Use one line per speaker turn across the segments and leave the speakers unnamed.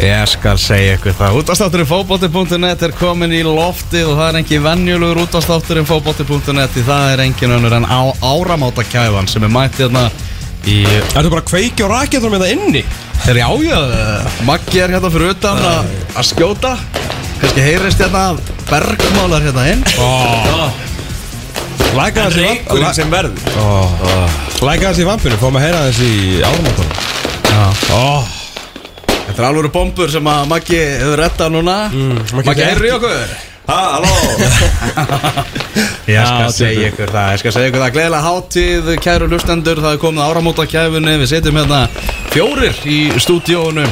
Ég skal segja ykkur það Útastátturinn fótbolti.net er komin í loftið og það er engin venjulegur útastátturinn fótbolti.net því það er engin önnur en á áramóta kæfan sem er mætt hérna í
Ertu bara að kveiki og rakja þar með það hérna inni?
þeirri ájöð Maggi er hérna fyrir utan að að skjóta kannski heyrist hérna að bergmálar hérna inn
Læka þessi
Leikurinn sem verður
vampinu Læka þessi vampinu, fáum að heyra þessi áramáttanum
Þetta er alvöru bombur sem að Maggi hefur rettað núna
Maggi
Maggi,
er
heyrðu í okkur
Ha, halló
Ég
Já,
skal segja ykkur það, ég skal segja ykkur það Gleðilega hátíð, kæru lustendur, það er komið áramóta kæfunni Við setjum hérna fjórir í stúdíónu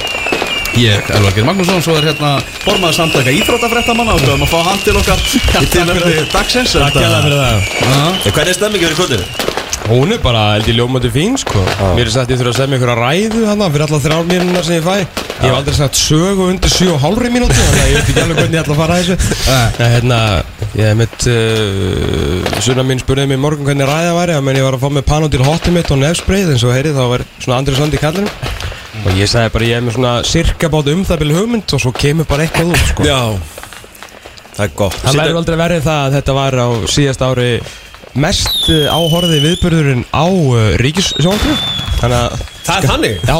Ég, Elvar Geir Magnússon, svo er hérna formaður samtaka íþrótafréttamanna og við höfum að fá hann til okkar í tilöfni dagsins
Takk hérna fyrir það
það
En Hvernig er stemmingi fyrir kvöldinu?
Hún er bara held í ljómandi fín sko Mér er sagt ég þurfa að segja mig ykkur að ræðu hana fyrir alla þrjár mínunar sem ég fæ Ég hef aldrei sagt sögu undir 7,5 mínúti þannig að ég veit ekki alveg hvernig ég ætla að fara að þessu Nei, hérna, ég hef mitt uh, Sunna mín spurði mig í morgun hvernig ræða væri að menn ég var að fá með panodil hotið mitt og nefsbreið eins og heyrið þá var svona Andri Sandi kallinum og ég sagði bara ég hef með svona sirka bát um það byrju hugmynd og svo kemur bara eitthvað út sko
Já Það er gott
Það verður aldrei verið það að þetta var á síðast ári mest uh, áhorði viðbörðurinn á uh, ríkissjónku Þannig að,
Það er þannig
já,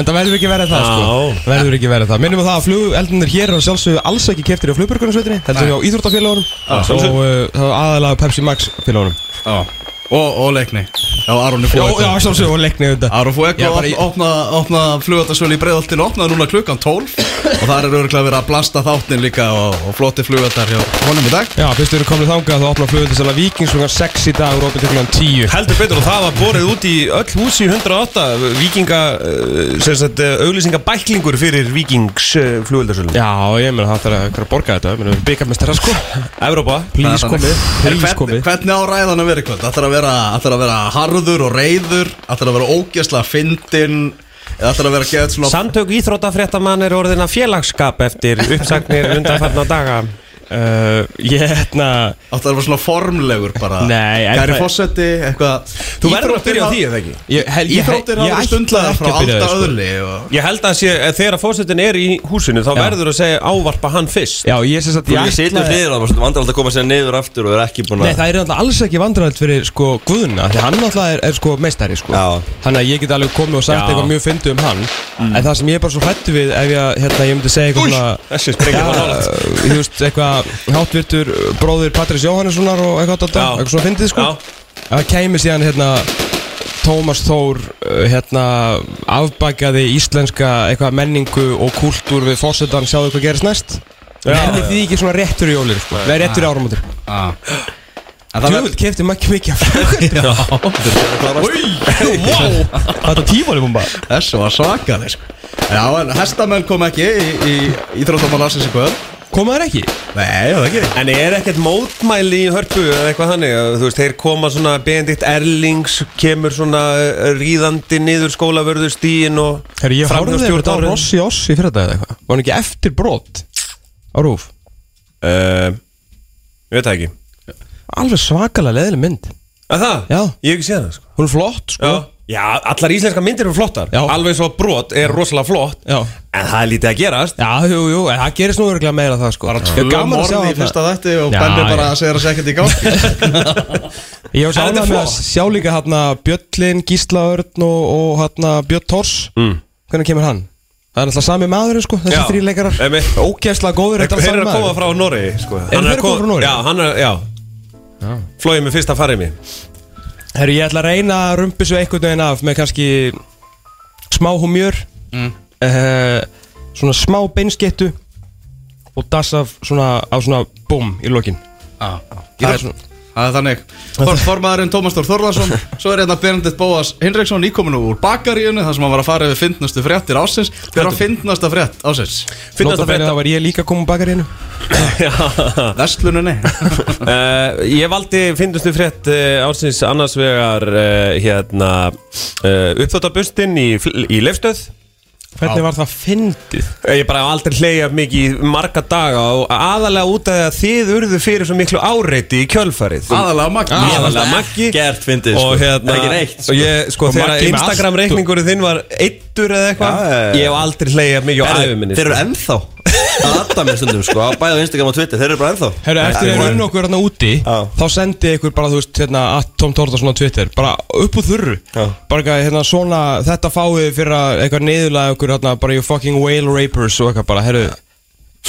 en það verður ekki verið það
Já.
sko Verður ekki verið það Minnum við það að flugeldunir hér er að sjálfsögðu alls ekki keftir á flugbörgunarsveitinni Heldur við á íþróttafélagunum og uh, það var aðalega Pepsi Max félagunum
Og, og leikni, já, Arun er
Já,
fóð
já, sjálfsögðu og leikni auðvitað
Aron Fuego
Já,
já,
bara í-
opna, opna flugöldarsölu í breiðoltinu opnaði núna klukkan 12 og það er örgulega verið að blasta þáttin líka og, og flotti flugöldar hjá honum í dag
Já, fyrst við erum komin þangað þá opna flugeldisala Víkings klukkan 6 í dag og opið til klukkan 10
Heldur betur og það var borið út í öll húsi í 108 Víkinga, eh, sem sagt, auglýsinga bæklingur fyrir Víkings eh, flugöldarsölu
Já, ég meina það þarf að einhver að borga þetta, ég meina við erum byggamestara sko
Evrópa
Please komið,
En
please
Hvernig,
komið
hvernig á ræðan að vera eitthvað? Það þarf að vera, það þarf að vera harður og reyður Það þarf að vera ógæsla fyndin eða Það þarf að vera geðt svona
Samtök íþrótafréttamann er orðin að félagskap eftir uppsagnir undanfarna daga
Uh, ég hérna
Það þarf að vera svona formlegur bara
Nei, en
Kæri
það-
forseti, eitthvað
Þú verður að byrja á því, eða ekki?
ég, hel, ég,
Íþróttir hafa
ég ætlaði
stundlega
ekki
frá
að byrja
alltaf
því, sko.
öðli og...
Ég held að sé, eh, þegar fósettin er í húsinu þá verður að segja ávarpa hann fyrst
Já, ég sé satt
Þú ég situr niður á það, vandar alltaf að koma sér niður aftur og er ekki búin
Nei,
að
það er alltaf alls ekki vandræðalt fyrir sko Guðna Því hann alltaf er, er sko meistari sko
Já.
Þannig að ég get alveg komið og sagt
Já.
eitthvað mjög fyndi um hann
Mm.
En það sem ég er bara svo hrættu við Ef ég, hérna, ég myndi segja eitthvað svona
Þessi sprengja var
Já,
nálægt
þú veist, eitthvað háttvirtur bróðir Patrís Jóhannessonar og eitthvað þetta,
Já.
eitthvað svona fyndið sko
Já.
það kæmi síðan hérna Tómas Þór uh, hérna afbakaði íslenska eitthvað menningu og kultúr við fórsetan sjáðu hvað gerist næst verði því ekki svona réttur í jólir sko. verði réttur í áramótur
ah.
Tjóðvill kefti maður mikið af flugeldum. Þetta tímali búin bara
Þessu var svakaleg sko. Já, en hestamenn kom ekki í, í, í Íþróttamannarsins í kvöld
Komaður ekki?
Nei, það ekki
En er ekkert mótmæli í hörpu eða eitthvað þannig, að, þú veist, þeir koma svona Benedikt Erlings, kemur svona eh, ríðandi niður skólavörðustíin og
Herri, ég
fram hjá
horfði yfir þetta á
stjórnarráðinu.
Rossi Ossi fyrir þetta eða eitthvað Var hann ekki eftir brot á rúf?
Eh, Ég veit það ekki
Alveg svakalega leðileg mynd
Að það?
Já.
Ég hef ekki séð það, sko
Hún er flott sko
Já. Já, allar íslenska myndir eru flottar
Já.
Alveg svo brot er rosalega flott
Já.
En það er lítið að gerast
Já, jú, jú, en það gerist nú örgulega meira það sko Ég er
Tvö
gaman að sjá
morði í
það
fyrsta þætti og
Já,
Benni bara
já.
að segja þessi ekkert í gangi
Ég var
En þetta
sána
er
með að
flott.
sjá líka hérna Bjöllin, Gísla Örn og, og hérna Björn Tors mm. Hvernig kemur hann? Það er alltaf sami maður sko, þessi
Já.
þrý leikarar
Emi.
Ógæslega góður, þetta er
Þeir
sami
eru að koma
maður
frá Norri sko.
Eru þeir að koma frá Noregi?
Já, hann er, já, já. Flóið með fyrsta farið mér
Herru, ég ætla að reyna að rumpi svo einhvern veginn af með kannski smá humjör
Mm.
eh, svona smá beinskettu og das af svona, á svona búm í lokin
Já,
Það er
það
svona-
það er þannig For, Formaðurinn Tómas Þór Þórðarsson Svo er hérna Benedikt Bóas Hinriksson íkominu úr bakaríunni þar sem hann var að fara yfir fyndnustu fréttir ásins Hver á fyndnasta frétt ásins?
Finnast
Nótabene,
að frétta
þá var ég líka að koma bakar hérna
Ah. Vestluninni
uh, Ég valdi finnustu frétt uh, ársins annars eh, vegar uh, hérna, uh, uppþóttabustin í, fl- í Leifstöð
Hvernig var það fyndið?
Eh, Ég bara hef aldrei hleyja mikið í marga daga og aðalega út af því að þið urðu fyrir svo miklu áreiti í kjölfarið
Aðalega magna
Aðalega Maggi
Gert fyndið sko.
og hérna
Ekki neitt
og ég, sko, þegar
Maggi með
Instagram reikningurinn þinn var eittur eða eitthvað
Já, já, já.
ég hef aldrei hleyja mikið á sko.
Herðu,
æfuminni
Þeir eru ennþá að adda mér stundum sko á Bæði á Instagram og Twitter, þeir eru bara ennþá
Herru, eftir að unna okkur hérna úti
Já.
Þá sendi ykkur bara, þú veist, hérna að Tom Tórðarsson á Twitter Bara upp úr þurru
Já.
Bara eitthvað, hérna svona Þetta fáið fyrir að eitthvað neyðulega ykkur hérna Bara you fucking whale rapers og eitthvað bara, herru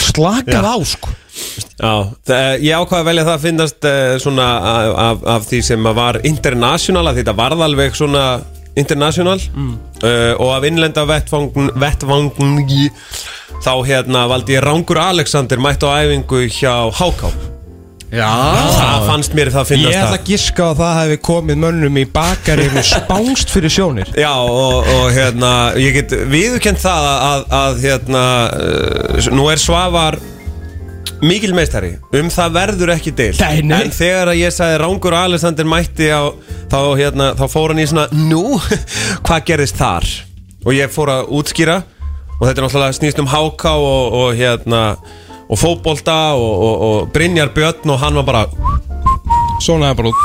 Slakað á, sko
Já, það, ég ákvaði að velja það að finnast uh, svona af, af, af því sem að var international, að þetta varð alveg svona international uh, og af innlenda vettvangn, vettvangngi þá hérna valdi ég Rangur Alexander mætt á æfingu hjá HK
Já
það fannst mér það að
Ég
finnast
ætla
það
að giska á að það hefði komið mönnum í bakarinn Spángst fyrir sjónir
Já og, og hérna ég get viðurkend það að, að hérna uh, nú er Svavar mikil meistari um það verður ekki deil
Nei, nei.
en þegar að ég sagði Rángur Alexander mætti á, þá, hérna, þá fór hann í svona nú, hvað gerðist þar og ég fór að útskýra og þetta er náttúrulega snýst um háká og, og hérna og fótbolta og, og, og Brynjar Björn og hann var bara,
Svona er bara út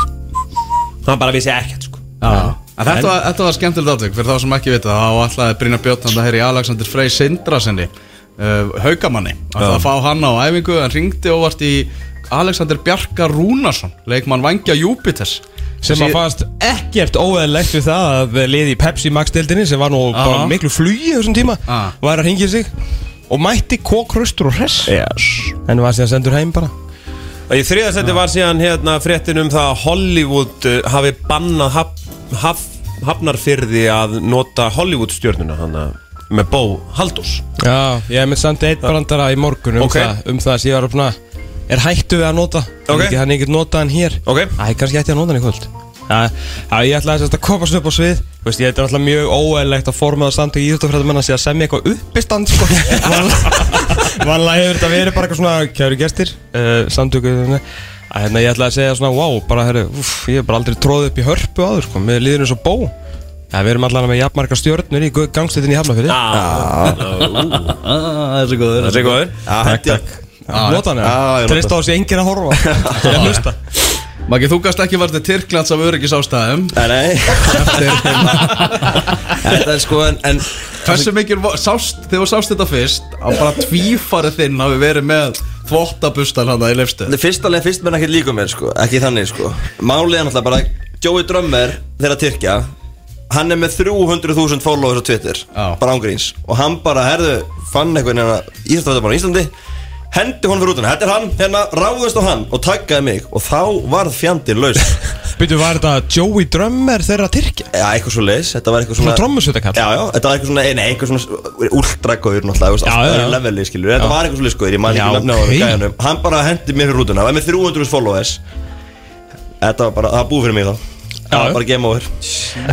hann bara vissi ekkert sko
En Þetta var, þetta var skemmtilegt átök fyrir þá sem ekki vita þá ætlaði Brynja Björnand að heyra í Alexander Frey Sindrasenni uh, haukamanni ætlaði að fá hann á æfingu en ringdi óvart í Alexander Bjarka Rúnarsson leikmann Vangja Júpiters
sem að
Síð-
fannst ekkert óæðilegt við það að liði í Pepsi Max deildinni sem var nú bara
Aha.
miklu flugi þessum tíma
Ah.
var að hringja sig og mætti kókraustur og hress yes. en var síðan sendur heim bara
Og í þriðasetti var síðan hérna fréttin um það að Hollywood uh, hafi bannað haf, haf, hafnarfyrði að nota Hollywood stjörnuna hana með Bó Haldós
Já, ég hef með samt eitt brandara í morgun um
Ok.
það, um það sem ég var að svona, er hættu við að nota
Ok.
Ekki- hann er ekkert nota hann hér
Ok.
Æ, kannski hætti ég að nota hann í kvöld Já, já, ég ætlaði þess að koma svona upp á svið Þú veist, ég þetta er alltaf mjög óæðilegt að formaða samtök íþjóttafræðumenn að sé að semja eitthvað uppistand sko. Vanlega hefur þetta verið bara eitthvað svona kæru gestir uh, samtöku Þannig að hérna, ég ætlaði að segja svona, wow, bara herru, úff, ég hef bara aldrei tróðið upp í hörpu áður, sko, með liðinu svo bó Já, við erum allavega með jafnmarga stjórnur í gangstöðinni í Hafnafjörði
Ah, Þessi góður
Það sé góður
Já, hætti ég
Nota hann eða?
Já, ég nota.
Treysta á þessi enginn að horfa Ég hlusta
Maggi, þú gast ekki varðið Tyrklands af öryggis ástæðum
Nei, nei Þetta er sko en, en
Hversu mikil vo- sást, þegar þú sást þetta fyrst að bara tvífarið þinn hafi verið með þvottabustan hann í lefstu
Það er fyrsta leið, fyrst menn ekkert líka mér sko Ekki þannig sko Málið er náttúrulega bara Joey Drömmer þeirra Tyrkja Hann er með 300.000 followers á Twitter
Já.
Bara ángríns Og hann bara, herðu, fann eitthvað hérna Íþjóttafættamann á Íslandi Hendi hún fyrir út Þetta er hann, hérna, ráðust á hann Og taggaði mig Og þá varð fjandinn laus
Býtu, var þetta Joey Drömmer þeirra Tyrkja?
Já, eitthvað svo leis Þetta var eitthvað
Svona
svona
trommusveitakall?
Já, já, þetta var eitthvað svona Nei, eitthvað svona Últragóður náttúrulega þú veist,
Já,
allt
já,
öðru
já.
leveli, skilur Þetta var eitthvað svo leis, sko Ég man
Já,
ekki nefna á
ok.
gæjanum Hann bara hendi mér fyrir rútuna Það var með 300 followers Þetta var bara Það var búið fyrir mig þá Það var bara game over
En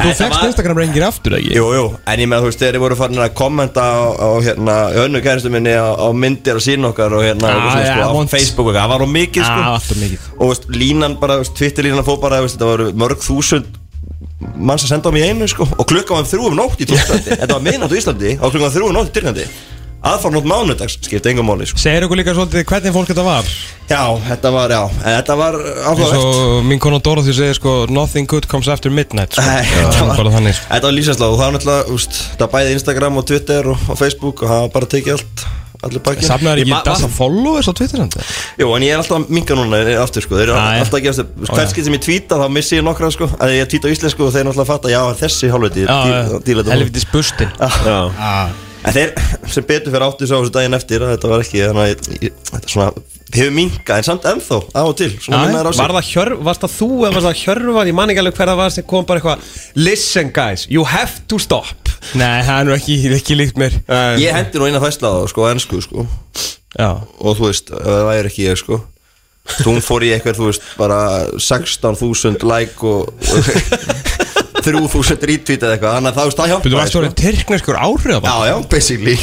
þú fegst
var-
Instagram reyngir aftur, ekki?
Jú, jú En ég með þú veist Þegar ég voru farin að kommenta á, á hérna Önnu kæristu minni á, á myndir og sín okkar Og hérna
Já,
og svona,
já,
sko, á
vont.
Facebook og eitthvað Það var á mikið sko
Já, alltaf Ah, mikið.
Og þú veist, línan bara þú veist, Twitter-línan fór bara þú veist, Þetta voru mörg þúsund manns að senda á mig í einu sko og klukkan var þrjú um nótt í Tyrklandi þetta var miðnátt á Íslandi og klukkan var þrjú um nótt í Tyrklandi aðfarnótt mánudags skipti engum máli sko
Segir okkur líka svolítið hvernig fólk þetta var
já þetta var já en þetta var
Eins
áhugavert
og mín konan Dorothy segir sko Nothing good comes after midnight sko.
Nei, þetta
Það er
var-
bara þannig sko.
þetta var lýsinslá og það var náttúrulega úst, það var bæði Instagram og Twitter og, og Facebook og það var bara að tekið allt allir bakið
Safnaður ekki
Ég ma-
dasa followers á Twitter hann?
Jú, en ég er alltaf að minga núna eh, aftur sko, þeir eru
Ah, já.
alltaf að gefast upp Hvern skil sem ég tvíta þá missi ég nokkra sko að ég tvíta á íslensku og þeir náttúrulega að fatta já, þessi hálfviti dí- díla þetta
Helvitis busti
En þeir sem betur fyrir áttu sá þessu daginn eftir að þetta var ekki þannig að ég- ég- þetta svona hefur minga en samt ennþó á og til svona minna er á sig
Var það hjörf, varst það þú eða varst það hjörfar ég man ekki alveg hver það var sem kom bara eitthvað Listen guys, you have to stop
Nei, það er nú ekki, ekki líkt mér
Ég hendi nú eina fæsla á það sko, á ensku sko
Já
og þú veist, ef það væri ekki ég sko Tún fór í eitthvað, þú veist, bara 16.000 like og, og 3.000 retweet eða eitthvað, þannig að það, þú veist, það
Býtu,
hjálpaði sko.
varstu orðin tyrkneskur áhrif
Já, já, basically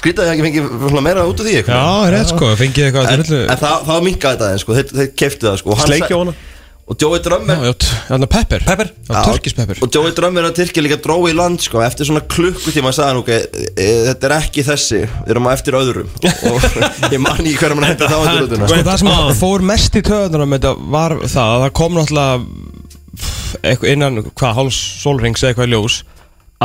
Skrýtaði ekki fengið svona meira út af því eitthvað
Já, rétt sko, fengið eitthvað
En,
drullu-
en það, það minkaði þetta aðeins, sko, þeir, þeir keftu það sko. og hann
Sleikja
sa-
hana?
og Joey Drömmir
Já, já, þannig pepper
Pepper?
Já, turkish pepper
Og Joey Drömmir að Tyrkja líka dró í land sko Eftir svona klukkutíma sagði hann ok e, e, Þetta er ekki þessi, við erum á eftir öðrum Og ég man ekki hverja mann hætti þá eftir öðruna
Sko það sem fór mest í töðunar um þetta var það að það kom náttúrulega pff, eitthvað innan hvað háls sólrings eða eitthvað í ljós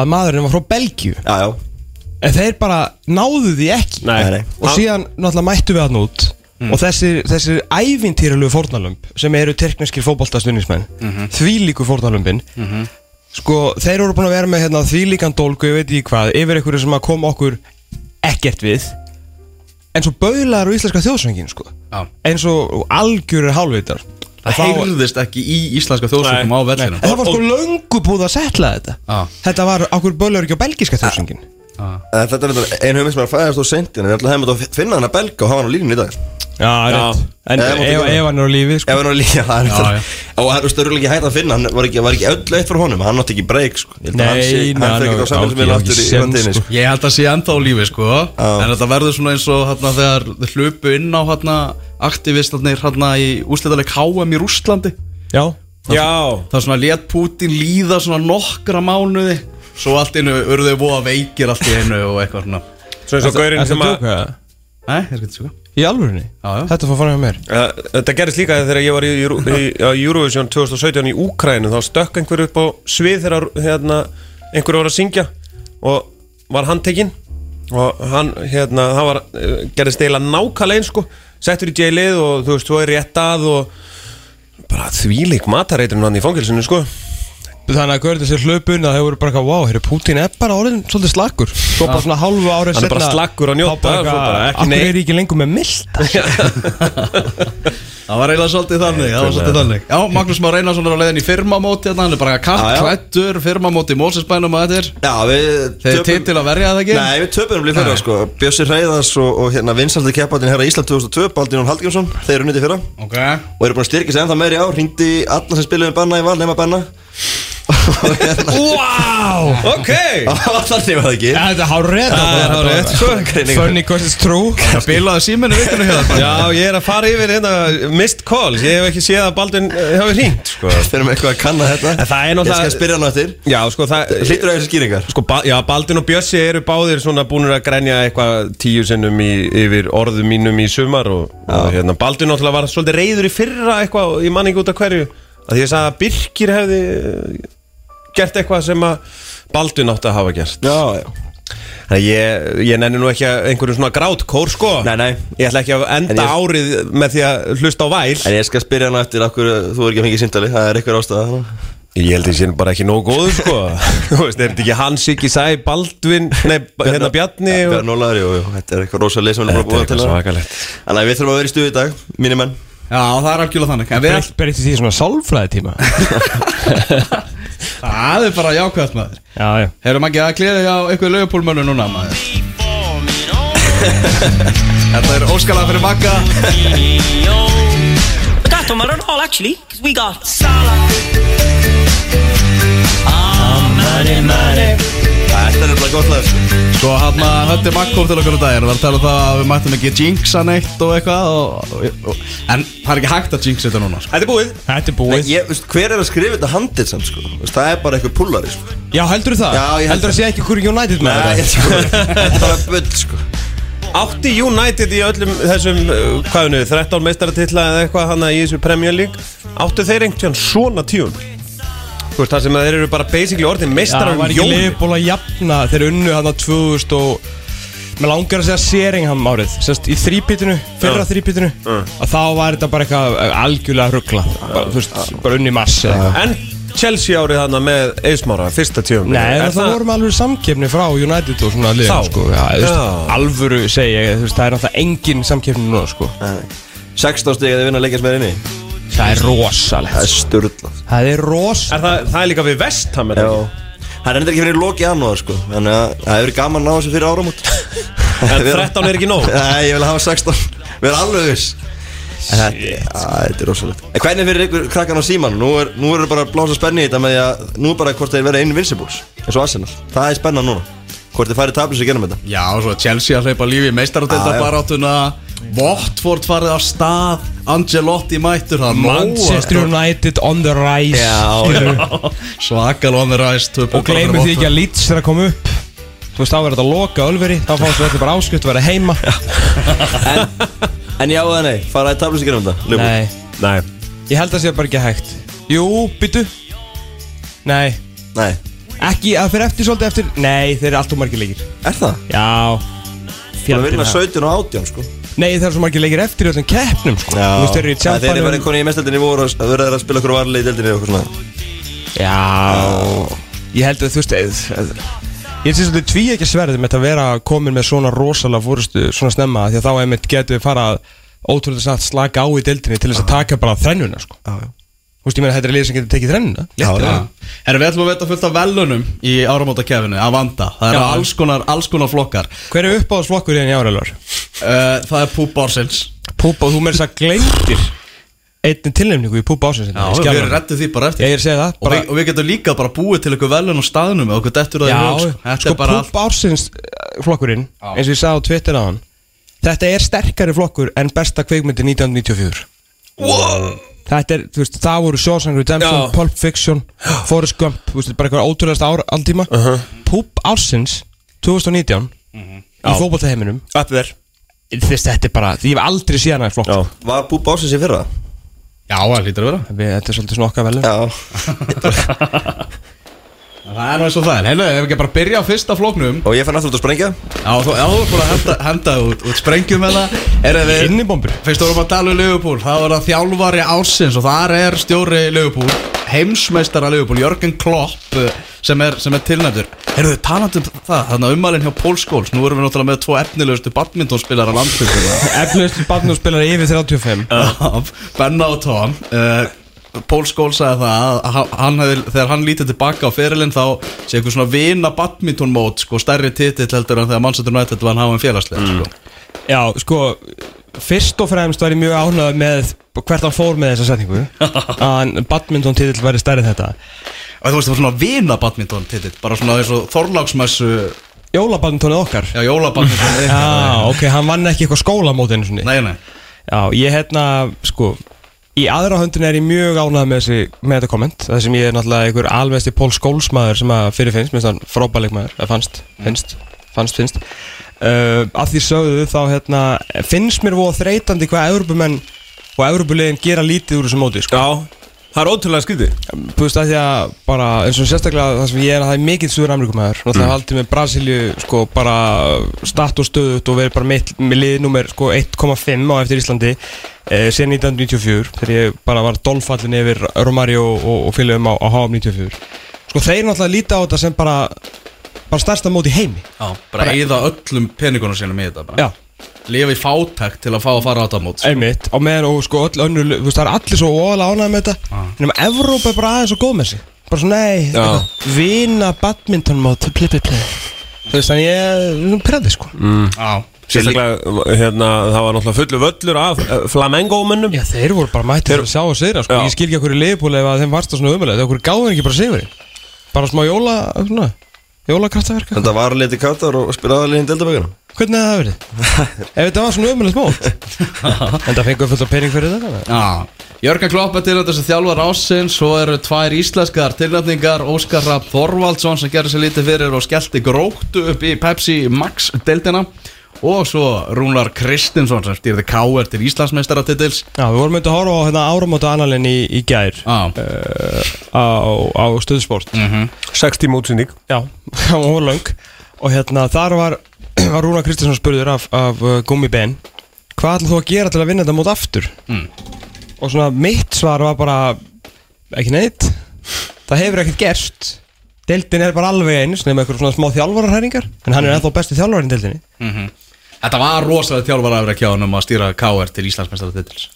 að maðurinn var frá Belgíu
Já, já,
en þeir bara náðu því ekki
Nei, nei.
og síðan náttúrulega mættu við hann út og þessir, þessir ævintýralögu fórnalömb sem eru tyrkneskir fótboltastunningsmenn mm -hmm. þvílíku fórnalömbin sko þeir eru búin að vera með hérna, þvílíkan dólgu, ég veit ekki hvað yfir einhverju sem að kom okkur ekkert við en svo baulaður á íslenska þjóðsöngin sko
Já.
eins og algjörir hálfvitar Og
Það
þá-
heyrðist ekki í íslenska þjóðsökum á
Nei, en
verðinum
það var sko löngu búið að setla þetta
Já.
þetta var okkur baulaður ekki á belgiska þjóðsöngin
Eh, þetta er reyndar ein hugmynd sem er að fæðast á seintin En ég ætla að hefum þetta að finna hann að belga og hafa hann á línun í dag
Já, rétt En
Eða
ef
mátti gera.
ef hann er á lífi sko
Ef hann var líka, það er
Já, já.
þetta Og það er störulega ekki hægt að finna, hann var ekki, var ekki öll eitt fyrir honum Hann nátti ekki breyk, sko Ég held að hann sé-
Nei, nei,
Hann
hann
fyrir ekki
var-
á samfélagsmiðla
átti
aftur í
ekki
vandinni,
séns,
sko
sko.
Ég held að sé enda á lífi sko
Já.
En þetta verður svona eins og hérna þegar þeir hlupu inn á hérna aktivistarnir hérna í úslitaleg HM í Rússlandi
Já
Já
Það svona let Putin líða svona nokkra mánuði Svo allt innu urðu þau voða veikir allt í einu og eitthvað svona
Svo eins og gaurinn
Ertu
sem
að
að
djóka?
Nei, það er ekki sko
Í alvörinni?
Já, já.
Þetta fór fram hjá mér
Uh, Þetta gerist líka þegar ég var í, Euro- í, á Eurovision 2017 í Úkrænu þá stökk einhver upp á svið þegar hérna, einhver var að syngja og var handtekinn og hann, hérna, hann var, uh, gerðist eiginlega nákvæmlega eins sko settur í jailið og þú veist, þú er rétt að og bara þvílík matareitrun hann í fangilsinu sko
Þannig að görði sér hlöpun að þau voru bara eitthvað Vá, hérri, Putin er bara orðin svolítið slakkur Svo bara svona hálfu árið
Hann er bara slakur að njóta, svo bara ekki
Akkur
neitt.
er ég ekki lengur með mild
Það var eiginlega svolítið þannig, það var svolítið þannig Já, Magnús Már Einarsson er á leiðin í firmamóti hérna Hann er bara
Já, já.
kattklættur, firmamóti í Mósinsbænum að þetta er
Já, við
Þeir er
töpum-
til til að verja það ekki
Nei, við töpunum líf fyrra sko Bjössi Reyðars og, og hérna vinsaldi keppatinn herra Ísland 2002 Baldin Ón Hallgjömsson, þeir eru nýtti fyrra
Ok
og eru búin að styrkja sig ennþá meiri á hringdi í alla sem spiluðum banna í val nema banna og hérna
Wow
Ok!
þannig var það ekki
Ja, Þetta er hár rétt
Það er hárrétt, sko.
Funny because it's true
Það bilaði síminu vikinu hérna
Já, ég er að fara yfir hérna missed calls, ég hef ekki séð að Baldvin uh, hafi hringt sko
þeir eru eitthvað að kanna þetta
En það er
ég skal
náttúrulega
spyrja hann á eftir
Já, sko, það
hlýtur að þessi skýringar
Sko, ba já, Baldin og Bjössi eru báðir svona búinir að grenja eitthvað tíu sinnum í, yfir orðum mínum í sumar og, og hérna, Baldin náttúrulega var svolítið reyður í fyrra eitthvað og ég man ekki út af hverju að því ég sagði að Birkir hefði eh, gert eitthvað sem að Baldin átti að hafa gert
já, já
Þannig að ég, ég nenni nú ekki að einhverjum svona grátkór sko
Nei, nei.
Ég ætla ekki að
En
enda
ég-
árið með því að hlusta á væl
en ég skal spyrja hann á eftir okkur þú er ekki að fengið síndali það er eitthvað ástæða þarna.
Ég held að ég sé bara ekki nógu góður sko Þú veist, er þetta ekki Hans, ekki Sæ, Baldvin Nei, ba- hérna Bjarni
Ja,
og-
Bjarni Ólaður, jú, jú, þetta er eitthvað rosalega sem við erum búin að tala um. Þannig að við þurfum að vera í stuði í dag, mínir menn
Já, það er algjörlega þannig En við ætlum,
Berið því svona sálfræði tíma
það er bara jákvæðast maður
Já, já
Hefur maður ekki að gleðið á einhverju lögupólmölu núna maður Þetta er óskalega fyrir Magga
But that don't matter at all, actually, because we got Salah.
Þetta er nefnilega gott lag sko.
Svo hann að höndi Magg kom til okkur á daginn og var að tala um það að við mættum ekki jinxa neitt og eitthvað og, og, og, En það er ekki hægt að jinxa þetta núna sko.
Þetta er búið
Þetta er
Nei,
búið
ég, veist, hver er að skrifa þetta handið samt sko Þú veist, Það er bara eitthvað pullari sko
Já, heldur það?
Já, ég held
Heldur það sé ekki hverju United með
Nei,
þetta?
sko, Þetta er bara bull sko
Átti United í öllum þessum, uh, hvað er nú, 13 meistaratitla eða eitthvað hana í þessu Premier League Áttu þeir einhvern svona tíun? Þú veist það sem að þeir eru bara basically orðin meistarar
var
um
ekki
jólin
liðból að jafna Þeir unnu hann á 2000 og Mér langar að segja Seringham árið Sest í þrýbítinu, fyrra þrýbítinu Að þá var þetta bara eitthvað eh, algjörlega ruggla bara, Þú veist, bara unni mass eða eitthvað
En Chelsea árið hana með Eismára, fyrsta tíun
Nei, en það vorum alveg samkeppni frá United og svona liðum,
Þá?
sko Já, þú veist,
Já.
alvöru segja ég, þú veist, það er náttúrulega engin samkeppni núna, sko
16 stig að þið vinna að leikast með þér inni
Það er rosalegt
Það er sturla
Það er rosalegt
Er það, það er líka við vestam er
Já
það ekki?
Það er endur ekki fyrir loki annúðar sko Þannig að það hefur verið gaman að ná þessu fyrir áramót
En 13 er ekki nóg.
Nei, ég vil hafa 16 Við erum alveg viss En Þetta, á, þetta er rosalegt En Hvernig fyrir ykkur krakkan á síman? Nú er, nú er bara að blása spenni í þetta með því að Nú er bara hvort þeir verða invincibles eins og Arsenal Það er spennan núna Hvort þeir færi tablis í genum þetta
Já, og svo Chelsea að hleypa lífi í meistaradelda
Já, já.
baráttuna Votford farið af stað Angelotti mættur það er nóg að-
Manchester United on the rise
Já,
skilurðu.
Svakal on the rise tvö
Og
punktar fyrir
gleymið því ekki
Watford.
að Leeds er að koma upp Þú veist, þá verður þetta að loka Ölveri Þá fáum við allir bara áskrift að vera heima
En já eða nei, fara í tablusíkir um þetta Liverpool.
Nei,
Nei
ég held að það sé bara ekki hægt Jú, byttu Nei,
Nei,
ekki, að fyrir eftir svolítið eftir Nei, þeir eru allt og margir leikir
er það?
Já
Það vinna
það.
17 og 18 sko
Nei, það er svo margir leikir eftir í öllum keppnum sko. Þú veist, þeir eru í
Það er þeirri verið
tjampanum
konið í mestaldinni voru að verða þeirra að spila okkur varlega í deildinni og okkur svona
Já, ég held að þú veist eð, eð, Ég syns að þau tví ekki sverðum Þetta að vera komin með svona rosalega fórustu Svona snemma, því að þá einmitt getum við fara að Ótrúlega satt slaka á í deildinni Til þess að taka bara þrennuna sko. Þú veist, ég meina, þetta er lið sem getur tekið þrennuna
Já, já. Herra, við ætlum að veta fullt af velunum í áramótakefinu, að vanda Það eru
Já.
alls konar, alls konar flokkar
Hver er uppáðsflokkur í enn í árelvar?
uh, Það er Púb Borsins
Púpa, þú meður þess að gleymdir Einnig tilnefningu í Púpa ásins
Við erum rettið því bara
Já,
eftir
ég er að segja það
og,
bara,
við, og við getum líka bara búið til ykkur velun og staðnum og okkur dettur það í hug,
Já,
sko. Þetta
sko
er bara allt
Púpa ársins eh, flokkurinn eins og ég sagði á Twitter á hann Þetta er sterkari flokkur en besta kveikmyndi 1994 Þetta er, þú veist, það voru Shawshank Redemption,
Já.
Pulp Fiction Forrest Gump, þú veist, bara eitthvað ótrúlegasta ár alltíma uh
Uh-huh.
ársins 2019
Mhm.
í fótbollaheiminum
Upp þér
Þess, þetta er bara, því ég hef aldrei séð hana í flokk
Já.
Var Bú Básins í fyrra?
Já, það hlýtur að vera
Við- Þetta er svolítið svona okkar velum
Já
Það er nú eins og það er, heilu, ef ekki bara byrja á fyrsta flóknum
Og ég fann aftur út að sprengja
Já, þú já, þú er búin að henda, henda út, út sprengjum með það Er það við
Innibombur
Fyrst vorum við að tala um Liverpool, það var það þjálfari ársins og þar er stjóri Liverpool, heimsmeistara Liverpool, Jörgen Klopp eh, sem er, sem er tilnættur. Erum við talandi um það, þannig að ummælinn hjá Paul Scholes, nú erum við náttúrulega með tvo efnilegustu badmintonspilar á landslökunum,
Eflaust barn og spilar yfir 35
Benna og Tom. Uh, Paul Scholes sagði það að ha- hann hefði, þegar hann lítið tilbaka á ferilinn þá sé eitthvað svona vina badmintonmót, sko, stærri titill heldur en þegar Manchester United var hann hafa en félagslega, sko.
Já, sko Fyrst og fremst var ég mjög ánægð með hvert hann fór með þessa setningu að badminton titill væri stærri en þetta
Og þú veist, það var svona vina badminton titill, bara svona eins og Þorláksmessu
Jólabadmintonið okkar
Já, jólabaknir
Já, ok, hann vann ekki eitthvað skólamót einu sinni
Nei, nei
Já, ég hérna, sko Í aðra höndin er ég mjög ánægð með, þessi, með þetta komment Það sem ég er náttúrulega einhver alvegsti Pól Skólsmaður sem að fyrir finnst Mér finnst hann frábæleikmaður, eða fannst, finnst, fannst, finnst uh, Að því sögðu þá, hérna Finnst mér voða þreytandi hvað Evrópumenn og Evrópulegin gera lítið úr þessu móti, sko
Já Það er ótrúlega skrítið
Þú veist að því að bara eins og sérstaklega það sem ég er að það er mikill Suður Ameríkumæður Náttúrulega mm. haldið með Brasilju sko bara statt og stöðut og verið bara mitt, með liðnúmer sko 1,5 á eftir Íslandi eh, sen 1994 þegar ég bara var dolfallin yfir Romario og, og fylgjum á, á HM94 Sko þeir náttúrulega líta á þetta sem bara bara stærsta mót í heimi
Já, bara eyða öllum peningunum sínum í þetta bara
Já
Lifa í fátækt til að fá að fara á þetta mót sko.
Einmitt, á meðan og sko öll önnur lið, þú veist, það er allir svo óalega ánægð með þetta ah. nema Evrópa er bara aðeins og góð með sig bara svona, nei, eitthvað, vina badmintonmót, pli, pli, pli þú veist, þannig ég er præði sko
Já
Sérstaklega hérna Það var náttúrulega fullu völlur af eh, Flamengo-mönnum
já, þeir voru bara mættir að sjá og sigra sko.
Já.
ég skil ekki okkur í liðbúli ef að þeim varst það svona umöðlega þegar okkur gáður ekki bara sigurinn bara smá jóla, svona, jólakraftaverka
Þetta var litið káttar og spilaði alveg í deildabökunum
hvernig hefði það verið? ef þetta var svona umöðlega mót en það fengið fullt af pening fyrir þetta þannig að-
Já, Jörgen Klopp er tilnættur sem þjálfar ásins Svo eru tvær íslenskar tilnætningar Óskar Rapp Þorvaldsson sem gerði sér lítið fyrir Og skellti gróktu upp í Pepsi Max deildina Og svo Rúnar Kristinsson sem stýrði K.R. til Íslandsmeistaratitils
Já, við vorum myndið að horfa á hérna, áramóta annalinn í, í gær
Já,
á, á stöðsport
60 mótsinning
Já, hann var lang Og hérna þar var, var Rúna Kristinsson spurður af, af uh, Gummi Ben Hvað ætlar þú að gera til að vinna þetta mót aftur? Og svona mitt svar var bara Ekki neitt Það hefur ekkert gerst Deildin er bara alveg eins Nefnum eitthvað svona smá þjálfararhæringar En hann er ennþá besti þjálfarinn deildinni
þetta var rosalega þjálfar afrek hjá hann um að stýra K.R. til Íslandsmeistaratitils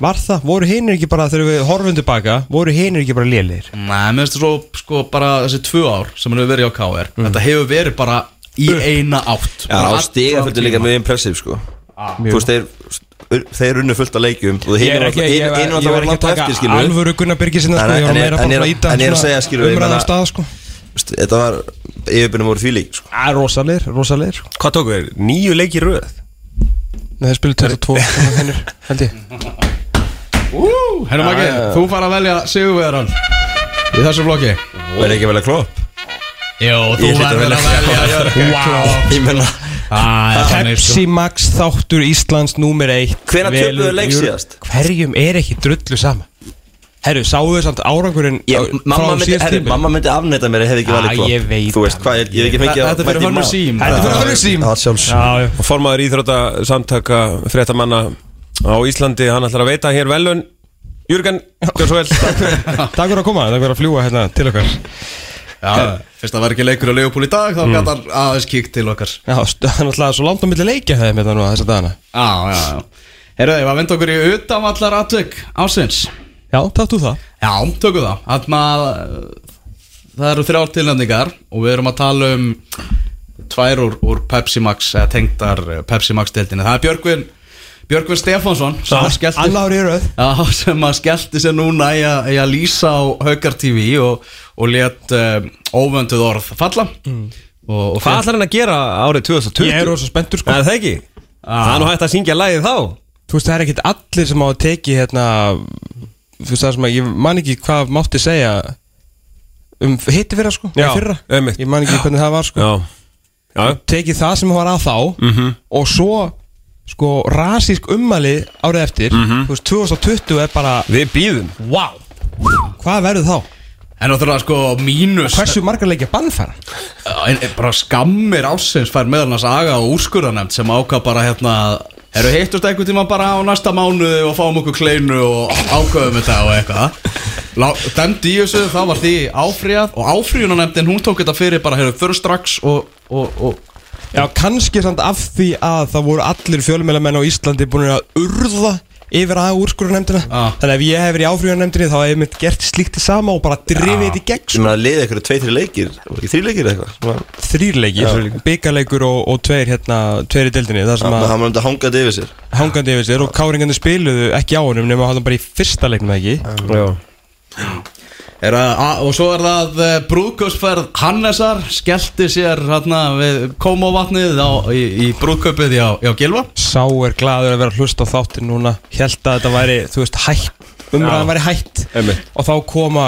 Var það, voru hinir ekki bara Þegar við horfum tilbaka, voru hinir ekki bara lélir
Nei, mér finnst það svo sko bara þessi tvö ár sem hann hefur verið á KR Þetta hefur verið bara í eina átt
Já, og stiga fyrir líka mjög impressive sko Þú veist, þeir, þeir unnu fullt af leikjum Og
Ah. Ég er
hinn
ekki, ég, ég,
var
ég
það
var
var
ekki að
langt á
taka
eftir skilu
alvöru Gunnar Birgisinn
Nei,
sko,
nei,
Ég var
en ég-
meira
en ég er-
bara að íta
en ég er að segja, skilurðu, ég
umræðan
meina-
af stað sko
Þetta var, yfirbyrnum voru því lík sko
Það er Ah, rosalegir, rosalegir
Hvað tóku þeir? Nýju leiki röð
Nei, þeir spilu 22 svona hennur, held ég
Herra Maggi, þú fara að velja sigurvegaran Í þessu blokki
Verði ekki vel að klopp
Jó, þú
Ég hlýt að
verður
velja
að velja Jörgen Klopp.
Ég menna
Það er þannig, sko.
Pepsi Max þáttur Íslands númer 1
Hvenær töpuðu leik síðast?
Hverjum er ekki drullu sama? Herru, sáðu þau samt árangurinn á-
ég, mamma,
frá
myndi,
síðast
herri,
tímabil?
mamma myndi afneita mér Hefði ekki
Ah,
valið klopp
ég veit
Þú veist
það.
hvað, ég, ég hef ekki fengið
Þetta er fyrir Hönnu Sím
Þetta er fyrir Hönnu Sím
Það sjálfs
Já, já
Og formaður íþrótta samtaka fréttamanna á Íslandi, hann ætlar að veita hér velun Jürgen, gjör svo vel
Takk fyrir að koma, takk fyrir að fljúa hérna til okkar
Já, Mm. Fyrst það var ekki leikur að leifupúl í dag Þá gæti hann aðeins kíkt til okkar
Já, st- það er náttúrulega svo langt á milli leikja þeim hérna nú þessa dagana
Já, já, já Herra, ég var að vinda okkur í utanvallar atvik ásins
Já, takk þú það
Já, tökum það Þannig að uh, það eru þrjár tilnefningar og við erum að tala um tvær úr, úr Pepsi Max eða tengdar eh, Pepsi Max deildinni Það er Björgvin, Björgvin Stefánsson sem að skellti-
Anna árið röð
Já, sem að skellti sér núna í að, í að lýsa á Haukar TV og, og let um, óvönduð orð falla og, og
Mm. Hvað ætlar hann að gera árið 2020?
Ég er rosa spenntur sko Ah.
Nei, það ekki Það er nú hægt að syngja lagið þá
Þú veist, það er ekkert allir sem á að teki hérna Þú veist, það sem að ég man ekki hvað mátti segja Um hitti fyrra sko
Já,
Nei, fyrra.
einmitt.
Ég man ekki hvernig það var sko
Já, Mhm. já,
tekið það sem var að þá og svo sko rasísk ummali árið eftir
Mhm.
þú veist 2020 er bara
við býðum
wow hvað verður þá?
En náttúrulega sko mínus eh,
hversu margar leikja bannfæra?
en, en, bara skammir ásins fær meðal hans aga og úrskurðanemt sem ákvað bara hérna Eru hittust einhvern tíma bara á næsta mánuði og fáum okkur kleinu og ákveðum þetta og eitthvað Lá, Dæmdi í þessu, það var því áfríðað og áfríðunanemndin hún tók þetta fyrir bara hérna fyrir strax og, og, og
já kannski samt af því að það voru allir fjölmjölamenn á Íslandi búin að urða yfir að úrskurðunemndina
Ah.
þannig að ef ég hef verið í áfríðunemndinni þá hef ég mitt gert slíkt í sama og bara drifið þetta í gegn
Ég menna að liði eitthvað tvei, þri leikir Var ekki þrý leikir eða eitthvað
þrýrleikir, byggarleikur og, og tveir hérna, tveir í deildinni það sem
Þannig að
að
hann myndi að hanga þetta yfir sér
hangandi yfir sér og káringandi spiluðu ekki á honum nema hann bara í fyrsta leiknum ekki
er að, að, Og svo er það eh, brúðkaupsferð Hannesar skellti sér hérna við Kómovatnið á, í, í brúðkaupið hjá, hjá Gilva
Sá er gladur að vera að hlusta á þáttin núna Held að þetta væri, þú veist, hætt Umræðan væri hætt
Einmitt.
Og þá koma,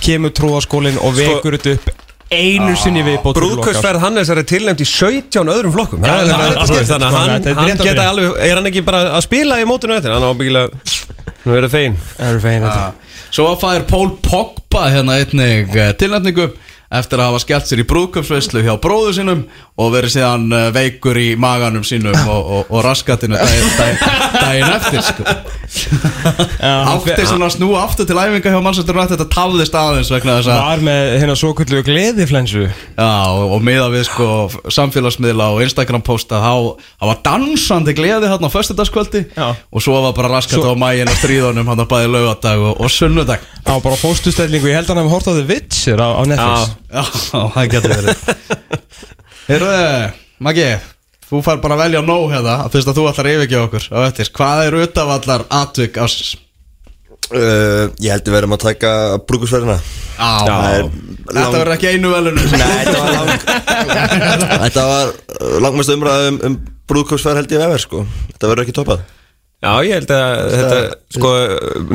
kemur trúaskólin Og
Sko-
vekur þetta upp
Ah.
einu sinni við bóttur
Brúðkausferð Hannesar er tilnæmt í 17 öðrum flokkum
Já,
Það er
það er
alveg
skemmt,
skemmt, Þannig
sko,
að hann,
þetta er
hann
rétt að
geta
byrja.
alveg Er hann ekki bara að spila í mótinu eftir? Hann ábyggilega Nú er það fein
Það eru fegin þetta
Svo fær Pól Pogba hérna einnig eh, tilnefningu eftir að hafa skellt sér í brúðköpsveislu hjá bróðu sínum og verið síðan eh, veikur í maganum sínum og, og, og raskatinu daginn, daginn, daginn eftir sko. átti svona að snúa aftur til æfinga hjá mannsættur rætt þetta tafðist aðeins vegna þess að
Var með hérna svo kvöldu gleðiflensu
já, og, og miða við sko samfélagsmiðla og Instagram posta þá þá var dansandi gleði hérna á föstudagskvöldi
Já.
og svo var bara raskat á mægin og stríðunum hann að bæði laugardag og, og sunnudag
Á bara fóstustellingu, ég held að hann hafa hort á The Witcher á, á Netflix
Já, það getur verið Herðu, Maggi Þú fær bara að velja nóg hérna Fyrst að þú ætlar að yfirgefa okkur á eftir Hvað er utavallar atvik ásins?
Uh, Ég held við verðum að taka brúkusverðina Það
Já,
er
þetta verður ekki einu velunum
Nei, þetta var lang Þetta var uh, langmest umræða um, um brúðkvöpsferð held ég vegar sko Þetta verður ekki toppað
Já, ég held að þetta, sko,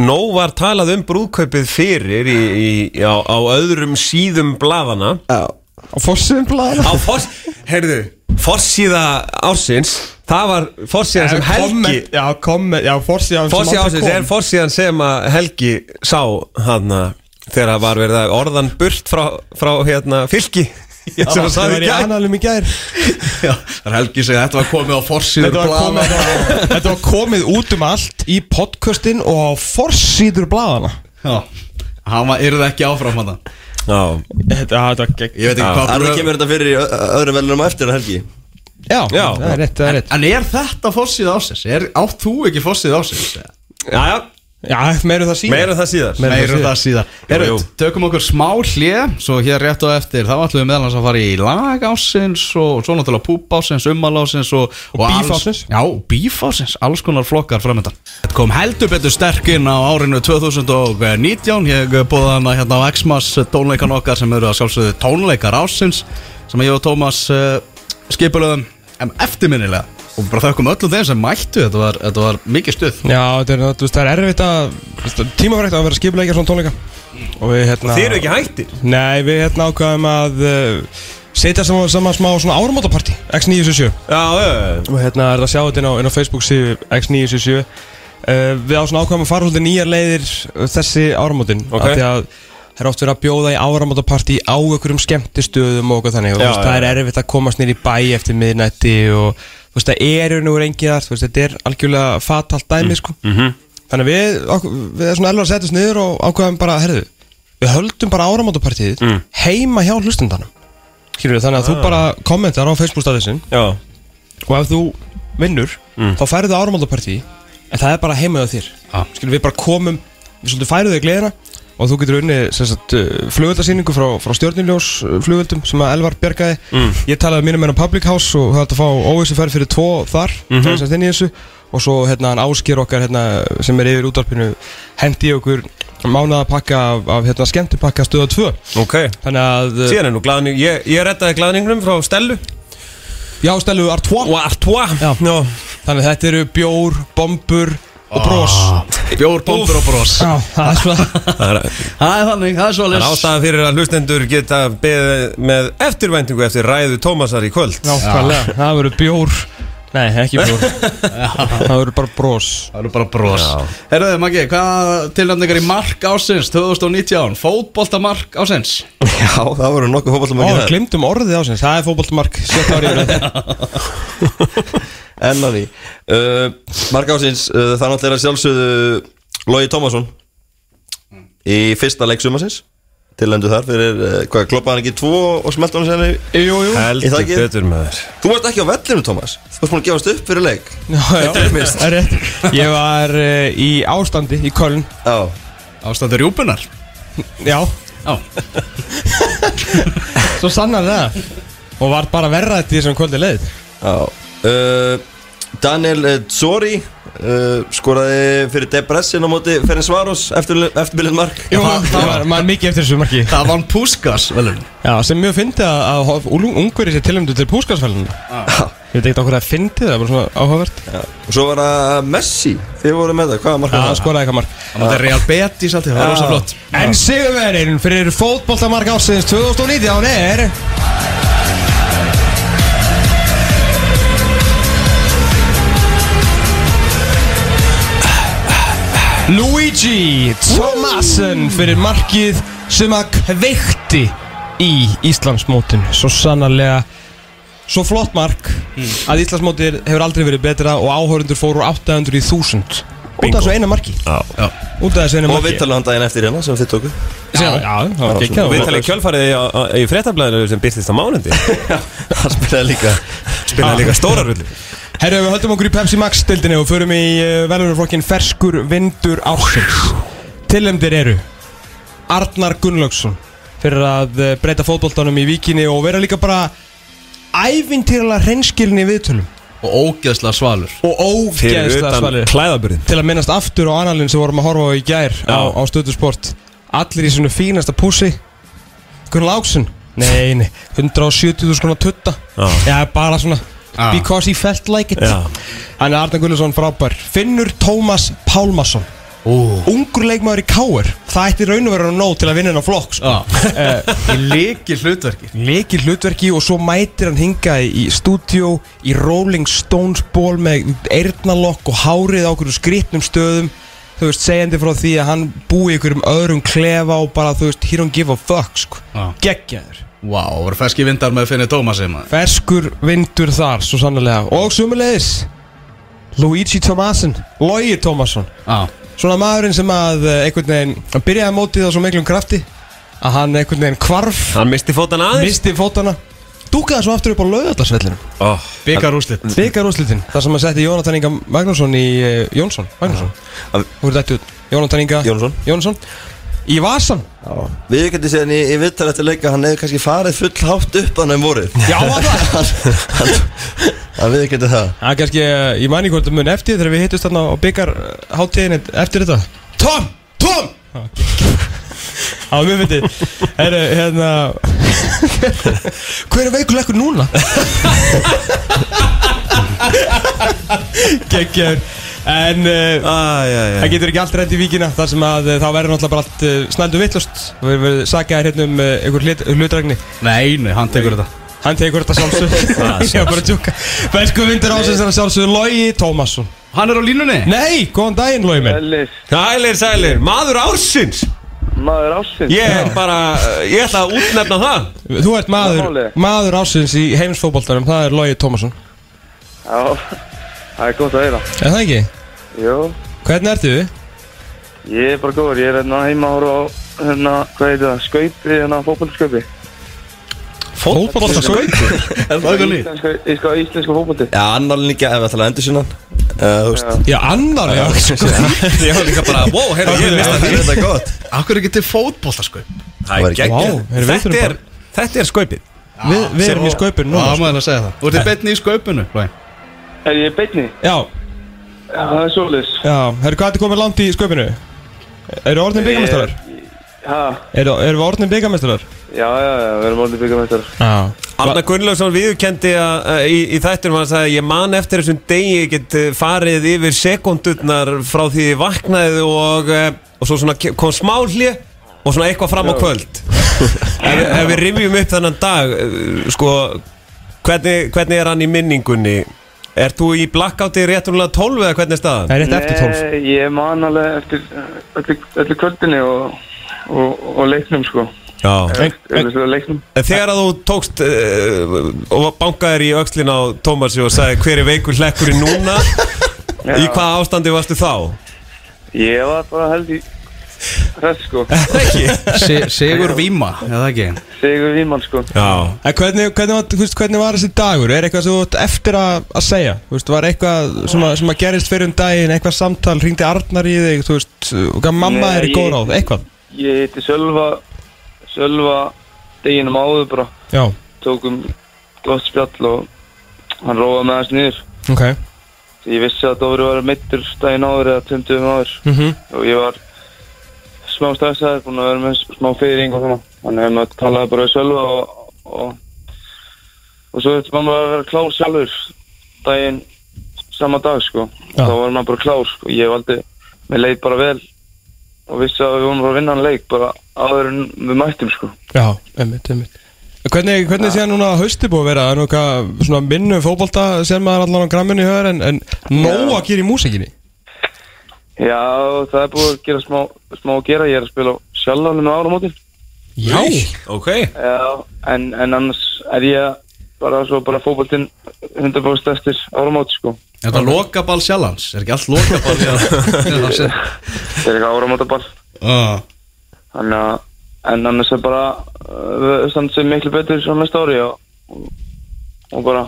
nóg var talað um brúðkaupið fyrir í, í, á, á öðrum síðum bladana
Já
Á fórsum blaða
Á fors, heyrðu, forsíða ársins, það var forsíðan sem Helgi
Já, komment, já, fórsíðan
Forsíða ársins er forsíðan sem að Helgi sá hana þegar það var verið að orðan burt frá, frá hérna, fylki
Já, það
sem það sagði
var
í
í
gæð
annalum í gær
Já, Það er helgi segið Þetta var komið á forsýður
Þetta var, komið, þetta var komið út um allt í podcastin og á forsýður blaðana
Hann var yrði ekki áfram hann
Já,
Þetta var gegn
Ég veit ekki hvað
Þannig
bröð-
kemur þetta fyrir í ö- ö- öðrum velunum á eftir en helgi
Já,
Já.
það er rétt, það er rétt
En er þetta forsýð ásins? Er, átt þú ekki forsýð ásins?
já, já,
Já, meiru það síðan
meira um það síðar
Meira
Meiru
um
það síðar Herru,
jú.
tökum okkur smá hlje Svo hér rétt á eftir Þá ætlum við meðal hans að fara í lag ásins Og svo náttúrulega púp ásins, ummal ásins Og, og,
bíf
alls-
ársins.
Já, bíf ásins, alls konar flokkar framöndan Þetta kom heldur betur sterkinn á árinu 2019 Ég búið hana hérna á Xmas tónleikan okkar Sem eru að sjálfsögðu tónleikar ásins Sem ég og Tómas uh, skipulöðum um, eh, Eftirminnilega og bara þakkum öllum þeim sem mættu þetta var, þetta var mikið stuð
Já, þetta er, þú veist, það er erfitt að þú veist, tímafrækt að vera skipulegja svona tónleika og við hérna
Þeir eru ekki hættir
Nei, við hérna ákvaðum að uh, setja saman, saman smá svona áramótapartí X977
Já, já, já
og hérna er það að sjá þetta inn á, inn á Facebook síðu X977 uh, við á svona ákvæmum að fara svolítið nýjar leiðir uh, þessi áramótin
Ok.
af því að það er oft verið að bjóða í áramótapartí á einhverjum skemmtistöðum og okkur þannig og
Já,
þú veist, það er erfitt að komast nýr í bæ eftir miðnætti og þú veist það eru nú reyngið þar, þú veist þetta er algjörlega fatalt dæmi
Mm,
sko
mhm.
-hmm. þannig að við, okkur, við erum svona elvar að setjast niður og ákvæmum bara, herðu við höldum bara áramótapartíð
Mm.
heima hjá hlustendanum Skilur, þannig
Ah.
að þú bara kommentar á Facebook statusinn
Já,
og ef þú vinnur þá færðu þau áramáldapartí en það er bara heimaðu þér ah. skilur við bara komum við svolítið færðu þau gleðina og þú getur unni flugöldasýningu uh, frá, frá stjórniljós flugöldum sem að Elvar bjargaði ég talaði mínum enn á Public House og það er hægt að fá óvissu færð fyrir tvo þar það er sett inn í þessu og svo hérna hann ásker okkar hérna, sem er yfir útvarpinu hendi í okkur mánaðapakka af, af hérna, skemmtipakka stöða 2
ok
þannig að eh,
Síðan er nú glaðning Ég, ég rettaði glaðningnum frá Stellu
já stelu Artois
Og Artois
Já. þannig að þetta eru bjór, bombur og brós
Bjór, bombur og bros
Já, það er svona
Það er
Það er þannig, það er svo
það er ástæða fyrir að hlustendur geta beðið með eftirvæntingu eftir ræðu Tómasar í kvöld
Nákvæmlega, það verður bjór Nei, ekki bjór Það verður bara brós
Það eru bara bros Herruðu Maggi, hvað tilnæmningar í mark ásins 2019? Fótboltamark ásins
Já, það voru nokkuð fótballum að
Ó, við
gera
glimtum orðið ásins, það er fótboltmark Sjött árið yfir
Enn á því uh, Mark ásins, uh, það náttúrulega er að sjálfsögðu uh, Logi Tómasson Í fyrsta leik sumasins Tilhendu þar fyrir, uh, hvað, kloppaði hann ekki tvo og smelti hann sérni
Jú, jú
Ég
Heldur
þakki.
betur maður
Þú varst ekki á vellinu, Tómas Þú varst búin að gefast upp fyrir leik
Já, já, það er rétt Ég var uh, í ástandi í Köln
Já,
Ástæðu rjúpunar
Já,
Já,
svo sannar það Og var bara verra þetta í þessum kvöldi leið
já uh, Daniel uh, Zori uh, skoraði fyrir Debressin á móti Ferencvaros eftir, eftirbyljum mark
Jú, það var maður mikið eftir þessu marki
það vann Puskas velum
Já, sem mjög fyndi að, að hof- ung- ungverið sér tilhemdu til púskarsfælunum Ég veit ekki okkur að fyndi það, er bara svona áhugavert Já,
Og svo var það uh, Messi Þið voru með það, hvaða mark var
það
það?
skoraði eitthvað mark
Það er Real Betis alltaf, það var rosa flott
En sigurverðin fyrir fótboltamark ásins 2019 er Luigi Thomasen fyrir markið sem að kveikti í Íslandsmótinu Svo sannarlega svo flott mark
Hmm.
að Íslandsmótir hefur aldrei verið betra og áhörundur fóru úr 800 í 1000 Út af þessu eina marki Já. Út af þessu eina
Og
marki
viðtalið hann daginn eftir hérna sem þið tóku
Já, já, það var
svona-
geggjað
Við talaði kjölfarið í, á- á- í fréttablaðinu sem byrtist á mánundi
Það spilaði líka
Spilaði líka stóra rullu
Herru, við höldum okkur í Pepsi Max stildinni og förum í uh, velunarflokkin Ferskur Vindur Ársins Tillemdir eru Arnar Gunnlaugsson fyrir að uh, breyta fótboltanum í vikinni og vera líka bara ævintýrlega hreinskilni í viðtölum
Og ógeðslega svalur
og
Fyrir
ógeðslega
utan
svalir
klæðaburðin
til að minnast aftur á annalinn sem vorum að horfa á í gær á, á stöðusport allir í svona fínasta pússi Gunnlaugsson Nei, nei, 170.000 krónar tutta
Já.
Já, bara svona
Já.
Because he felt like it
Já.
Hann er Arnar Gullarsson frábær Finnur Tómas Pálmarsson
Ó.
Ungur leikmaður í Káur Það ætti raun og vera nóg til að vinna hann á flokk sko.
Eh, Í leiki hlutverki
Leikir hlutverki og svo mætir hann hinga í stúdíó Í Rolling Stones ból með eyrnalokk og hárið á okkur skripnum stöðum Þú veist, segjandi frá því að hann búi í einhverjum öðrum klefa og bara, þú veist, he don't give a fuck, sko
Já.
Geggjaður
Vá, það voru feski vindar með Finni Tómasi maður
Ferskur vindur þar, svo sannlega Og sumulegis Luigi Tomasin, Logi Tomasson
Já,
Svona maðurinn sem að eh, einhvern veginn Hann byrjaði að móti það svo miklum krafti Að hann einhvern veginn hvarf
Hann misti fótan aðeins
Misti fótana Dúkaði svo aftur upp á lögadagsvellinum
oh.
byggar úrslit
Byggar úrslitin Þar sem að setti Jónatan Inga Magnússon í uh, Jónsson Magnússon
Að-
Þú ert dættu Jónatan Inga
Jónsson.
Jónsson Í vasan
Við getum séðan í, í viðtalið eftir leika Hann hefði kannski farið full hátt upp hann um vorið
Já, var það
Það við getum það
Það er kannski, eh, ég mæni hvort það mun eftir þegar við hittust þarna á byggarháttíðinni eftir þetta Tom! Tom! Já, ok. Já, mjög fyndið Herru, hérna Hver er veikulegur núna? Gekkjör En uh,
Æjæjæ
það getur ekki allt rætt í víkina þar sem að uh, þá verður náttúrulega bara allt uh, snældu vittlust og við verðum sakaðir hérna um uh, einhver hlut, hlutrækni
Nei, nei, hann tekur þetta
Hann tekur þetta sjálfsög Ég var bara að tjúka Fersku vindur ásins er að sjálfsög Lógi Tómasson
Hann er á línunni
Nei, góðan daginn Lógi minn
Ellis,
Sælir, sælir, maður ársins
maður ásins
Ég er bara, ég ætla að útnefna það
Þú ert maður,
Málið.
maður ásins í heimsfótboltanum Það er Lógi Tómasson
Já, það er gott að heyra
Er það ekki?
Jó,
Hvernig ertu?
ég er bara góður, ég er hérna heima að horfa á hérna, hvað heitir það, skaupi, hérna fótbollskaupi
Fótboltasköld
Íslenska, íslenska, íslenska fótbolti
Já, annar líka ef við ætlaði að endur sinna Þú veist,
Já, annar já
Ég var líka bara, wow, heyrðu, ég er
það
listan
er þetta gott
Akkur er ekki til fótbolta sko
var ekki-
geggjað.
Vá, heyrðu, við
Þetta
þurfum
er, þetta er skaupið
Við, við erum í sköpun
Já,
núna
maður er að segja það Þú ert í betni í sköpunu Lói.
Er ég beinni?
Já,
Já, það er svoleiðis
já Herru, hvað ertu komið langt í sköpunu? Eru orðin byggamestrar?
Ha,
Eru eru við orðin byggamestrar?
já, já, já, við erum orðin byggjum eftir
Já
Arna Gunnlaugsson viðurkendi að að í, í þættinum hann sagði ég man eftir þessum degi ég get eh, farið yfir sekundurnar frá því ég vaknaði og, eh, og svo svona ke- kom smá hlje og svona eitthvað fram á kvöld ef, ef við rifjum upp þennan dag eh, sko hvernig, hvernig er hann í minningunni Er þú í blackouti réttunlega 12 eða hvernig er staðan?
Það er rétt eftir tólf
Nei, ég man alveg eftir öllu, öllu kvöldinni og, og, og leiknum, sko
Já.
Öllu svo leiknum
En Þegar að þú tókst uh, og bankaðir í öxlin á Tómasi og sagði hver er veikur hlekkurinn núna
Já.
í hvaða ástandi varstu þá?
Ég var bara held í hress, sko
Se, Sigur Víma Eða ekki
Sigur Vímann, sko
Já
En hvernig, hvernig, var, þú veist, hvernig var þessi dagur? Er eitthvað sem þú átt eftir að, að segja? Þú veist, var eitthvað sem að, sem að gerist fyrir um daginn, eitthvað samtal, ringdi Arnar í þig, þú veist, og gaf mamma
Nei,
þér í
ég-
góð ráð, eitthvað?
Ég heiti Sölva Sölva deginum áður bara
Já,
tókum gott spjall og hann róaði með hans niður
ok.
Því ég vissi að Dóri var meittur daginn áður eða tömdum áður
Mm -hmm.
og ég var smá stressaður búin að vera með smá fyrring og svona þannig að maður talaði bara við Sölva og, og, og svo þetta maður að vera klár sjálfur daginn sama dag sko
Já.
þá var maður bara klár sko ég valdi, mér leið bara vel og vissi að við vorum bara að vinna hann leik bara áður en við mættum sko
Já, einmitt, einmitt. En Hvernig, hvernig sé hann núna að hausti búið að vera? Er nú eitthvað svona minnu fótbolta sem maður allan á gramminu í höður en, en nóg að gera í músikinni?
já það er búið að gera smá, smá að gera ég er að spila sjálfalinn á áramótin
Já.
Ok
Já, en, en annars er ég bara svo bara fókbaltinn 100% eftir áramót sko.
Þetta er lokaball sjálfans Er ekki allt lokaball sjálfans
Það er eitthvað áramótaball.
Ah.
Þannig að, en annars er bara, uh, þannig sem miklu betur svo næsta ári og, og bara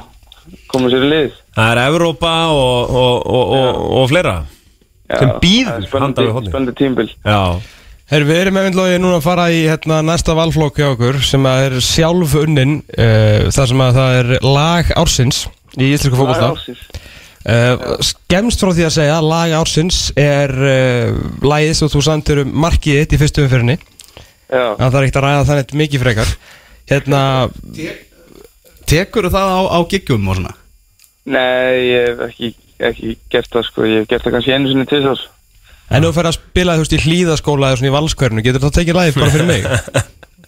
koma sér í lið.
Það er Evrópa og, og, og, og, og fleira
Já,
Sem bíður
það er
handan við
spennandi,
hornið.
spennandi tímbil.
Já
Herru, við erum efindlógi núna að fara í hérna, næsta valflokk hjá okkur sem að er sjálf unnin uh, þar sem að það er lag ársins í íslensku
Það er
fókbalta
ásins.
uh, Skemst frá því að segja að lag ársins er uh, lagið sem þú samtir um markið þitt í fyrstu umfyrinni
Já,
að það er ekkert að ræða þannig mikið frekar Hérna,
Tekur það á, á giggjum og svona
nei, ég hef ekki, ekki gert það sko, ég hef gert það kannski einu sinni til þess.
en ef þú fer að spila þú veist í hlýðaskóla eða svona í valskverðinu getur það tekið lagið bara fyrir mig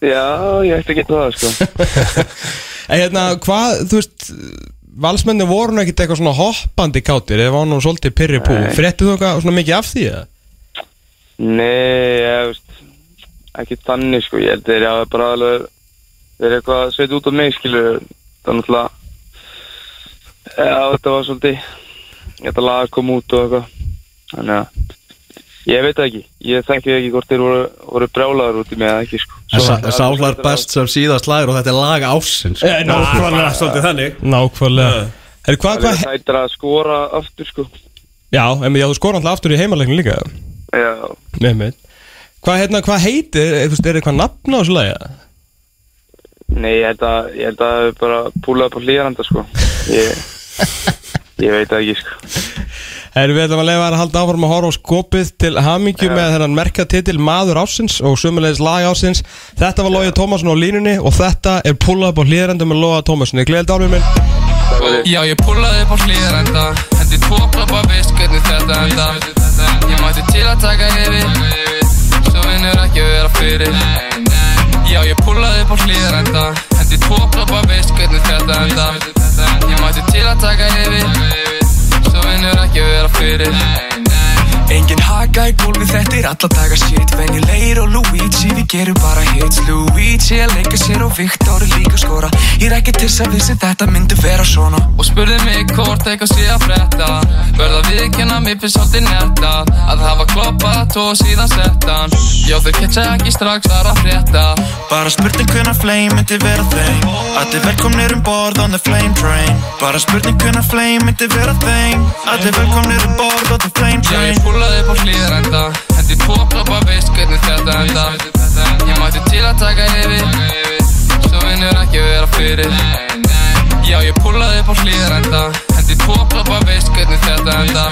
Já, ég ætti að geta það sko.
En hérna, hvað, þú veist Valsmenni voru nú ekkert eitthvað svona hoppandi kátir eða var nú svolítið pyrri pú Frettu þú eitthvað svona mikið af því eða?
Nei, ég veist ekki þannig sko, ég held þeir hafa bara alveg verið eitthvað að sveita út á mig skilur, það er náttúrulega já, þetta var svolítið þetta lag kom út og eitthvað þannig að ég veit það ekki, ég þekki ekki hvort þeir voru, voru brjálaður út í mig eða ekki sko
Sálar best sem síðast lagur og þetta er lag ársins
Eh,
Nákvæmlega Svolítið þannig
Nákvæmlega Herru, hvað,
Það er
hvað,
hættir að skora aftur sko
já, en já, þú skora alltaf aftur í heimaleikinu líka
Já,
Nei, meit Hvað, hérna, hvað heitir, er, þú veist, er eitthvað nafn á þessu lagi? eða?
nei, ég held að ég held að það hefur bara púlaði upp á hlýjaranda sko ég, ég veit það ekki sko
Herru, við ætlum að leifa þér að halda áfram að horfa á skopið til hamingju með þennan merka titil Maður ásins og sömulegis lag ásins Þetta var Lója Tómasson á línunni og þetta er pull up á hlýðarendum með Lója Tómasson Ég gleði dálum minn
Já, ég púlaði upp á hlýðarenda Hendi tvo kloppa veist hvernig þetta enda Ég mætti til að taka yfir Svo vinnur ekki að vera fyrir Já, ég púlaði upp á hlýðarenda Hendi tvo kloppa veist hvernig þetta enda Ég mætti til að taka yfir Svo vinnur ekki að vera fyrir Engin haka í gólfi, þetta er alla daga shit Venjulegir og Luigi, við gerum bara hits Luigi að leika sér og Viktor er líka að skora Ég er ekki til þess að vissi þetta myndi vera svona Og spurði mig hvort eitthvað sé að bretta Verða viðkjöna mér fyrir svolítið netta Að hafa kloppað tó síðan settan Já þau ketja ekki strax þar að frétta
Bara spurning hvenær flame myndi vera þeim Allir velkomnir um borð on the flame train Bara spurning hvenær flame myndi vera þeim Allir velkomnir um borð on the flame
Já
train
ég púlaði upp á hlýðarenda Hendi tvo kloppa veist hvernig þetta enda Ég mætti til að taka yfir Svo vinnur ekki vera fyrir Já ég púlaði upp á hlýðarenda Hendi tvo kloppa veist hvernig þetta enda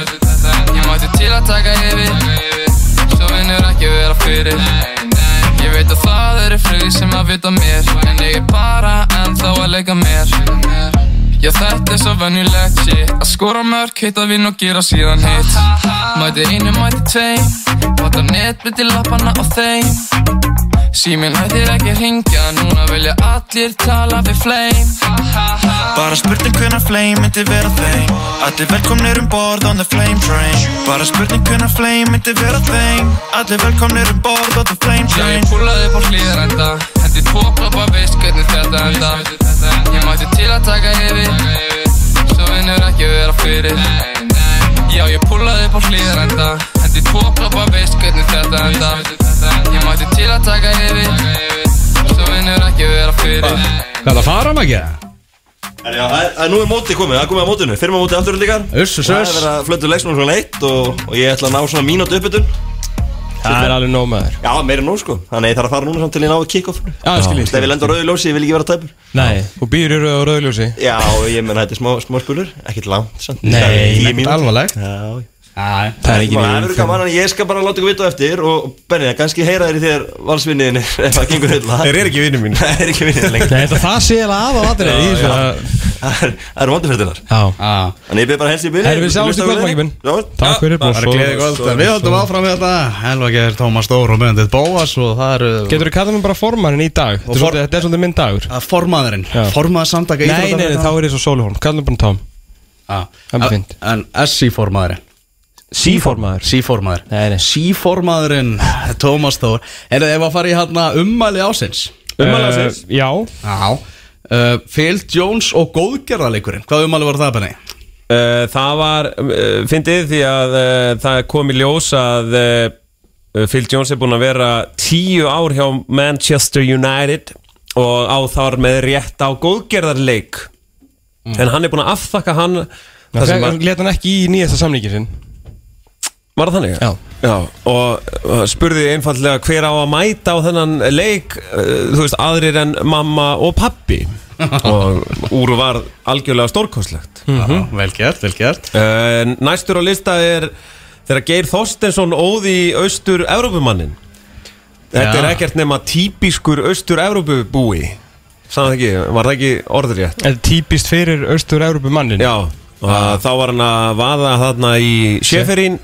Ég mætti til að taka yfir Svo vinnur ekki vera fyrir Ég veit að það eru flugir sem að vita mér En ég er bara ennþá að leika mér Já þetta er svo venjulegt shit Að skora mörk, hitta vinn og gera síðan hitt Mæti einu, mæti tveim Vata netbytti lappana á þeim Síminn hættir ekki að hringja Núna vilja allir tala við flame
Bara spurning hvenær flame myndi vera þeim Allir velkomnir um borð on the flame train Bara spurning hvenær flame myndi vera þeim Allir velkomnir um borð on the flame
Já
train
ég púlaði upp á hlýðarenda Hendi tvo kloppa veist hvernig þetta enda Ég mætti til að taka yfir Svo vinnur ekki vera fyrir Já ég púlaði upp á hlýðarenda Hendi tvo kloppa veist hvernig þetta enda Ég mætti til að taka yfir Svo vinnur ekki vera fyrir
Hvað er það að fara maður ekki?
En já, það er- það er- Nú er mótið komið, það er komið á mótinu Fyrir maður mótið aftur líka
Uss, uss,
Það er
uss
verið að flöndu leiksmál svona leitt og, og ég ætla að ná svona mínútu uppbytun
Það er alveg nóg maður
Já, meira nú sko Þannig ég þarf að fara núna samt til ég ná að kick-off
Já, ég skil ég
Þegar við lendum á rauðu ljósi, ég vil ekki vera tæpur
Nei, og býr í rauð og rauðljósi
Já, ég menn þetta er smá, smá spulur Ekkert langt samt
Nei,
Tíu
Ekkert
mínútur.
alvarlegt
Já,
Æ,
Það er ekki
sko, Það
mjög
verður gaman en ég skal bara láta ykkur vita á eftir og Benni, það kannski heyra þér í þér valsvinniðinni ef það gengur illa
Þeir eru ekki vinnu mín
Það er ekki vinnið lengur
Nei, þetta það sé eiginlega af á atrið í þessu að-
Það er- það eru vondið fyrir þér
Já,
á
Þannig ég byrð bara helst í byrni
Herri, við sjáumst í kvöld, Maggi minn. takk fyrir
Það er gleðið góð Við höldum áfram með þetta Helvager, Tómas Dór og Möndið Bóas og það eru
Getur þú kallað mér bara formannin í dag? Þetta er
for-
svolítið- þetta er svolítið minn dagur
að formaðurinn
Já.
Formaður samtaka
Nei, nei, nei, þá er ég svo sóluhorn Kallum bara Tom það er bara
þá
fínt.
Ah, En SC formaðurinn
C-formaður
C-formaður
Nei, nei.
C-formaðurinn Tómas Þór Er það ef að fara í hérna ummæli ásins?
Umalasins Eh, Já
Já uh, Phil Jones og góðgerðarleikurinn Hvað ummæli var það benni?
Uh, það var uh, fyndið því að uh, það kom í ljós að uh, Phil Jones er búinn að vera tíu ár hjá Manchester United og á þar með rétt á góðgerðarleik en hann er búinn að afþakka hann það sem að,
Leta hann ekki í nýjasta samlíkin sinn
var það þannig?
Já.
og uh, spurði einfallega hver á að mæta á þennan leik uh, þú veist aðrir en mamma og pappi og úr var algjörlega stórkostlegt
Mm Vel gert, vel gert
Uh, næstur á lista er þegar Geir Þorstensson óði austur Evrópumannin Þetta
Já.
er ekkert nema típiskur austur Evrópubúi Sann ekki, var það ekki orðrétt?
Þetta er típist fyrir austur-európu mannin
Já, og þá var hann að vaða þarna í Sjeferín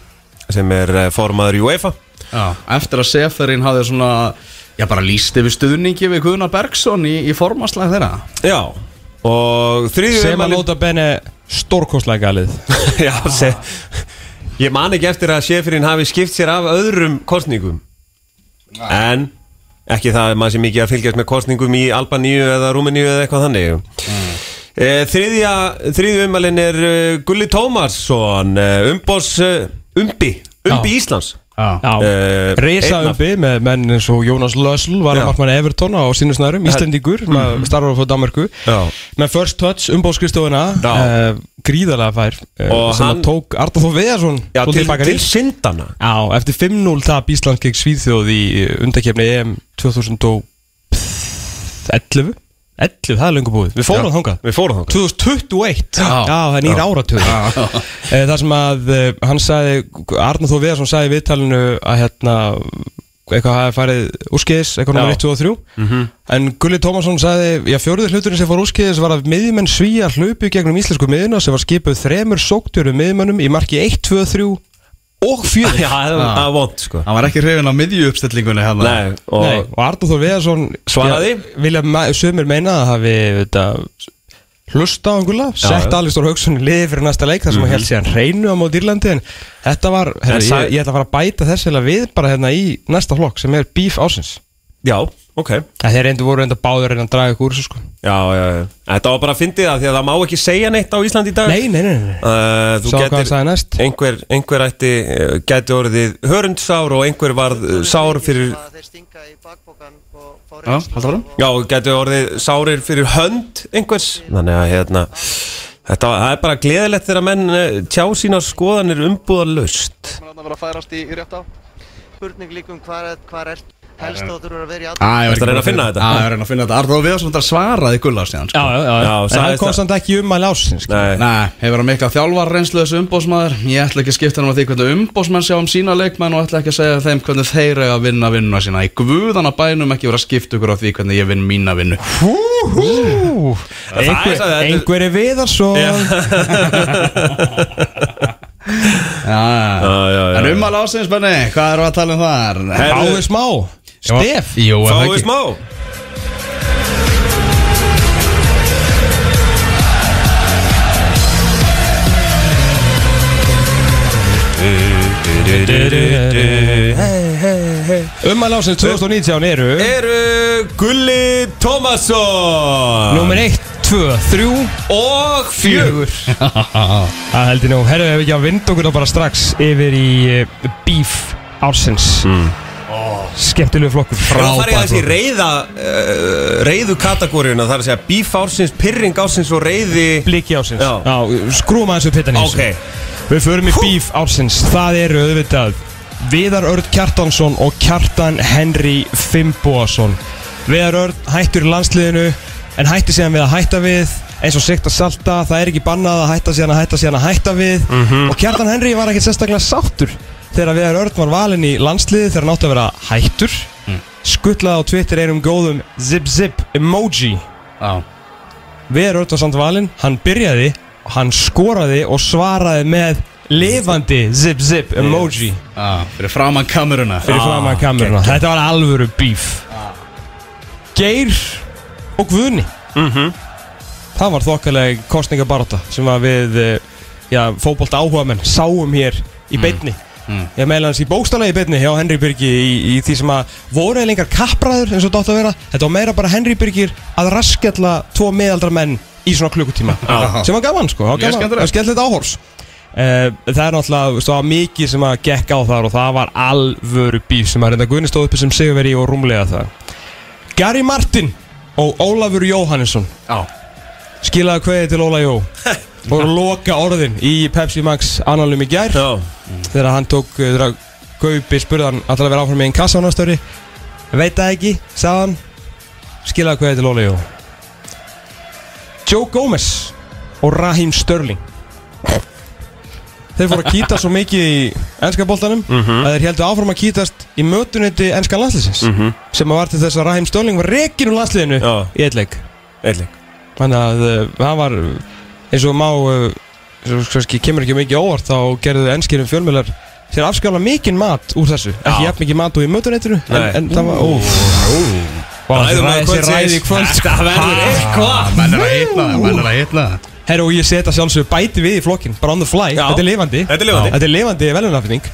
sem er eh, formaður í UEFA
Já. Eftir að Seferin hafði svona Já, bara líst yfir stuðningi við Guðnar Bergson í, í formaslag þeirra
Já, og þriðju
Sem að
ummælin-
nota benni stórkostlega galið
Já, se, ég man ekki eftir að Sjeferín hafi skipt sér af öðrum kostningum En ekki það að maður sé mikið að fylgjast með kostningum í Albaníu eða Rúmeníu eða eitthvað þannig mm. Þriðja, þriðju umalinn er eh, Gulli Tómasson, umbós, umbi, umbi Íslands
Já,
Já
Eh,
Reisa
einn af-
umbi með menn eins og Jónas Lösl var að markmann Everton á sínu snærum Íslendingur, mm. starfur á Danmarku
Já.
með first touch umbóðskristofuna
Já.
uh, gríðarlega fær uh,
Og
sem að
hann-
tók Arnóð Þór Veðarsson
Já, til,
svolítið baka
til
til.
syndana
Já, eftir 5-0 tap Ísland gegn Svíþjóð í undakefni EM 2011 11, það er löngu búið Við fórum þangað
Við fórum þangað
2021 Já, það er nýr áratug Eh, Það sem að eh, hann sagði Arnur Þó Viðarsson sagði í viðtalinu að hérna eitthvað hafi farið úrskeiðis, eitthvað nummer 1, 2 og 3 En Gulli Tómasson sagði, já fjóruður hluturinn sem fór úrskeiðis var að miðjumenn svíja hlupu gegnum íslensku miðjuna sem var skipuð þremur sóktjörum miðjumennum í marki 1, 2, 3 og 4
Já, það var- það var vond sko
Hann var ekki hrifin á miðju uppstellingunni hérna
Nei, og
Nei, og Arnur Þór Viðarsson
Svaraði.
ja, Vilja ma- sumir meina að hafi þetta, hlusta á einhverja Sett Alistór Hauksson í liði fyrir næsta leik þar sem mm held síðan hreinu á móti Írlandi En þetta var, herra,
Mhm. En sa-
ég, ég ætla að fara að bæta þess heila við bara hérna í næsta flokk sem er Bíf Ásins
Já, ok
Það þeir reyndu voru reynda báður en að draga ykkur úr þessu sko
Já, já, já Þetta var bara að fyndið það Því að það má ekki segja neitt á Íslandi í dag
Nei, nei, nei, nei.
Uh, þú
Sá hvað hann
getur,
sagði næst
einhver, einhver ætti, uh, gæti orðið hörundsár og einhver varð uh, sár fyrir
Já, haldur hann
Já, gæti orðið sárir fyrir hönd einhvers Þannig að hérna Þetta var, það er bara gleðilegt þegar menn eh, tjá sína skoðanir umbúða löst
Það
Ertu að reyna að finna þetta?
Það er að reyna að finna þetta Arður og Viðarsson þetta svaraði Gulla síðan sko.
já, já, já.
En hann kom samt ekki um að lásins
Nei,
Nei, hefur hann mikla þjálfar reynslu þessu umbósmaður Ég ætla ekki að skipta hann á því hvernig umbósmenn sjá um sína leikmenn og ætla ekki að segja þeim hvernig þeir eiga að vinna vinnuna sína Í guðana bænum ekki vera að skipta ykkur á því hvernig ég vinn mína vinnu
er sagði, þetta er-
Einhver er Viðarsson
Já,
já, já,
en um að lásins, Benni, hvað erum við að tala um þar?
Fáið smá Stef
Jú, er það
fáið
ekki
smá
Um að lásins 2019 eru
Eru Gulli Tómasson
Númer 1, 2, 3
og fjögur
Það heldur nú, herru, ef við ekki að vinda okkur þá bara strax yfir í uh, Beef Ársins mm. Skemmtilegu flokkur
Ef það farið aðeins í
flokkur.
reyða uh, reyðu kategóriuna þar að segja bíf ársins, pyrring ársins og reyði
Bliki Ársins
Já.
Já skrúum aðeins upp hittan í
Ok,
þessu Við förum í Beef Ársins Það eru auðvitað Viðar Örd Kjartansson og Kjartan Henry Fimboason Viðar Örd hættur í landsliðinu En hætti síðan við að hætta við Eins og sikt að salta Það er ekki bannað að hætta síðan að hætta síðan að hætta við
Mhm.
Og Kjartan Henry var ekkert sérstaklega sáttur Þegar Viðar Örd var valinn í landsliði Þegar hann átti að vera hættur Skuttlaði á Twitter einum góðum Zip zip emoji
Já.
Viðar Örd var samt valinn, hann byrjaði hann skoraði og svaraði með lifandi zip zip emoji
Já, Fyrir framan kameruna Ah,
fyrir framan kameruna þetta var alvöru bíf Geir og Guðni það var þokkalega kostningabarata sem að við eh, já, fótbolta áhugamenn sáum hér
Mm.
í beinni ég meðlega hans í bókstala í beinni hjá Henry Birgi í, í því sem að voru eða lengar kappræður eins og þetta átt að vera þetta var meira bara Henry Birgir að raskjalla tvo meðaldra menn í svona klukkutíma sem var gaman sko, það var
Mjög
gaman,
skemmtilegt.
það var skemmtilegt áhors Uh, það er náttúrulega þú veist, það var mikið sem að gekk á þar og það var alvöru bíf sem að reynda Guðni stóð uppi sem Sigurveri og rúmlega það Gary Martin og Ólafur Jóhannesson
Já.
skilaði kveði til Óla Jó og loka orðin í Pepsi Max annalum í gær
já
þegar hann tók uh, þegar að Gaupi spurðan alltaf að vera áfram í einn kassa á nástöri veit það ekki, sagði hann skilaði kveði til Óla Jó Joe Gomez og Raheem Sterling þeir fóru að kýta svo mikið í ennska boltanum
Mhm.
að þeir heldur áfram að kýtast í mötunetti ennska landsliðsins sem að var til þess að Raheem Sterling var rekin úr landsliðinu
Mhm. Já.
í eitt leik
Eitling
Þannig að uh, það var uh, eins og má uh, eins og kannski kemur ekki mikið á óvart þá gerðu enskirum fjölmjölar sér afskála mikinn mat úr þessu ekki jafn mikið mat og í mötunettinu en, en það var óf Vá, þessi
Ræðum
ræ-
að
þessi ræði í kvöld
Þetta verður
Menn er
eitthvað
að hitla það, menn er að hitla það
Herru og ég setja sjálfsög bæti við í flokkin bara on the fly,
Já.
þetta er lifandi
Þetta er lifandi. Mm.
Þetta er lifandi velunafning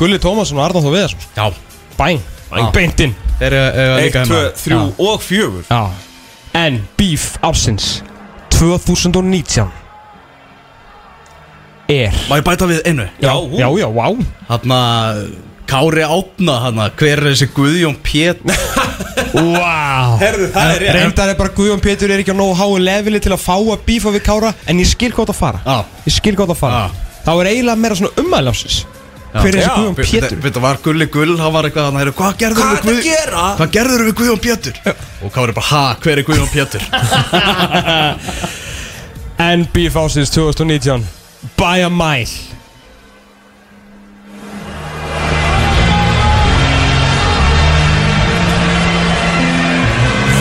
Gulli Tómasson og Arnáð Þó Viðarsson
Já
Bæn, beintinn
Þeir eru eru að
1,
líka
2,
hérna
3 og 4
Já. En Beef Ársins 2019 er
Má ég bæta við einu?
Já, já, já, vá
Hanna Kári Átna hanna Hver er þessi Guðjón Pétur?
Vá
Herðu, það er rétt
Reyndar er bara Guðjón Pétur er ekki á nógu háu leveli til að fá að bífa við Kára En ég skil hvað það fara
Já.
Ég skil hvað það fara
Já.
Þá er eiginlega meira svona ummælásis Hver er þessi Guðjón Pétur?
Þetta var Gulli Gull, hann var eitthvað hann Hvað gerður
Hvað
við
er þetta að
Guðjón
gera?
Hvað gerður við Guðjón Pétur? Og Kári bara, ha, hver er Guðjón Pétur?
En bíf ásins 2019 By a mile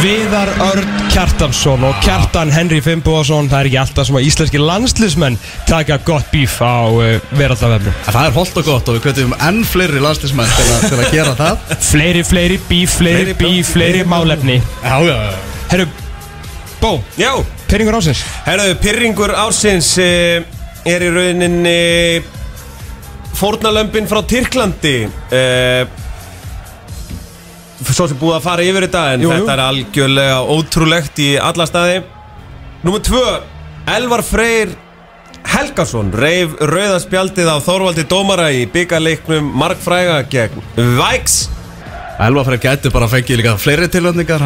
Viðar Örn Kjartansson og Kjartan Henry Fimboðason Það er ekki alltaf sem að íslenski landslismenn taka gott bíf á uh, veraldavefnum
En Það er holdt og gott og við kvetum enn fleiri landslismenn til, að- til að gera það
Fleiri, fleiri bíf, fleiri
Fleiri
bíf,
bjór,
fleiri
fleiri
málefni
Já, já, já
Herru, Bó,
Já,
peringur ásins
herðu, pyrringur ársins eh, er í rauninni fórnalömbin frá Tyrklandi eh, Svo sem búið að fara yfir þetta en
Jú, jú.
þetta er algjörlega ótrúlegt í alla staði Númer 2, Elvar Freyr Helgason reif rauðaspjaldið á Þorvaldi Dómara í byggarleiknum Markfræga gegn Væks
Elvafrey gæti bara að fengi líka fleiri tilöndingar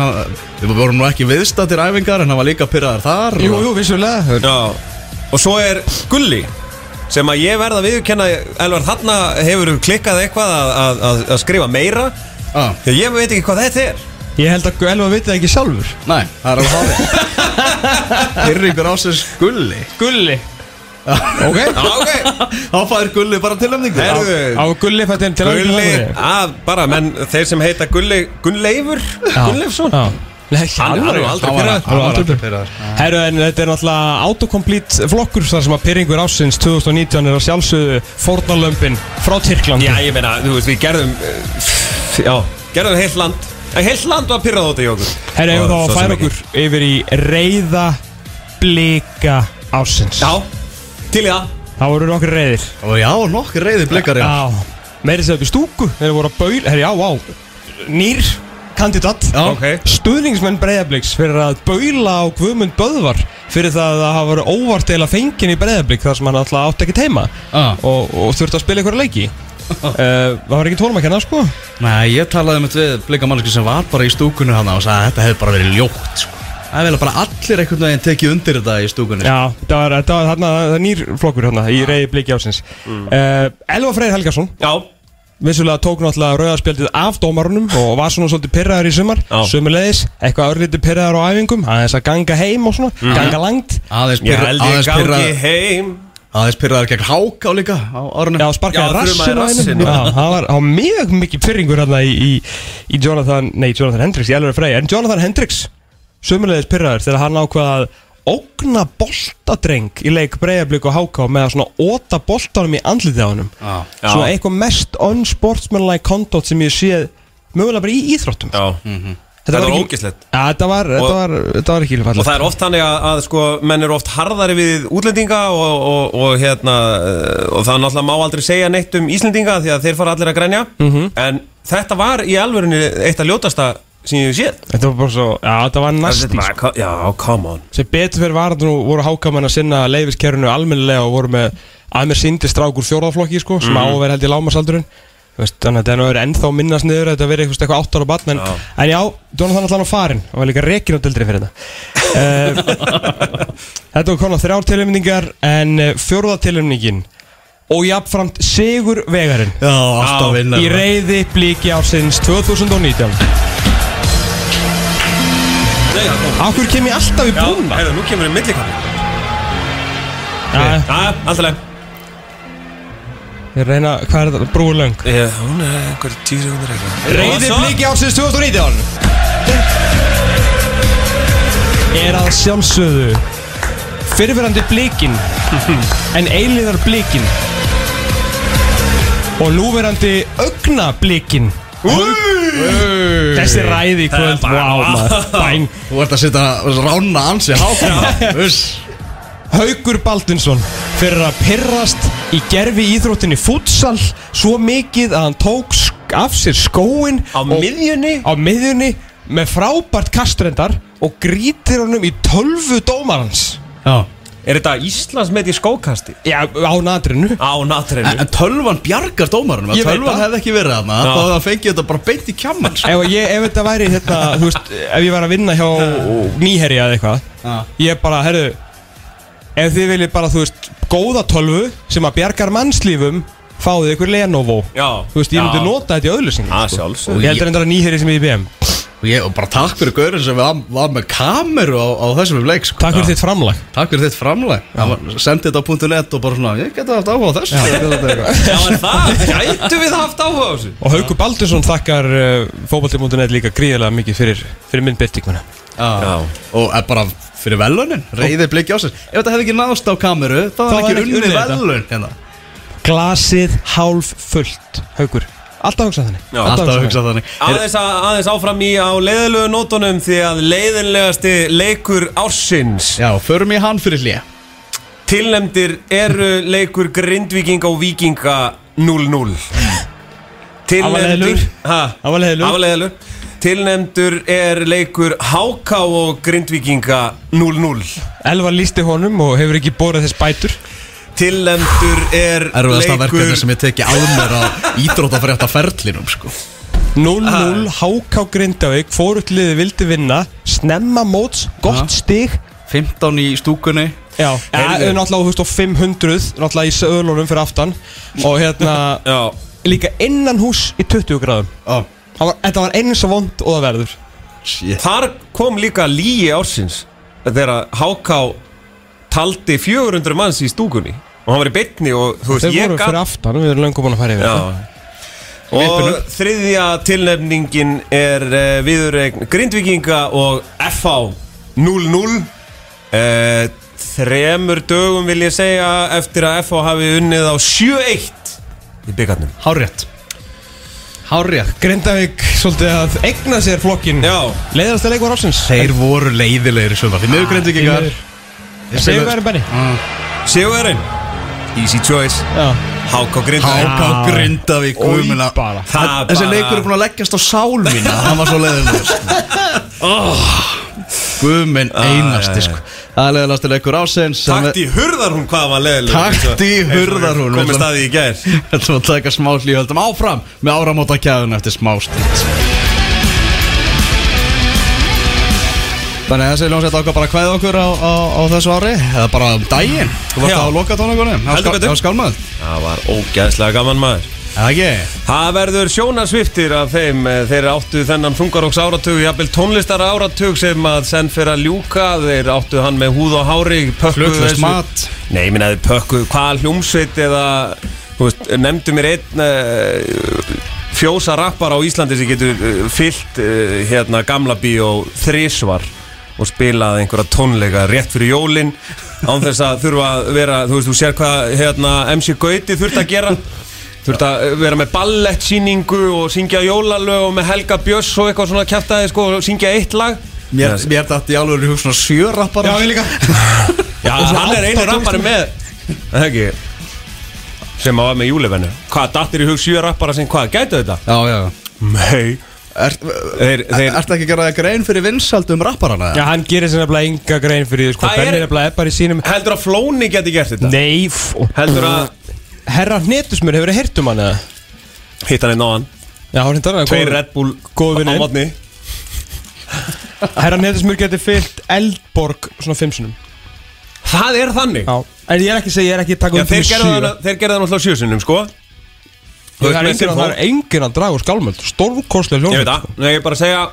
Við vorum nú ekki viðstattir æfingar en hann var líka pyrraðar þar
Jú,
og-
jú, vissulega
Já, og svo er Gulli sem að ég verða að viðurkenna Elvar, þarna hefur klikkað eitthvað að, að, að, að skrifa meira
ah,
Þegar ég veit ekki hvað þetta er
Ég held að Elva veit það ekki sjálfur
Nei, það er alveg hálf Pyrringur ásins Gulli
Gulli Ok,
Ok,
Þá fær Gulli bara tilöndingu
herðu
á Eh. Gulli fættinn til
Gulli, að bara, menn þeir sem heita Gulli, Gunnleifur Gunnleifsson
Hann
var nú aldrei pirraður.
Hann var aldrei
pirraður.
pyrraðar
Herru en þetta er náttúrulega autocomplete flokkur þar sem að pyrringur ásins 2019 er að sjálfsögðu fórnalömpin frá Tyrklandi
Já, ég meina, þú veist, við gerðum eh, pff, Já, gerðum heilt land Eh, Heilt land var pyrrað út í okkur
Herru
Og
ef þá að
svo sem
færa
ekki.
okkur yfir í reyða blika ásins
Já, til í það
Það voru nokkur reyðir
Og já, nokkur reyði blikar já
Meiri sér upp í stúku Þeir voru að baula Herru já, vá Nýr kandidat
Já.
Ok
Stuðningsmenn Breiðabliks fyrir að baula á Guðmund Böðvar fyrir það að hafa verið óvart eila fengin í Breiðablik þar sem hann alltaf átt ekki teima
Ah.
og, og þurfti að spila einhverja leiki uh, Það var ekki tólum að kenna sko
Nei, ég talaði um þetta við blikamannsku sem var bara í stúkunni hann og sagði að þetta hefði bara verið ljótt sko. Það er vel að bara allir einhvern veginn tekið undir þetta í stúkunni sko.
Já, það var, það var þarna, það er nýr flokkur hérna í reyði bliki ásins uh, Elva Freyr Helgarsson
Mm. Já,
vissulega tók náttúrulega rauðarspjaldið af dómarunum og var svona svolítið pyrraður í sumar
Já.
sumulegis, eitthvað örlítið pyrraður á æfingum aðeins að ganga heim og svona,
Mhm.
ganga langt
Aðeins
ég
pyrra-
held ég
aðeins
gangi
pyrraðar
heim
Aðeins pyrraðar gegn háká líka á árunum
Já, sparkaði
Já, þrumaði
rassinu á
rassinn,
henni
já.
Já, það var, það var mjög mikið pyrringur hérna í, í, í Jonathan, nei, Jonathan Hendricks, ég alveg fræði En Jonathan Hendricks, sömulegis pyrraður þegar hann ákvað að ógna boltadreng í leik breyðablík og háká með að svona óta boltanum í andlitið á hannum
Já.
Svona eitthvað mest unsportsmanlike conduct sem ég séð mögulega bara í íþróttum
Já, þetta var ógislegt
Já, þetta var, þetta
Og-
var, þetta var ekki
Og
lífallega
það er oft þannig að, að sko, menn eru oft harðari við útlendinga og, og, og, hérna, eh, og það náttúrulega má aldrei segja neitt um Íslendinga því að þeir fara allir að grænja en þetta var í alvörunni eitt að ljótasta sem ég hef séð
Þetta var bara svo, já, þetta var nasty
Þetta var- Já, come on
sem betur fyrir var þetta nú voru hákamann að sinna leifiskerfinu almennilega og voru með að mér síndi strákur fjórðaflokki sko, sem á að vera held í lámasaldurinn Þú veist, þannig að þetta er nú verið ennþá minnast niður þetta verið eitthvað eitthvað áttar og batn en, en já, Jonathan allan á farin og var líka rekin á dildri fyrir þetta Eh, Þetta var konar þrjár tilumningar en eh, fjórða tilumningin og jafnframt Sigur Vegarinn
Já, alltaf vinnar
í reyði blíki ársins 2019 Akkur kem ég alltaf í búna
Heyrðu, nú kemur við millikann
Já,
Alltaf leið
Ég reyna, hvað er þetta? Brúlöng
Já, Hún er einhver tíu sekundir eitthvað
Reyði bliki ársins 2019 Er að sjálfsögðu Fyrirverandi blikin En eilíðar blikin Og núverandi Ögna blikin Þessi ræði í kvöld Vá maður Bæn
Þú ert að setja rána ansi háká Uss.
Haugur Baldinsson fyrir að pirrast í gerfi íþróttinni futsal svo mikið að hann tók sk- af sér skóin
Á miðjunni
á miðjunni með frábært kastrendar og grítir honum í tölvu dómarans
Já
Er þetta Íslands með í skókasti?
Já, á natrinu
Á natrænu
En en tölvan bjargar dómarunum
Ég
Ef
veit
tölvan
það.
hefði ekki verið þarna
Já.
þá hefði hann fengið þetta bara beint í kjamman sko.
Ef, ég, ef þetta væri þetta, þú veist, ef ég var að vinna hjá nýherja
Já.
eða eitthvað Ég bara, herru, ef þið viljið bara, þú veist, góða tölvu sem að bjargar mannslífum Fáðu ykkur Lenovo
Já
Þú veist, ég myndi
Já.
nota þetta í auðlýsingum
Að sjálfsögðu.
Ég heldur endur að nýherri sem í IBM
Og og, ég, og bara takk fyrir Gaurin sem var, var með kameru á, á þessum um leik sko.
Takk fyrir þitt framlag
Takk fyrir þitt framleg Sendi þetta á .net og bara svona Ég geti haft áhuga á þessu Ég geti haft áhuga á þessu.
Já, en það, gætu við haft áhuga á þessu
Og Haukur Baldursson þakkar uh, fókbalti.net líka gríðilega mikið fyrir, fyrir myndbyrtinguna
Já. Og er bara fyrir velunin Reyði blikki á sér Ef þetta hefði ekki náðst á kameru þá
Þá
hefði
hefði
ekki
ekki
unnið
unnið þetta.
velun hérna.
Glasið hálf fullt Haukur, alltaf hugsað þannig Já,
Alltaf að hugsa þannig
Aðeins, að, aðeins áfram í á leiðilegu nótunum því að leiðinlegasti leikur ársins
Já, förum í hann fyrir hlje
Tilnemdir eru leikur Grindvíkinga og Víkinga 0-0
leiðinlegur. Hann var leiðinlegur.
Afaleðilur Tilnemdur er leikur Háká og Grindvíkinga 0-0
Elvar lísti honum og hefur ekki borðað þess bætur
Tilnemdur er
Erfiðasta verkefni
leikur
sem ég teki að mér á íþrótafrétta ferlinum sko.
0-0, HK Grindavík Fóruðliði vildi vinna Snemma móts, gott stig
15 í stúkunni
Já, ja, náttúrulega þú veist, og 500 Náttúrulega í söðlunum fyrir aftan Og hérna,
Já,
líka innan hús í 20 gráðum
oh,
Það var, Þetta var eins og vond og það verður
Þar kom líka líi ársins þegar Háká taldi 400 manns í stúkunni og hann var í bytni og þú veist
Þeir
ég
voru fyrir aftan, við erum löngum búin að fara yfir þetta.
Já Og þriðja tilnefningin er uh, viðuregn Grindvíkinga og FH 0-0 uh, Þremur dögum vil ég segja eftir að FH hafi unnið á 7-1 í byggarnum
Hárrétt Hárrétt
Grindavík svolítið að egna sér flokkin
Já.
Leiðast að leikur ásins
Þeir voru leiðilegir í sumar Því miður grindvíkingar
Segur verið benni
Sigurðarinn Easy choice Háká Grindvíkinga
Háká Grindavík
Oj,
guðmuna.
bara.
Það- Þessi
bara-
leikur er búin að leggjast á sál mín Hann var svo leiðilegur sko. Guðminn einasti sko. Það er leiðilegasti leikur ásins
Takt í hurðar hún hvað var leðileg
Takt í hurðar hún
Komið staði í gær
Þetta var að taka smá hlýjöldum áfram Með áramóta kæðun eftir smá stund Þannig að þessi ljónsett ákvað bara að kvæða okkur á, á, á þessu ári Eða bara um daginn Þú varst
Já.
á loka tónleikunum
Heldur betur.
Það var skálmað
Það var ógæðslega gaman maður
Eða ekki
Það verður sjónarsviftir af þeim eh, Þeir áttu þennan þungaróks áratug Jafnvel tónlistar áratug sem að senn fyrir að ljúka Þeir áttu hann með húð og hári pökkuðu
Fluglaust
þessu-
mat
Nei, minna þeir pökkuðu hvað hljómsveit eða þú veist, Nefndu mér einn uh, fjósa rappar á Íslandi sem getur uh, fyllt uh, hérna gamla bíó þrisvar og spilað einhverja tónleika rétt fyrir jólin án þess að þurfa að vera, þú veist, þú sér hvað hérna, MC Gauti þurft að gera þurft að vera með ballettsýningu og syngja jólalög og með Helga Björns og eitthvað svona kjæftæði sko og syngja eitt lag
Mér, mér dætti í alveg hugsun að sjö rappar Já, ég líka
Já, hann er einu rappari með Það er ekki sem að var með júlevennu Hvað, dattir í hug sjö rappara sem hvað, gætu þetta?
Já, já
Nei
Er,
Þeir, þeir,
Ertu ekki að gera þér grein fyrir vinsaldum rapparana?
Já, hann gerir sér nefnilega enga grein fyrir því sko.
Það er-
Benni nefnilega er bara í sínum
heldur að Flóni geti gert þetta?
Nei f-
Heldur að
Herra hnetusmur, hefur þið heyrt um hann eða?
Hitt hann einn á hann
Já, hann hittar hann
Tveir Red Bull
Góð
á
vinninn
modni
Herra hnetusmur getur fyllt Eldborg svona fimm sinum
Það er þannig
Já En ég er ekki að segja, ég er ekki að taka
Já,
undir
þeir
með
gerðu það
sjö.
þeir gerðu það náttúrulega sjösunum, sko Þú
Það
veist,
er
með
enginn að- það er
Sinfó.
enginn að draga úr skálmöld Stórkostlega
Ég
hljómsveit
veit það, Nei, ég er bara að segja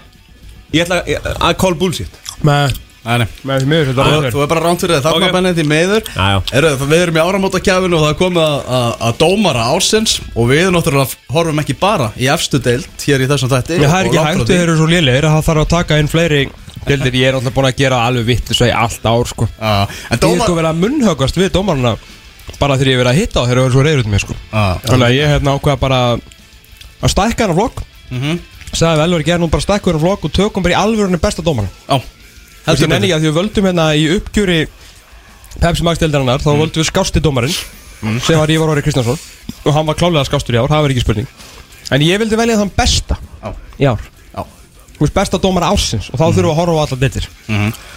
Ég ætla ég- að call bullshit
Með,
Nei, nei
með því miður þetta var
Þú,
óþægilegt.
þú er bara ránt fyrir þarna okay.
Ok.
bennið því meður
Já, já.
Eru, Við erum í áramóta og það er komið að- að að dómara ársins og við náttúrulega horfum ekki bara í efstu deild hér í þessum þætti
Já,
og-
það
og
er ekki
langt frá
hægt,
því.
þeir eru svo lélegir að það þarf að taka inn fleiri Dildir, ég er alltaf búin að gera alveg vitt þess að ég allt ár, sko
Já, En
Ég er sko
dómar
verið að munnhöggast við dómarna bara þegar ég hef verið að hitta á þegar ég verið svo reyður út með, sko
Já.
Þannig að ég hef nákvæða bara að stækka hennar flokk
Mhm.
Sæði vel verið gerð nú bara stækka hennar flokk og tökum bara í alvörunni besta dómarna
Já,
Þú veist,
heldur
ég
betur
nenni ekki að því við völdum hérna í uppgjöri Pepsi Max deildarinnar,
Mm.
þá völdum við skásti dómarinn sem var Ívar Orri Kristjánsson og hann var klálega skástur í ár, það var ekki spurning En ég vildi velja þann besta
Já.
í ár
Já. Mm.
Þú veist, besta dómara ársins og þá þurfum við að horfa á alla dittir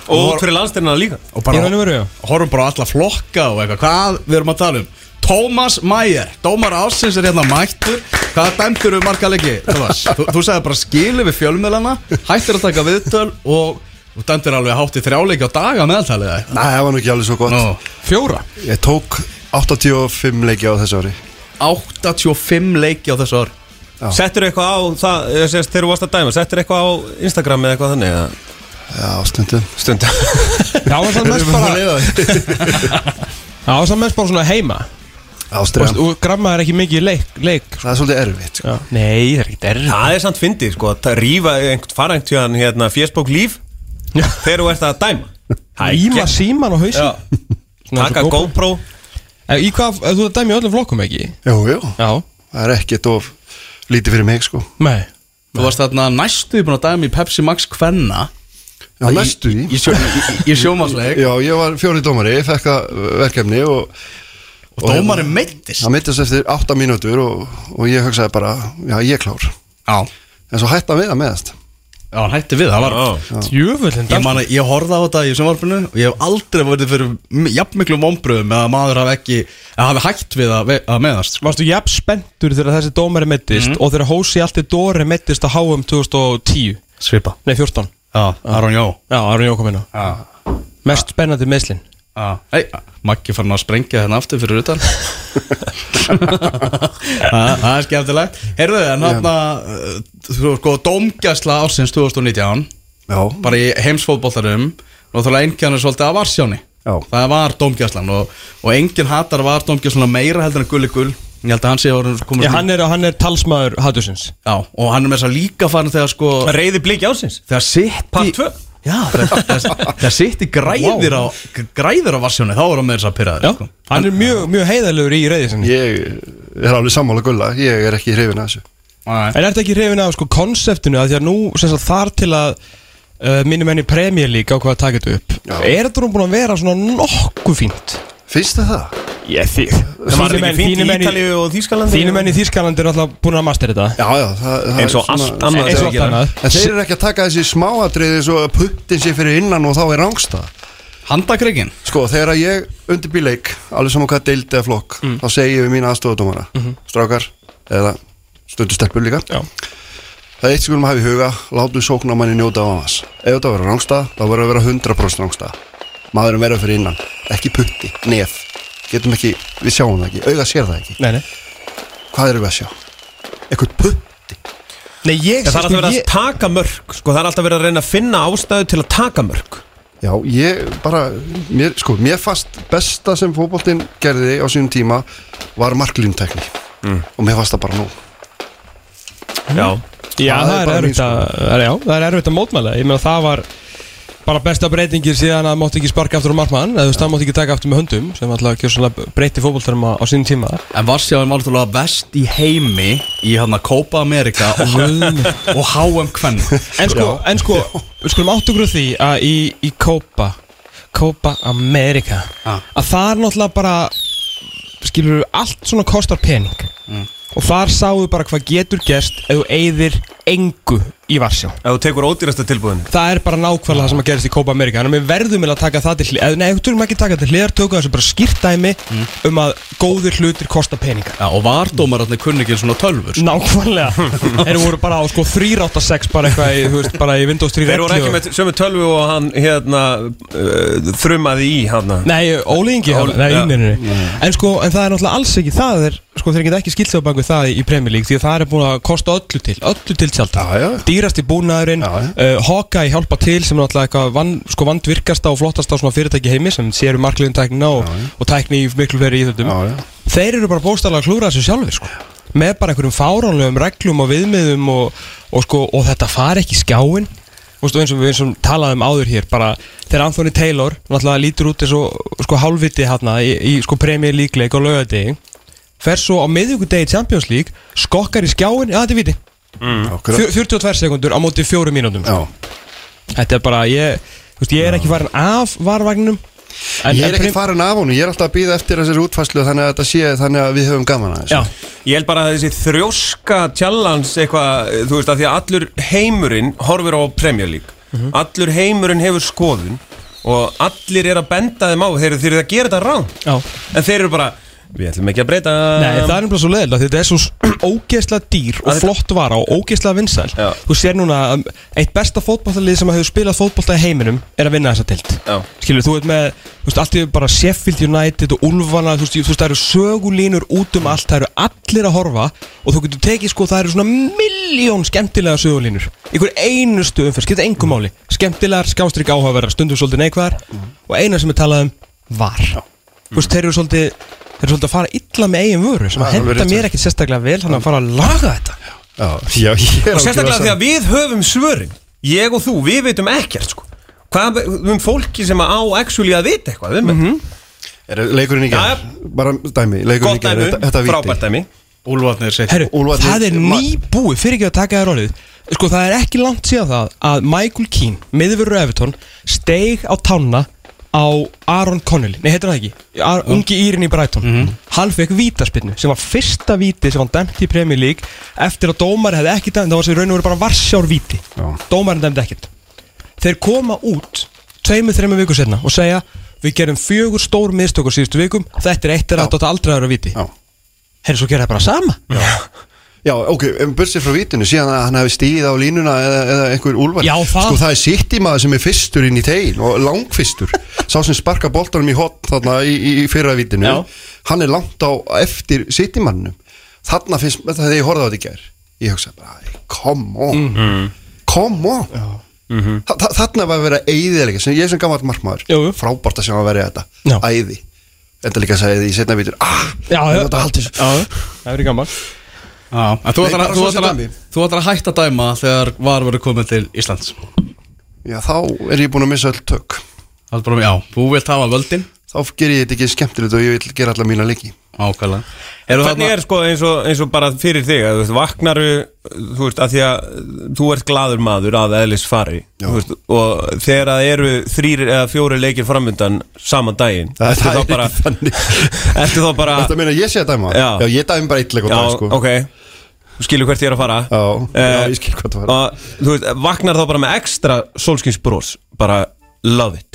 Og út fyrir landstyrna líka
Og
Í raun og veru,
bara
já.
horfum bara á alla flokka og eitthvað Hvað við erum að tala um? Tómas Mæjer, dómara ársins er hérna mættur Hvað dæmdur við marga leiki, Tómas? þú, þú sagði bara skilu við fjölmjölana Hættir að taka viðtöl og Þú dæmdir alveg hátt í þrjáleiki á daga meðaltalið eða eitthvað?
Nei, það var nú ekki alveg svo gott
Nú.
Fjóra
Ég tók 85 leiki á þessu ári
85 leiki á þessu ári
Settur eitthvað á það, eh, sem sagt, þegar þú varst að dæma Settur eitthvað á Instagram eða eitthvað þannig eða?
Já, stundum
Stundum
Það var samt mest bara
bara
Það var samt mest bara svona heima
Ástriðan
Og grammaði ekki mikið í leik, leik
Það er svolítið erfitt sko.
Já. Nei, það er ekki derrið
Það er samt fyndið sko Það rífa einhvern farangt hjá hann hérna Facebook líf
Já.
Þegar þú ert að dæma
Íma síman og hausin Svona
Taka
eins og GoPro.
GoPro
En Eh, Í hvað, ef þú ert dæmi í öllum flokkum ekki?
Jú, jú
Já
Það er ekkert of lítið fyrir mig sko
Nei
Þú varst þarna næstu búin að dæmi í Pepsi Max Kvenna
Já, næstu í
Í, sjó, í, í sjómasleik
Já, ég var fjóri dómari, fekk að verkefni og
Og dómarinn meittist
það mittist eftir 8 mínútur og, og ég hugsaði bara, já, ég er klár
Já,
En svo hætti hann við að meðast
já, hann hætti við, það var
Jöfullin
Ég man að ég horfði á þetta í sjónvarpinu og ég hef aldrei verið fyrir m- jafnmiklum vonbröðum með að maður hafi ekki, að hafi hægt við að, að meðast sko.
Varstu jafn spenntur þegar þessi dómari meittist og þegar Hósi Alti Dóri meittist á HM 2010
Svipa
Nei, 14
Já, Aron Jó
Já, Arun Jókominu
Já,
Mest spennandi meðslin
já Ei, Ah. Maggi fann að sprengja hérna aftur fyrir utan Það það er skemmtilegt Heyrðu, en hann að þú sko, dómgæsla ársins 2019
Já,
bara í heimsfótboltarum og þá einkjarnir svolítið af Varsjáni
Já.
það var dómgæslan og, og enginn hatar var dómgæslan meira heldur en gulli gull ég held að hann sé orðin komin
Já, hann er, hann er talsmaður Hattusins
já, og hann er með þess að líka farin þegar sko
Reyði blík jásins
þegar
Part
sitt í
2
já, þegar, þegar, þegar sitt í græðir á græðir á Varsjáni, þá er hann með þess að pyrraður
Já, hann er mjög, mjög heiðarlegur í reyðisinni
ég er alveg sammála gulla, ég er ekki hrifin að þessu
Nei.
En ertu ekki hrifin af sko konseptinu að því að nú sem sagt þar til að uh, mínum enni Premier League á hvað að taka þetta upp
Já.
Er þetta nú búin að vera svona nokkuð fínt?
Finnst þið það?
Ég þýr
Það var ekki fínt í
Þínum
Ítalíu og Þýskalandi
enni Þýrskalandi er alltaf búin að master þetta
Já, já, það, það
Eins og
er
allt annað
Eins
sem
og
við
allt
gerum.
annað
En þeir eru ekki að taka þessi smáatriði svo að puttin sé fyrir innan og þá er rángstað
handakreikin
Sko, þegar að ég undirbý leik alveg saman hvað deildi eða flokk þá segi ég við mína aðstofadómara strákar eða stundustelpur líka
Já.
það er eitt sem við erum að hafa í huga látum sóknarmanni njóta á hans ef þetta verður rángstað, þá verður að vera 100% rángstað maðurum verður fyrir innan ekki putti, nef getum ekki, við sjáum það ekki, auga sér það ekki
Nei, nei
hvað erum við að sjá? eitthvað putti
Nei, ég
Já, Það er alltaf verið að
ég,
taka mörg sko, Það er alltaf verið að reyna að finna ástæðu til að taka mörg
Já, ég bara, mér, sko, mér fast besta sem fótboltinn gerði á sínum tíma var marklíntekni og mér fast það bara nú
Mhm.
Já
Já,
það
það er
er bara mín
erfitt að það er- Já, það er erfitt að mótmæla Ég meina það var bara besta breytingir síðan að mátti ekki sparka aftur á markmann eða þú veist, það mátti ekki taka aftur með höndum sem alltaf kjóslega breyti fótboltarum á, á sínum tíma
en Varsjáni var náttúrulega vest í heimi í hann að Kópa Amerika og, og HM Kvenn
En sko, en sko, við skulum áttugrúð því að í, í Kópa Kópa Amerika
Ah.
að það er náttúrulega bara skilur við, allt svona kostar pening
Mm.
og þar sáum við bara hvað getur gerst ef þú eyðir engu í Varsjá
Ef þú tekur ódýrasta tilbúðin
það er bara nákvæmlega það sem að gerast í Copa America þannig að við verðum eiginlega að taka það til hliðar nei, við þurfum ekki að taka til hliðar, tökum þessu bara skýrt dæmi
Mm.
um að góðir hlutir kosta peninga
já, og vardómararnir kunni ekki svona tölvur
nákvæmlega, þeir voru bara á sko 386 bara eitthvað í, þú veist, bara í Windows 3
Þeir voru ekki
og-
með sömu tölvu og hann hérna uh, þrumaði í hann
Nei, ólingi
Óli-
Nei,
já.
ja. nei, nei.
Mm.
En sko, en það er náttúrulega alls ekki Það er, sko, þeir geta ekki skilt sig á banku það í Premier League Því að það er búin að kosta öllu til Öllu til sjálf
Já, já.
Dýrasti búnaðurinn
Já, já.
uh, Hawkeye hjálpa til sem er náttúrulega eitthvað van, sko, vandvirkasta og flottasta svona fyrirtæki í heimi sem séru markliðin tæknina og, og tækni í miklu fleiri íþjóttum
Já, já.
Þeir eru bara bóstalega að klúra þessu sjálfur sko. með bara einhverjum fáránlegum reglum og viðmiðum og, og, sko, og þetta far ekki í skjáin og eins og við eins og talaðum áður hér bara þegar Anthony Taylor náttúrulega lítur út eins og sko, hálfviti hana í, í sko, Premier League leik og laugadegi fer svo á miðvíkudegi í Champions League skokkar í skjáin, já þetta er viti
Fjö...
Fjör- 42 sekundur á móti fjórum sko. mínúndum
Já,
þetta er bara, ég, þú veist, ég er ekki farin af varvagninum en,
ég er
en
ekki
prim-
farin af honum, ég er alltaf að býða eftir þessari útfæslu þannig að þetta sé þannig að við höfum gaman að þessu
Já,
Ég held bara að þessi þrjóska challenge eitthvað, þú veist, að því að allur heimurinn horfir á Premier League
Mhm.
Allur heimurinn hefur skoðun og allir er að benda þeim á þeir, þeir eru að gera þetta rán
já
en þeir eru bara Við ætlum ekki að breyta
Nei,
Um,
það er nefnilega svo leiðilegt Þetta er svo ógeðslega dýr og flott vara og ógeðslega vinsæl Þú sér núna að eitt besta fótbollalið sem hefur spilað fótbollta í heiminum er að vinna þessa tilt
Já.
Skilur, þú veit með, þú veist, allt yfir bara Sheffield United og Ulfana Þú veist, þú veist, það eru sögulínur út um allt Það eru allir að horfa og þú getur tekið sko, það eru svona miljón skemmtilega sögulínur Ykkur einustu umferð, skipta engum máli Skemmtilegar, skástrík áhugaverðar, stundum svolítið neikvæðar Og eina sem er talað um var Þú veist, þeir eru svolítið Þeir eru svolítið að fara illa með eigin vöru sem
Já,
að henda
alveg rétt.
mér ekkert sérstaklega vel þannig að fara að laga þetta
Já, já, ég er
Og sérstaklega
ákveðið
þegar við höfum svörin Ég og þú, við veitum ekkert sko Hvað um fólki sem á actually að vita eitthvað mm
Mhm.
-hmm.
Er leikurinn í
Já,
gerð? Bara dæmi, leikurinn í
Gott
gerð,
dæmi, um
þetta, þetta er
frábært dæmi
Úlfarnir sitt
Herru,
Úlfarnir-
það er
Ma-
nýbúið fyrir ekki að taka þér orðið Sko, það er ekki langt síðan það að Michael Keane, miðvörur Everton steig á tánna á Aaron Connolly, nei heitir hann það ekki Ar, ungi Írin í Brighton,
Mhm.
hann fekk vítaspinnu sem var fyrsta víti sem hann dæmti í Premier League eftir að dómar hefði ekki dæmt, það var sem í raun og veru bara varsjár víti
Já.
dómarinn dæmdi ekkert þeir koma út tveimur, þreimur vikur setna og segja við gerum fjögur stór mistök á síðustu vikum þetta er eittir að þetta átti aldrei að vera viti
Já.
herri svo gera það bara sama
Já, ok, um bursið frá vítinu, síðan að hann hefði stíð á línuna eða, eða einhver úlvar
Já, það-
Sko, það er sitt í maður sem er fyrstur inn í tegin og langfyrstur Sá sem sparka boltanum í hotn þarna í, í, í fyrra vítinu
Já.
Hann er langt á eftir sitt í mannum Þarna finnst, þetta þegar ég horfði á þetta í gær Ég hugsaði bara, "Æ, come on,
Mhm.
come on Þa, þa- Þarna var að vera eiðilega, sem ég sem gammal markmaður
Jú, jú.
Frábært að sem að vera þetta,
Já.
æði Enda líka að segja því í setna vítur Ah,
Já, já.
ég nota að halda þessu
það verður gaman
Já, en þú
Nei,
ætlar að-
bara
þú
svo
ætlar að-
sem dæmi.
þú ætlar að hætta að dæma þegar var verið komið til Íslands
Já, þá er ég búin að missa öll tök
Það er bara, já, þú vilt hafa völdin
Þá ger ég þetta ekki skemmtilegt og ég vil gera alla mína leiki
Ákvæðlega Eru
Hvernig er sko eins og, eins og bara fyrir þig að, Þú veist, vaknaru, þú veist, að því að Þú ert gladur maður að eðlis fari
Já.
þú veist, Og þegar það eru Þrýri eða fjóri leikir framundan Saman daginn
Það,
ertu
það
þá
er
bara,
ekki þannig
Ertu þá bara
Þetta meina ég sé að dæma
Ah. Já.
Já ég dæmi bara eitt leik og
Já,
dag sko
ok Þú skilur hvert ég er að fara
Já, já,
Eh,
ég skil hvað það var
og þú veist, vaknar þá bara með ekstra solskinsbrós, bara love it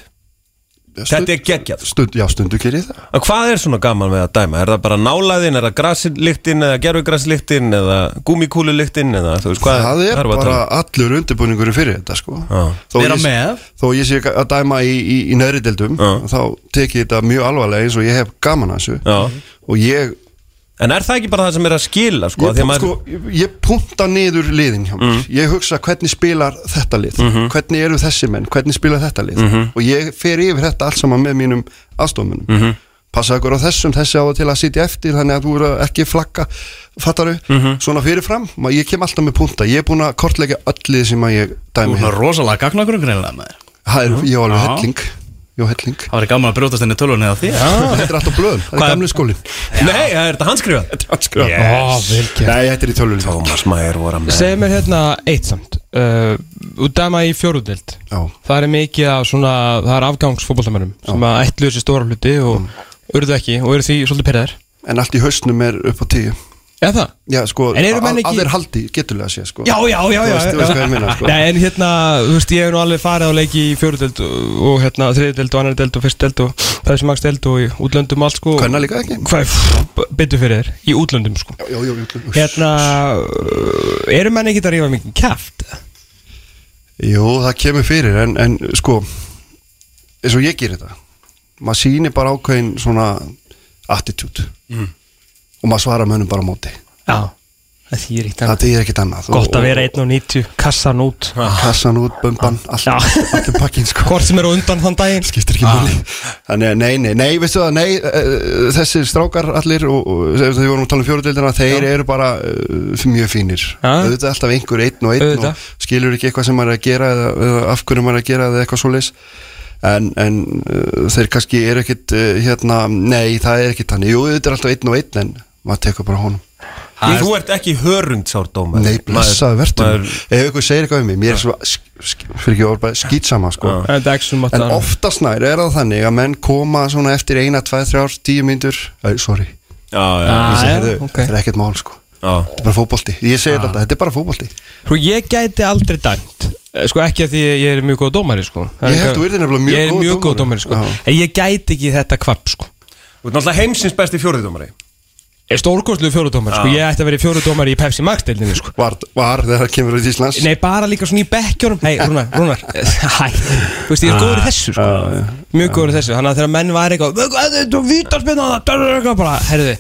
þetta er geggjað sko.
Stund, já, stundu ger ég það
En hvað er svona gaman með að dæma? Er það bara nálaðin, er það graslíktin eða gerfugraslíktin eða gúmikúlulíktin eða þú veist hvað
Það er
hvað Ah. að
bara
tala um?
allur undirbúningur fyrir þetta sko
Já.
Þó
Vera
ég-
með.
Þó ég sé að dæma í, í, í neðri deildum
Já.
Þá tek ég þetta mjög alvarlega eins og ég hef gaman að þessu
Já.
Og ég
En er það ekki bara það sem er að skila sko? Ég,
Ég, pú,
maður,
sko, ég, ég punta niður liðin hjá mér Ég hugsa hvernig spilar þetta lið Hvernig eru þessi menn, hvernig spila þetta lið Og ég fer yfir þetta allt saman með mínum aðstofunum mm -hmm. Passa ykkur á þessum, þessi á til að sitja eftir Þannig að þú eru ekki flagga Fattaru, svona fyrirfram Ma- Ég kem alltaf með punta, ég er búin að kortleika öll lið sem að ég
Þú
dæmi
er
hér
rosalega gagnagrun greinilega með þér
Það er, ég á alveg
Já.
helling Ég á helling
Það væri gaman að brjótast henni tölvunni á því
Þetta er alltaf blöðum, það er gamli skólin
Nei, það er þetta hanskrifað
Nei, þetta er í tölvunni
Thomas Mayer voru að með
segð mér hérna eitt samt uh, út dæma í fjóruðild
Já.
það er mikið af svona það er afgangsfótboltamönnum sem að ætlu þessi stóra hluti og urðu ekki og eru því svolítið perðar
En allt í hausnum er upp á tíu
eða það?
Já, sko,
En eru menn
að-
ekki-
að þeir haldi, geturlega sé, sko
Já, já, já,
Þú
já,
veist-
já.
þú veist hvað ég meina, sko.
Nei, en hérna, þú veist, ég hef nú alveg farið á leiki í fjóruðild og hérna þriðild og annardild og fyrstild og pæðismagstild og í útlöndum og allt sko
Hvenna líka ekki?
Hvað er betur fyrir þér? Í útlöndum sko
Já, já, já, já.
Hérna, uh, eru menn ekki að rífa mikið kæft?
Jú, það kemur fyrir, en, en sko eins og ég ger þetta maður sýnir bara ákveðin svona attitude
Mm.
og maður svarar mönnum bara á móti
Já Það þýr ekkert
það
annað
þýðir ekkert annað
Gott að vera 1 og 90, kassan út
og kassan út, bömban, allt
Já.
allir pakkin, sko
Hvort sem eru undan þann daginn
skiptir ekki máli Ah. þannig að nei, nei, nei, veistu það, nei eh, þessir strákar allir og, og þegar við vorum að tala um fjóruðildina, þeir eru bara uh, mjög fínir,
Já.
auðvitað er allaf einhver einn og einn
Auðvitað.
og skilur ekki eitthvað sem maður er að gera eða, eða af hverju maður er að gera eða eitthvað svoleiðis en, en uh, þeir kannski eru ekkit uh, hérna, nei, það er ekkit þannig, jú, auðvitað er alltaf einn og einn en maður tekur bara honum
Þú ert ekki hörundsárdóma
Nei, blessaðu verður
maður-
Ef ykkur segir eitthvað um mig, mér er svo sk- sk- fyrir ekki orð bara skýtsama sko.
Já. En þetta er ekki sem átt
En
að-
oftast nær er það þannig að menn koma svona eftir eina, tvær, þrjár, tíu myndur Æ, sorry,
Já, já,
ah,
já,
heyrðu,
ok.
þetta er ekkert mál sko
já
Þetta er bara fótbolti, ég segi þetta, þetta er bara fótbolti Ég
Svo Sko, ég gæti aldrei dæmt Eh, Sko ekki að því ég er mjög góð dómari sko Það er
Ég held
eitthvað-
þú yrðir nefnilega mjög
Ég er
góður
mjög góð
dómari.
dómari sko
Já.
En ég gæti ekki þetta kvart sko
Þú ert náttúrulega heimsins besti fjóriðdómari
Er stórkostlu fjórudómar, sko, ég ætti að vera fjórudómar í Pepsi Max deildinni, sko
Var, var þegar það kemur út í Íslands
Nei, bara líka svona í bekkjónum Hei, Rúnar, Rúnar, hæ Þú veist, ég er góður í þessu, sko Mjög góður í þessu, þannig að þegar menn var eitthvað "Hvað, Þetta er vítarspinn á það, bara, herðu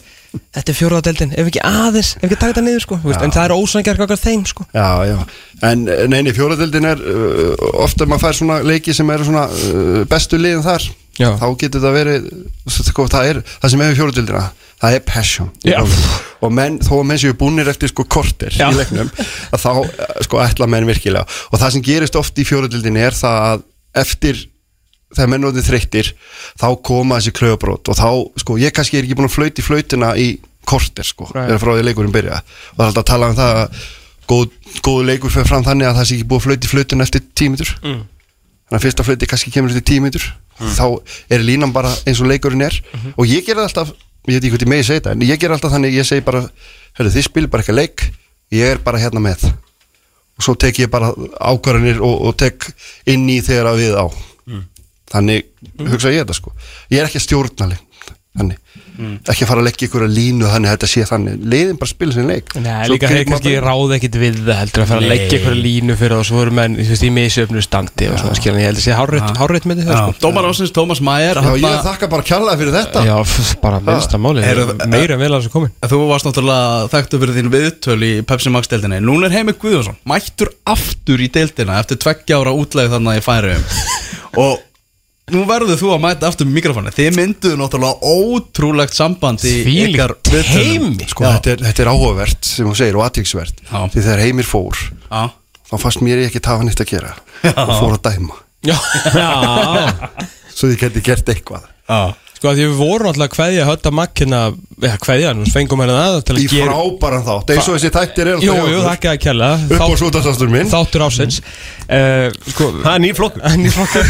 Þetta er fjórðadeldin, ef ekki aðeins, ef ekki að taka þetta niður, sko þú veist, En það er ósangjark okkar þeim, sko
Já, já, en eh, nei, nei, fjóraðildin er uh, ofta maður fær svona leiki sem eru svona uh, bestu liðin þar
Já.
þá getur það verið sko, það, er, það sem er við fjóraðildina það er passion
Já.
og menn, þó að menn séu búnir eftir sko kortir í leiknum, að þá eh, sko ætla menn virkilega og það sem gerist oft í fjóraðildin er það að eftir þegar menn orðið þreyttir þá koma þessi klöfabrót og þá, sko, ég kannski er ekki búin að flöyti flöytina í kortir, sko,
Right.
þegar frá því leikurinn byrja og það er alltaf að tala um það að góð, góð leikur fyrir fram þannig að það sé ekki búið að flöyti flöytina eftir tímitur mm. þannig að fyrsta flöyti kannski kemur eftir tímitur mm. þá er línan bara eins og leikurinn er og ég gerði alltaf, ég veit ekki hvað ég megi segja þetta en ég gerði alltaf þannig, ég segi bara herru, þið spilir bara eitthvað leik, ég er bara hérna með og svo tek ég bara ákvarðanir og, og tek inn í þegar að við á þannig hugsa ég þetta sko ég er ekki að stjórna leik þannig, ekki að fara að leggja ykkur að línu þannig að þetta sé þannig, leiðin bara spila sinni leik
Nei,
Svo
líka þeir
grípum
kannski
maður bara-
ráða ekkit við það heldur að fara að leggja eitthvað línu fyrir það og svo voru menn, þú veist, í misjöfnu standi og svona skilja, ég held að sé hárrétt, hárrétt með þetta, sko
Dómar ásins Tómas Mæger
Já, ég þakka bara kjallaði fyrir þetta
Já, f- bara minnsta máli,
Eru-
meira en vel að þessu komin
Þú varst náttúrulega þekktu fyrir þín viðtöl í Pepsi Max deildinni Núna er Heimi Guðjónsson mættur aftur í deildina eftir tveggja ára útlegð þannig að ég færi um Og nú verður þú að mæta aftur með mikrofónu Þið mynduðu náttúrulega ótrúlegt samband í
Þvílíkt
ykkar viðtölum
teymi.
sko, þetta, er, þetta er áhugavert sem hún segir og aðtíksvert
Já.
því þegar heimir fór,
Já,
þá fannst mér ég ekki tafa nýtt að gera og fór að dæma
Já,
svo ég geti gert eitthvað
já
Sko að því við vorum alltaf að kveðja hötta makkina Já, kveðja hann, við fengum hérna að til að
í frábæran þátt, eins og þessi tættir er
Jú, jú, þakka að kjalla
upp á sútastastur minn
Þáttur ásins uh, Sko
Það er nýr flokk
Enni fokkar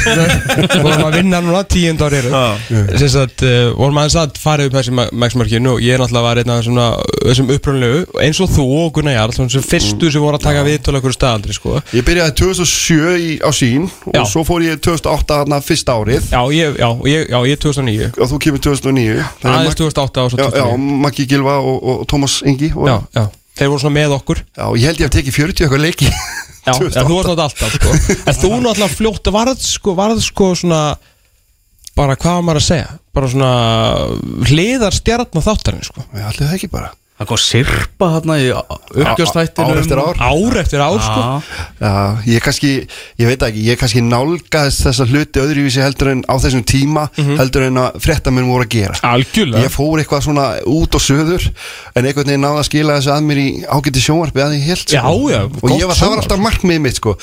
Vorum að vinna núna tíund ári eru Sins að uh, vorum aðeins að fara upp þessi maksmarkinu og ég er náttúrulega var einn af svona, þessum upprunlegu eins og þú og Gunnar Jarl þessum
Mm.
fyrstu sem voru að taka viðtölu okkur staðaldri sko.
ég byrjaði 2007 í, á sín og
Já.
svo fór ég 2008 þarna fyrsta árið
Já, ég, já, ég, já, ég 2009
og þú kemur 2009 Þannig að
aðeins 2008 og svo
já, já,
2009
Maggi Gilva og, og, og Tómas Ingi og,
já, já, þeir voru svona með okkur
Já, ég held ég hef tekið 40 eitthvað leiki
Já, já þú varst átt alltaf sko. En þú náttúrulega fljótt varð sko, varð sko svona bara hvað var maður að segja bara svona hliðar stjarn á þáttarinn sko.
Já, allir það ekki bara
Það kom sirpa hérna í uppgjörsþættinu
Ár
um
eftir ár
ár eftir ár sko.
Já, ég kannski, ég veit það ekki, ég kannski nálgaðist þessa hluti öðruvísi heldur en á þessum tíma heldur en að fréttamenn voru að gera
Mhm. algjörlega
Ég fór eitthvað svona út og söður en einhvern veginn náða að skila þessu að mér í ágæti sjónvarpi að ég held sko.
Já, já,
og ég
gott
var, það var
sjónvarp.
alltaf markmiðið mitt sko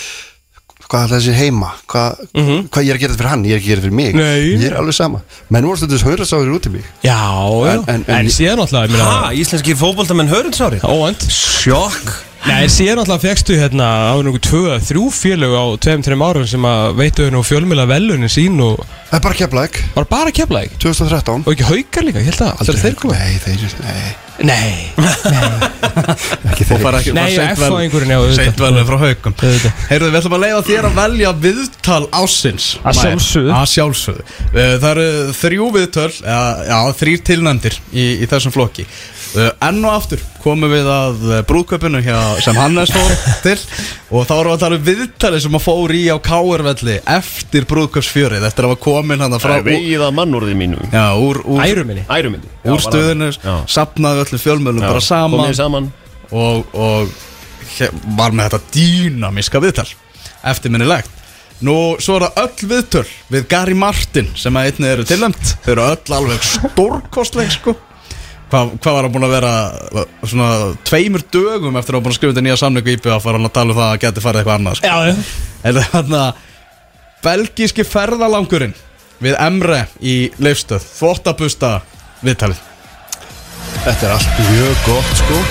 hvað er þessi heima, hvað, hvað ég er að gera þetta fyrir hann, ég er ekki að gera þetta fyrir mig
Mhm. Nei.
ég er alveg sama, menn voru stundum hörasáður út í mig
já, já.
En-
en,
en- en-
síðan alltaf mér,
Ha, íslenskir fótboltamenn hörundsári
óvænt
Sjokk
Nei, síðan alltaf fegstu hérna á einhverjum tvö, þrjú félög á tveim, þreim árum sem að veitu hérna og fjölmjöla velunin sín og
það er bara keflæk,
var bara að kepla ekki
2013
og ekki haukar líka, ég held að þegar þeir koma
Nei, þeir, nei
Nei,
ekki
Og
þeir
fara ekki
Nei, F á einhverjum, já, auðvitað.
Seint vel frá haukum
Auðvitað.
Heyrðu, við ætlum að leiða þér að velja viðtal ásins
Að
Maður.
sjálfsögðu.
Að sjálfsögðu Eh, Það eru þrjú viðtöl Já, já þrýr tilnæmdir í, í þessum flokki Eh, Enn og aftur komum við að eh, brúðkaupinu hjá, sem Hannes fór til og þá erum við að tala um viðtalið sem að fór í á Káurvelli eftir brúðkaupsfjörið eftir að hafa komin hann frá úr,
Veiða mannúrði mínu
já, úr, úr,
æruminni
Ærumindi
úr stöðinu sapnaði öllu fjölmjölum bara saman
saman
og, og he- var með þetta dýnamíska viðtal eftirminnilegt Nú, svo er það öll viðtöl við Gary Martin sem að einni eru tilnæmt þau eru öll alveg stórkostleg sko Hvað, hvað var hann búin að vera svona tveimur dögum eftir að hann búin að skrifa þetta nýja samningu í IPF var hann að tala um það að hann geti farið eitthvað annað sko.
Já, já
En þannig að belgíski ferðalangurinn við Emre í leifstöð þvottabusta viðtalið
Þetta er allt mjög gott sko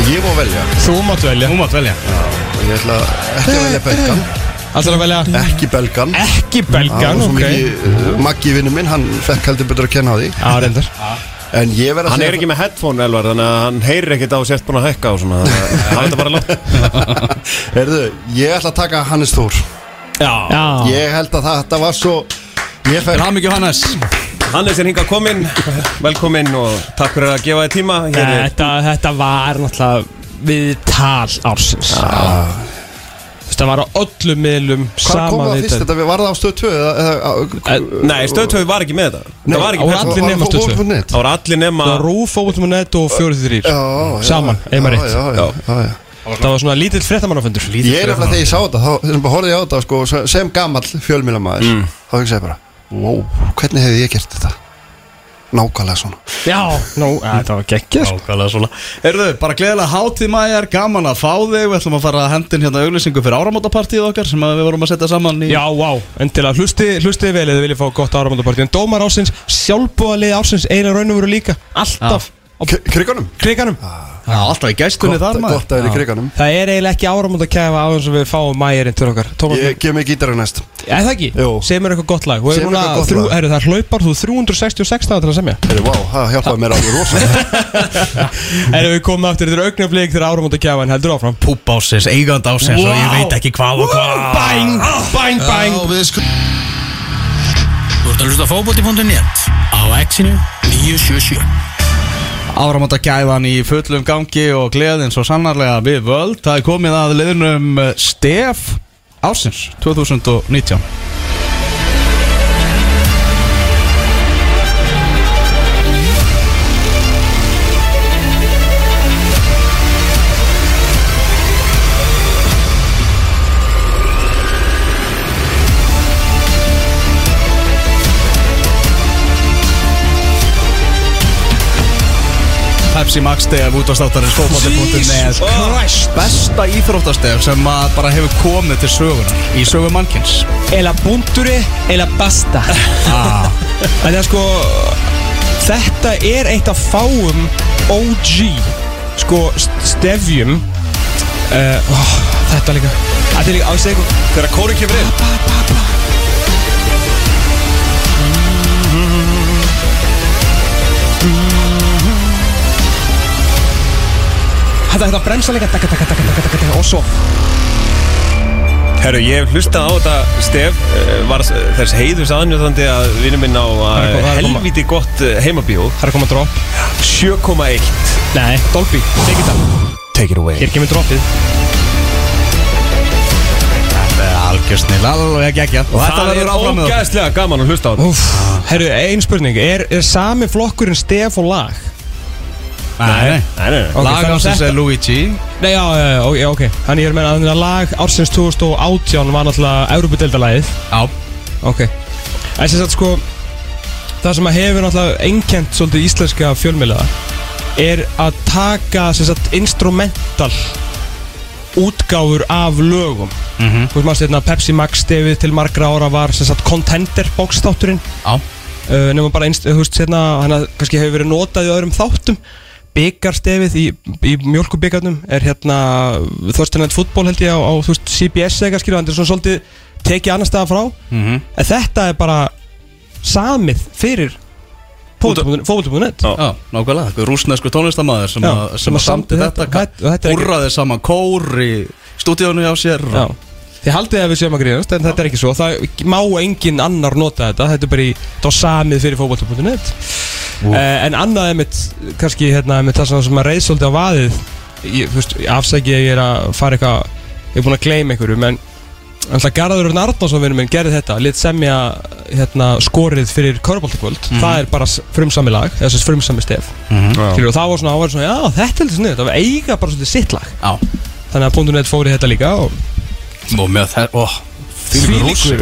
En ég má velja
Þú mátt velja
Þú mátt velja
og Ég ætla ekki að velja belgan
Alltaf að velja
Ekki belgan
ekki
Ah,
belgan, ok
ok Maggi vinnu minn, hann fekk heldur betur að kenna á því
Já, reyndar
En ég verð að
Hann er ekki með headphone elvar Þannig að hann heyrir ekkit á sért búin að hækka og svona þannig að Hann er þetta bara látt
Herðu, ég ætla að taka Hannes Þór
Já
Ég held að það, þetta var svo Ég
Til
fekk
hamingju Hannes
Hannes er hingað kominn, velkominn og takk fyrir að gefa þér tíma Hér er-
Þetta, þetta var náttúrulega við tal ársins Þetta var á öllum miðlum
Hvað Ah. kom það fyrst? Þetta var það á stöð 2 eða, eða,
Eh, Nei, stöðtöfi var ekki með þetta
Nei,
Það var ekki
það
með
voru
þetta.
allir nema Stöð 2. Fótbolti.net.
Það voru allir nema
Það var Rúf, Fótbolti.net og 43
Já, já,
Saman,
já,
einmar rétt
já, já, já, já.
Það var svona lítill fréttamannafundur
Ég er eftir að þegar ég sá þetta, þá sem bara horfði ég á þetta sko, sem- sem gamall fjölmýlamæður þá hugsaði ég bara, wow, hvernig hefði ég gert þetta? Nákvæmlega svona
Já, nú,
eh,
þetta var geggjast
sko.
Nákvæmlega svona Erðu, bara gleðilega hátíð mæjar, gaman að fá þig Við ætlum að fara að hendin hérna auglýsingu fyrir áramótapartíð okkar sem að við vorum að setja saman í
Já, vá, endilega hlustið hlusti vel eða viljið fá gott áramöndapartí En dómar ásins, sjálfbúðalið ásins, eina raunum voru líka Alltaf
Kriganum?
Kriganum
Já, alltaf í gæstunni þar maður
Gott að vera í
Já.
kriganum
Það er eiginlega ekki áramöndakæfa á þess að við fáum mæjarinn til okkar Tómas,
Ég gef mig gítarinn næst
er það ekki? Jú Semur eitthvað gott lag Og er
Semur
núna,
eitthvað gott
þrjú,
lag.
er það er hlaupar, þú er 366 dagar til að semja
Heyrðu, Vá, það hjálpaði mér alveg rosa
Erum við komið aftur, þetta er augnaflik þegar áramöndakæfan heldur áfram
Púpp ásins, eigand ásins og ég veit ekki hvað og hvað
Bang, bang, bang
Þú ert að hlusta á fótbolti.net á X-inu 977
Áramóta gæðan í fullum gangi og gleðin svo sannarlega við völd Það er komið að liðnum eh, Stef Ásins 2019 Pepsi Max Stef út á státtarins fótbolti.net
Christ
Besta íþróttastef sem að bara hefur komið til sögunar í sögum mannkins
Eila búnduri, eila basta
ah.
Þannig að sko Þetta er eitt af fáum OG Sko st- stefjum uh, ó, Þetta líka Þetta er líka á að segja eitthvað
Þegar kóri kemur inn
Þetta þetta bremsa líka taka, taka, taka, taka, taka, taka, Og svo
Herru, ég hef hlustað á þetta Stef eh, var s- þess heiðus aðnjóðandi að vinur minn á
er
eh,
kom- það er koma.
helviti gott eh, heimabíó
Það er að koma drop
7,1
Nei, Dolby, take it up
Take it away
Hér kemur dropið
Þetta er algjör snill, alveg ekki Og þetta
Það
verður
er
áfram með okkur
ógæðslega gaman að hlusta á þetta
Úf, herru, ein spurning Er, er sami flokkurinn stef og lag?
Nei, nei
Nei, nei, nei.
Ok,
Lag
þannig að
ásins
þetta-
er Luigi
Nei, já, já, já, ok, já, ok Þannig ég er að meina að þannig að lag ársins 2018 var náttúrulega Európa-deltalagið
Já
Ok En sem sagt sko Það sem að hefur náttúrulega einkent svolítið íslenska fjölmiðla er að taka sem sagt instrumental útgáfur af lögum Þú veist maður stefna Pepsi Max stefið til margra ára var sem sagt contender bókstátturinn
Já
uh, nema bara einst, þú veist hérna hann að kannski hefur verið notað í öðrum þáttum byggarstefið í, í mjölkubyggarnum er hérna Þorstenland fútból held ég á, á þú veist, CBS eða skilja, hann er svona svolítið tekið annar staða frá
Mhm.
en þetta er bara samið fyrir fókvöldum.net
Já, nákvæmlega, eitthvað rúsnesku tónlistamæður sem,
Já,
að, sem að samti þetta,
Þetta- og þetta
þetta
er ekki-
Úrraði saman kór í stúdíónu hjá sér
Já Þið haldið að við séum að grínast en þetta er ekki svo Það má engin annar nota þetta Þetta er bara í þá samið fyrir fókbalta.net uh. En annað einmitt kannski hérna, einmitt það sem- sem að reyð svolítið á vaðið ég, þú veist, Afsækið ég er að fara eitthvað Ég er búin að gleyma einhverju En alltaf Garður Örn Arnánsson vinnum minn gerði þetta Lit semja hérna, skorið fyrir Körbóltakvöld Það er bara s- frumsami lag Eða sem sagt frumsami stef mm
Mhm.
Og það var svona, það var svona, já þetta er svona Það var eiga bara svona sitt lag
Já.
Þannig að .net fór í þetta líka og
Og með það, ó, þvílíkur rússi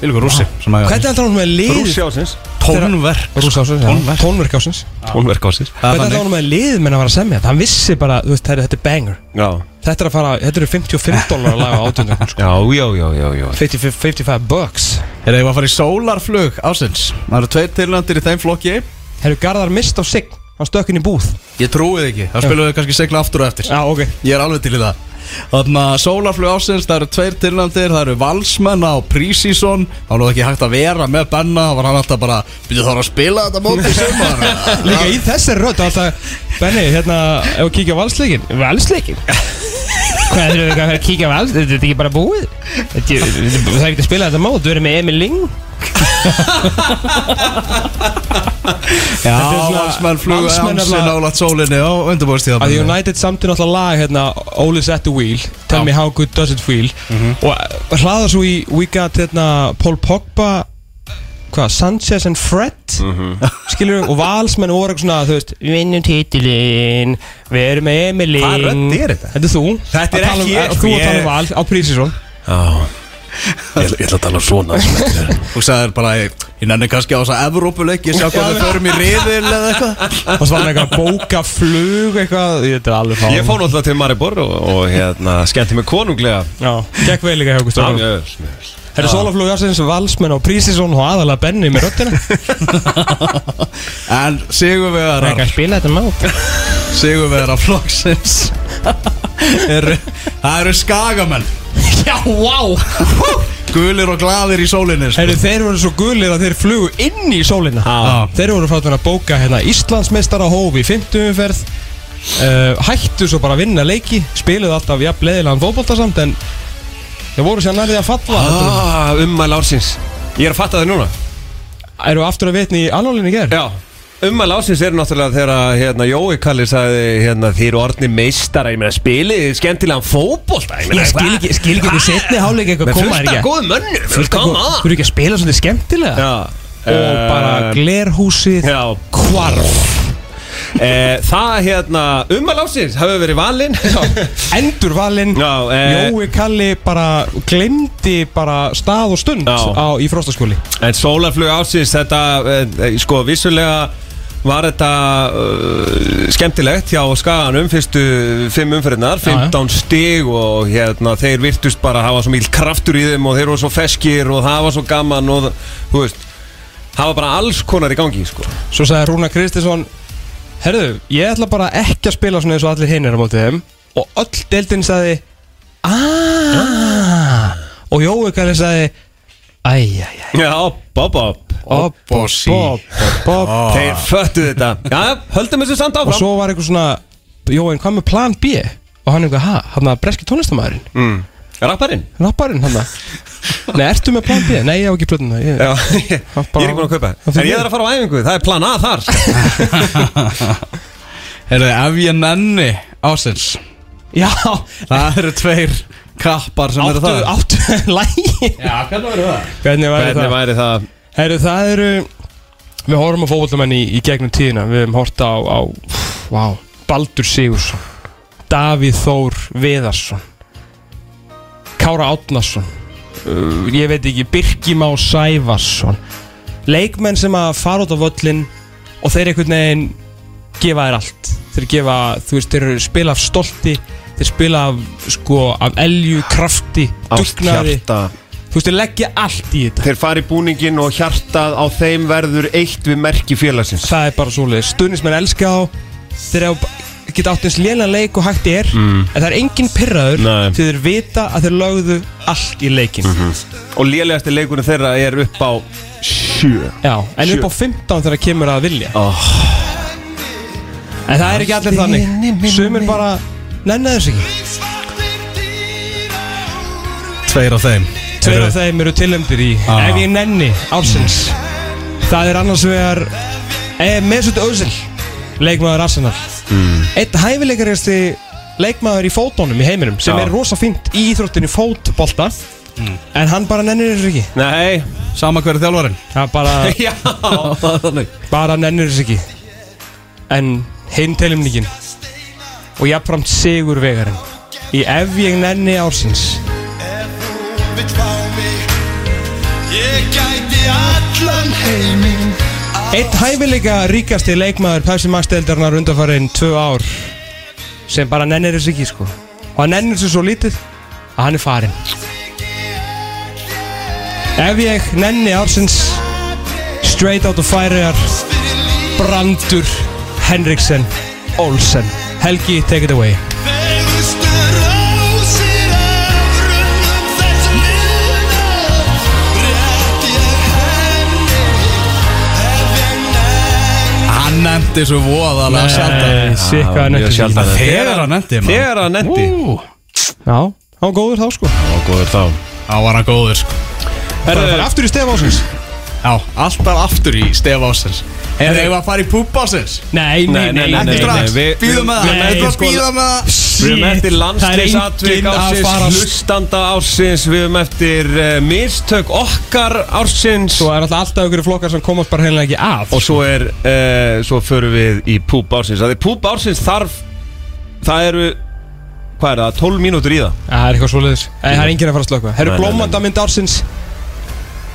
Þvílíkur rússi sem að
Hvernig heldur hann með lið
Ah, Rússi ásins
tónverk
Rúsa ásins, já, tónverk ásins
Tónverk ásins
Það er
Hvernig heldur
þannig
hann með lið menn að vera að semja þetta Hann vissi bara, þú veist, herri, þetta er banger
Já
Þetta er að fara, þetta eru 55 dólar að laga átjönda
Já, já, já, já, já
55 bucks
Er það að fara í sólarflug ásins Það eru tveir tilnöndir í þeim flokki
Herru, Garðar mist á sig Hann stökkinn í búð
Ég trúið ekki, það spilum við kannski segla aftur og eftir
Já, ok
Ég er alveg til í það Þannig að sólarflug ásins, það eru tveir tilnæmdir Það eru valsmenn á Prísísson Það var nú ekki hægt að vera með Benna Það var hann alltaf bara, byrjuð það var að spila þetta móti í sumar
Líka í þessi rödd alltaf Benni, hérna, ef við kíkja á valsleikin Valsleikin
Hvað þurfum við ekki að fara að kíkja á alls? Þetta er ekki bara búið? Þetta er- Það er ekki að spila þetta mót, þú erum með Emil Ling
Þetta er svona landsmenn flugu Amsi nálat sólinni á
Að
undirbúrstíðabili
United samtun alltaf lag hérna Always at the wheel Tell me how good does it feel
Mhm.
Og hlaða svo í We got hérna Paul Pogba Hvað, Sanchez and Fred
Mhm.
Skilur við Og valsmenn voru eitthvað svona Þú veist Við vinnum titilinn Við erum með Emilin
Hvaða rödd er þetta?
Þetta er þú
Þetta er
Að tala um-
ekki ég,
að Þú
sko,
að tala um
ég-
vals Á prísisvón
Ég ætla- ég ætla að
um
tala svona Þú sagðir bara Ég nenni kannski á þess að Evrópuleik Ég sjá hvað þau förum í riðil eða eitthvað
Og svo var hann eitthvað að bóka flug eitthvað Þetta er alveg fáum
Ég fór náttúrulega til Maribor og, og hérna, skemmti mig konunglega
Já, gekk vel líka hjá okkur strákum.
Já, mjög vel,
Það er Sólaflug Jarsins, Valsmenn og Prísisson og aðalega Benni með röddina
En
Það er ekki
sigurvegarar
að spila þetta mót
Sigurvegarar flokksins eru, Það eru skagamenn
Já, wow
Gulir og glaðir í sólinni sko.
Heyrðu, þeir voru svo gulir að þeir flugu inn í sólina
Já.
Þeir voru frá að bóka hérna Íslandsmeistara hófi í 50 umferð uh, Hættu svo bara að vinna leiki Spiluðu alltaf jafn leðilegan fótbolta samt En þeir voru sér nærið að falla ah.
Ah, ummæl ársins Ég er að fatta það núna
Eru aftur að vitni í annálinni ger?
Já Ummæl ársins er náttúrulega þegar að, hérna, Jói Kalli sagði hérna, Þið eru orðni meistara, ég meina spilið þið skemmtilegan fótbolta meina,
Ég skil
hvað?
ekki, skil ekki því setni háleik eitthvað
Með
koma þér
fullt
ekki
af góðum mönnum Fullt af góðum
Þú eru ekki að spila svolítið skemmtilega
Já Eh,
Og bara glerhúsið
Já
Hvarf
Eh, Það hérna Ummæl ársins hafa verið valinn
Endur valinn
Já, eh,
Jói Kalli bara glemdi bara stað og stund
Já.
á, í fróstaskóli
En sólarflug ásins þetta eh, eh, sko vissulega var þetta uh, skemmtilegt hjá skaganum fyrstu fimm umferðinar, 15 stig og hérna þeir virtust bara hafa svo mýl kraftur í þeim og þeir voru svo feskir og það var svo gaman og þú veist það var bara alls konar í gangi sko
Svo sagði Rúna Kristinsson Herðu, ég ætla bara ekki að spila svona eins og allir hinn er á mótið þeim Og öll deildin sagði Aaaaah Og Jói Kalli sagði Æjæjæ
Já, bob, bob
Bob, bob, bob, bob
Þeir föttu þetta Já, höldum þessu samt
Og
áfram
svo var eitthvað svona Jói, en hvað með plan B? Og hann eitthvað, ha, hann að breski tónlistamæðurinn
mm. Rapparinn
Rapparinn hann að Nei, ertu með plan B? Nei, ég hef ekki plötuna ég,
Já, ég, ég er ekki búin að kaupa En ég þarf að fara á æfingu, það er plan A þar
Heyrðu, Ef ég nenni ásins
Já,
Það eru tveir kappar sem eru
áttu,
það
áttu Lægi
Já, hvernig verður það?
Hvernig var
Hvernig væri það?
Herru, það eru Við horfum á fótbollamenn í, í gegnum tíðina Við hefum hort á, á pff, Vá, Baldur Sigursson Davíð Þór Viðarsson Kára Átnarsson uh, Ég veit ekki, Birgimá Sævarsson Leikmenn sem að fara út á völlin Og þeir einhvern veginn Gefa þér allt Þeir gefa, þú veist, þeir eru spila af stolti Þeir spila af, sko, af elju, krafti,
Ást,
dugnaði
hjarta.
Þú veist, þeir leggja allt í þetta
Þeir fari í búningin og hjartað á þeim verður eitt við merki félagsins
það er bara svoleiðis stuðnismenn elska þá þeir hafa b- geta átt eins lélan leik og hægt er en það er engin pirraður
Nei.
því þeir vita að þeir lögðu allt í leikin
Og lélegasti leikunum þeirra er upp á sjö
Já, en upp á 15 þegar kemur að vilja en það er ekki allir þannig sumir bara nennar þess ekki
Tveir af þeim
tveir af þeim eru tilöndir í
Ah.
ef ég nenni ársins það er annars vegar eh, Mesut Özil leikmaður Arsenal
Hmm.
einn hæfileikaristi leikmaður í fótónum í heiminum sem
Já.
er rosa fínt í íþróttinu fótbolta
Hmm.
en hann bara nennir þessu ekki
Nei
Sama hverju þjálfarinn
hann bara,
Já
bara nennir þessu ekki en hinn telumningin og jafnframt sigur vegarinn í ef ég nenni ársins Eitt hæfileika ríkasti leikmaður Pepsi Max deildarinnar undanfærin tvö ár sem bara nennir þessu ekki sko og hann nennir þessu svo lítið að hann er farinn Ef ég nenni ársins straight out of firear Brandur Henriksen Olsen Helgi, take it away
Hann nefndi
Eh,
svo voðalega sjaldan
Sikkaði
mjög
nefnir
sjaldan.
Þegar hann nefndi maður.
Þegar að nendi
Ú,
Já, hann var góður þá sko
Hann var góður þá Hann var hann góður sko
Er það að fara aftur í stef ásins?
Já, alltaf aftur í stef ásins Er það að fara í púpp ásins?
Nei, nei, nei, nei,
Ekki strax, býðum með það Við erum að
sko,
býða með það
Við erum eftir landsleisatvík ársins,
ársins
hlustanda ársins, við erum eftir uh, mistök okkar ársins
Svo er alltaf alltaf ykkur flokkar sem komast bara heila ekki af
Og svo er, uh, svo förum við í púp ársins Það er púp ársins þarf, það eru, hvað er það, 12 mínútur í það
Já, Það er eitthvað svoleiðis Nei, það er enginn að fara að slökka Það
Nei,
eru
nei,
blómandamynd ársins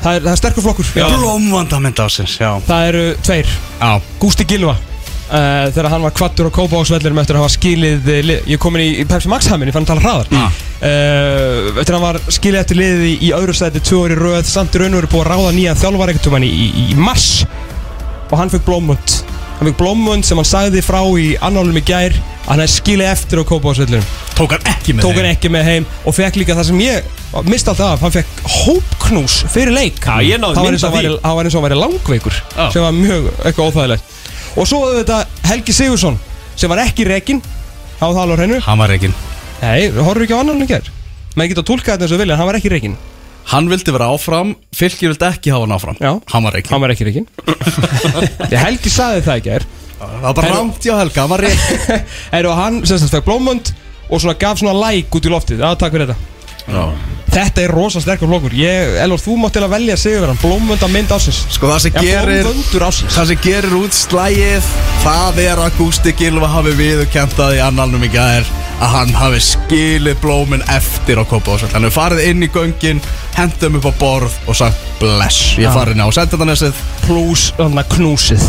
Það er, það er sterkur flokkur
Blómvandamynd ásins, já
Það eru tveir
Já.
Gústi Gilva uh, Þegar hann var kvattur á Kópavóksvellinum Eftir að hafa skilið eh, lið- Ég er komin í, í Pepsi Max hamin Ég fann að tala hraðar
Ah.
uh, Eftir að hann var skilið eftir liðið í, í öðru sæti Tvö orði röð Samt í raun og veru búið að ráða nýja þjálfar Ekkert um hann í, í, í mars Og hann fekk blómund Hann fekk blómund sem hann sagði frá í annálum í gær að Hann hefði skilið eftir á Kópavóksvellinum
Tók hann ekki með
Tók
heim.
hann ekki með heim Og fekk líka það sem ég misti alltaf af Hann fekk hópknús fyrir leik
Já, ég
Það
náði
var
mynd
eins og
af
hann væri-
því.
hann var eins og hann væri langveikur
Já.
Sem var mjög eitthvað óþægilegt Og svo auðvitað Helgi Sigursson Sem var ekki rekin Háðu það alveg á hreinu
Hann var rekin
Nei, horfðu ekki á annan líkjær Menn geta að tólka þetta eins og vilja En hann var ekki rekin
Hann vildi vera áfram, fylgir vildi ekki hafa hann áfram
Já.
Hann var reikin
Hann var ekki rekin Ég Helgi saði það ekki er
Það var bara rámt hjá Helga, hann var reikin
Er og hann sem sagt fekk blómönd Og svona gaf svona læk út í loftið Já, takk fyrir þetta Þetta er rosa sterkur flokkur Ég, Elvar, þú mátt til að velja sigurverðan Blómvönda mynd ásins
Sko það sem
Já,
gerir
blómvöndur ásins
Það sem gerir út slægið Það er að Gústi Gilva hafi viðurkennt það í annalnum í gær Að hann hafi skilið blómin eftir á kopa og Hann hefur farið inn í göngin Hendum upp á borð og sagt Bless, ég
Já.
er farin á sendanessið
Plús, þannig að knúsið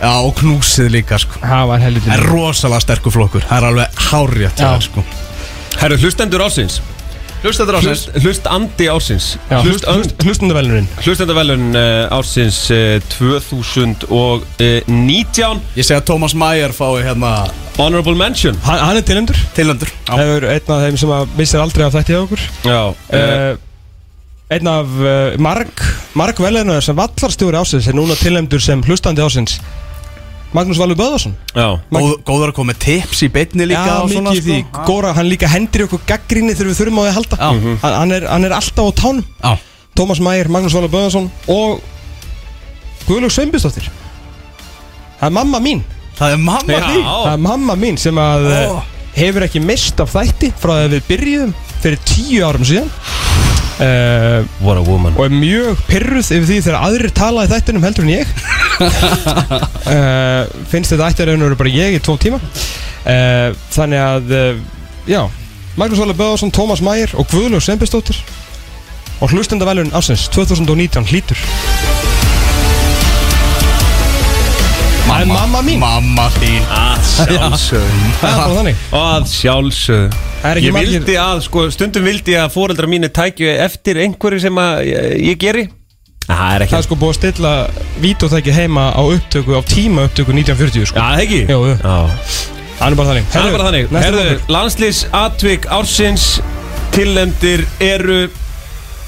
Já, og knúsið líka sko
Það var helviti
Það er rosalega sterkur flokkur Það er alveg hárjætt
Já.
sko.
Herru, hlustendur ársins,
Hlustendur
hlust, hlustandi ársins,
hlust, hlust, Hlustundavelnurinn
hlustendavelun uh, ársins uh, eh, 2019
Ég segi að Thomas Meyer fái hérna
Honorable Mention
hann, hann er tilendur
tilöndur
Það er einn af þeim sem að missir aldrei af þetta hjá okkur
Já,
uh, Einn af uh, marg, marg veljarnar sem vallarstjóri ásins er núna tilendur sem hlustandi ásins Magnús Valur Böðarsson
já
Góð, Góður að koma með tips í beinni líka
Já,
og
mikið
svona,
í því
sko.
Góra, hann líka hendir í okkur gaggrinni þegar við þurfum á því að halda hann, hann, er, hann er alltaf á tánum
Mhm. Já.
Tómas Mægir, Magnús Valur Böðarsson og Guðlaug Sveinbjörnsdóttir Það er mamma mín
Það er mamma því
Það er mamma mín sem að
Ó.
oh. hefur ekki mist af þætti frá því að við byrjuðum fyrir tíu árum síðan uh,
What a woman
og er mjög pyrruð yfir því þegar aðrir tala í þættinum heldur en ég uh, finnst þetta ættir ef nú eru bara ég í tvo tíma uh, þannig að uh, já, Magnús Valur Böðarsson, Tómas Mægir og Guðlaug Sembistóttir og hlustendavælun ásins 2019 hlýtur Það er mamma mín
Mamma þín
Það er bara þannig
Að sjálfsög
Það er ekki
Ég
margir-
vildi að, sko, stundum vildi ég að foreldrar mínu tækju eftir einhverju sem að ég, ég geri Það er
Það
ekki
er sko búið að stilla vítotæki heima á upptöku, á tíma upptöku 1940 sko.
Já, það ekki
Jú, jú.
Já.
það er bara þannig
Það er bara þannig
næsta
Herðu,
flokkur.
landslýs atvik ársins Tillendir eru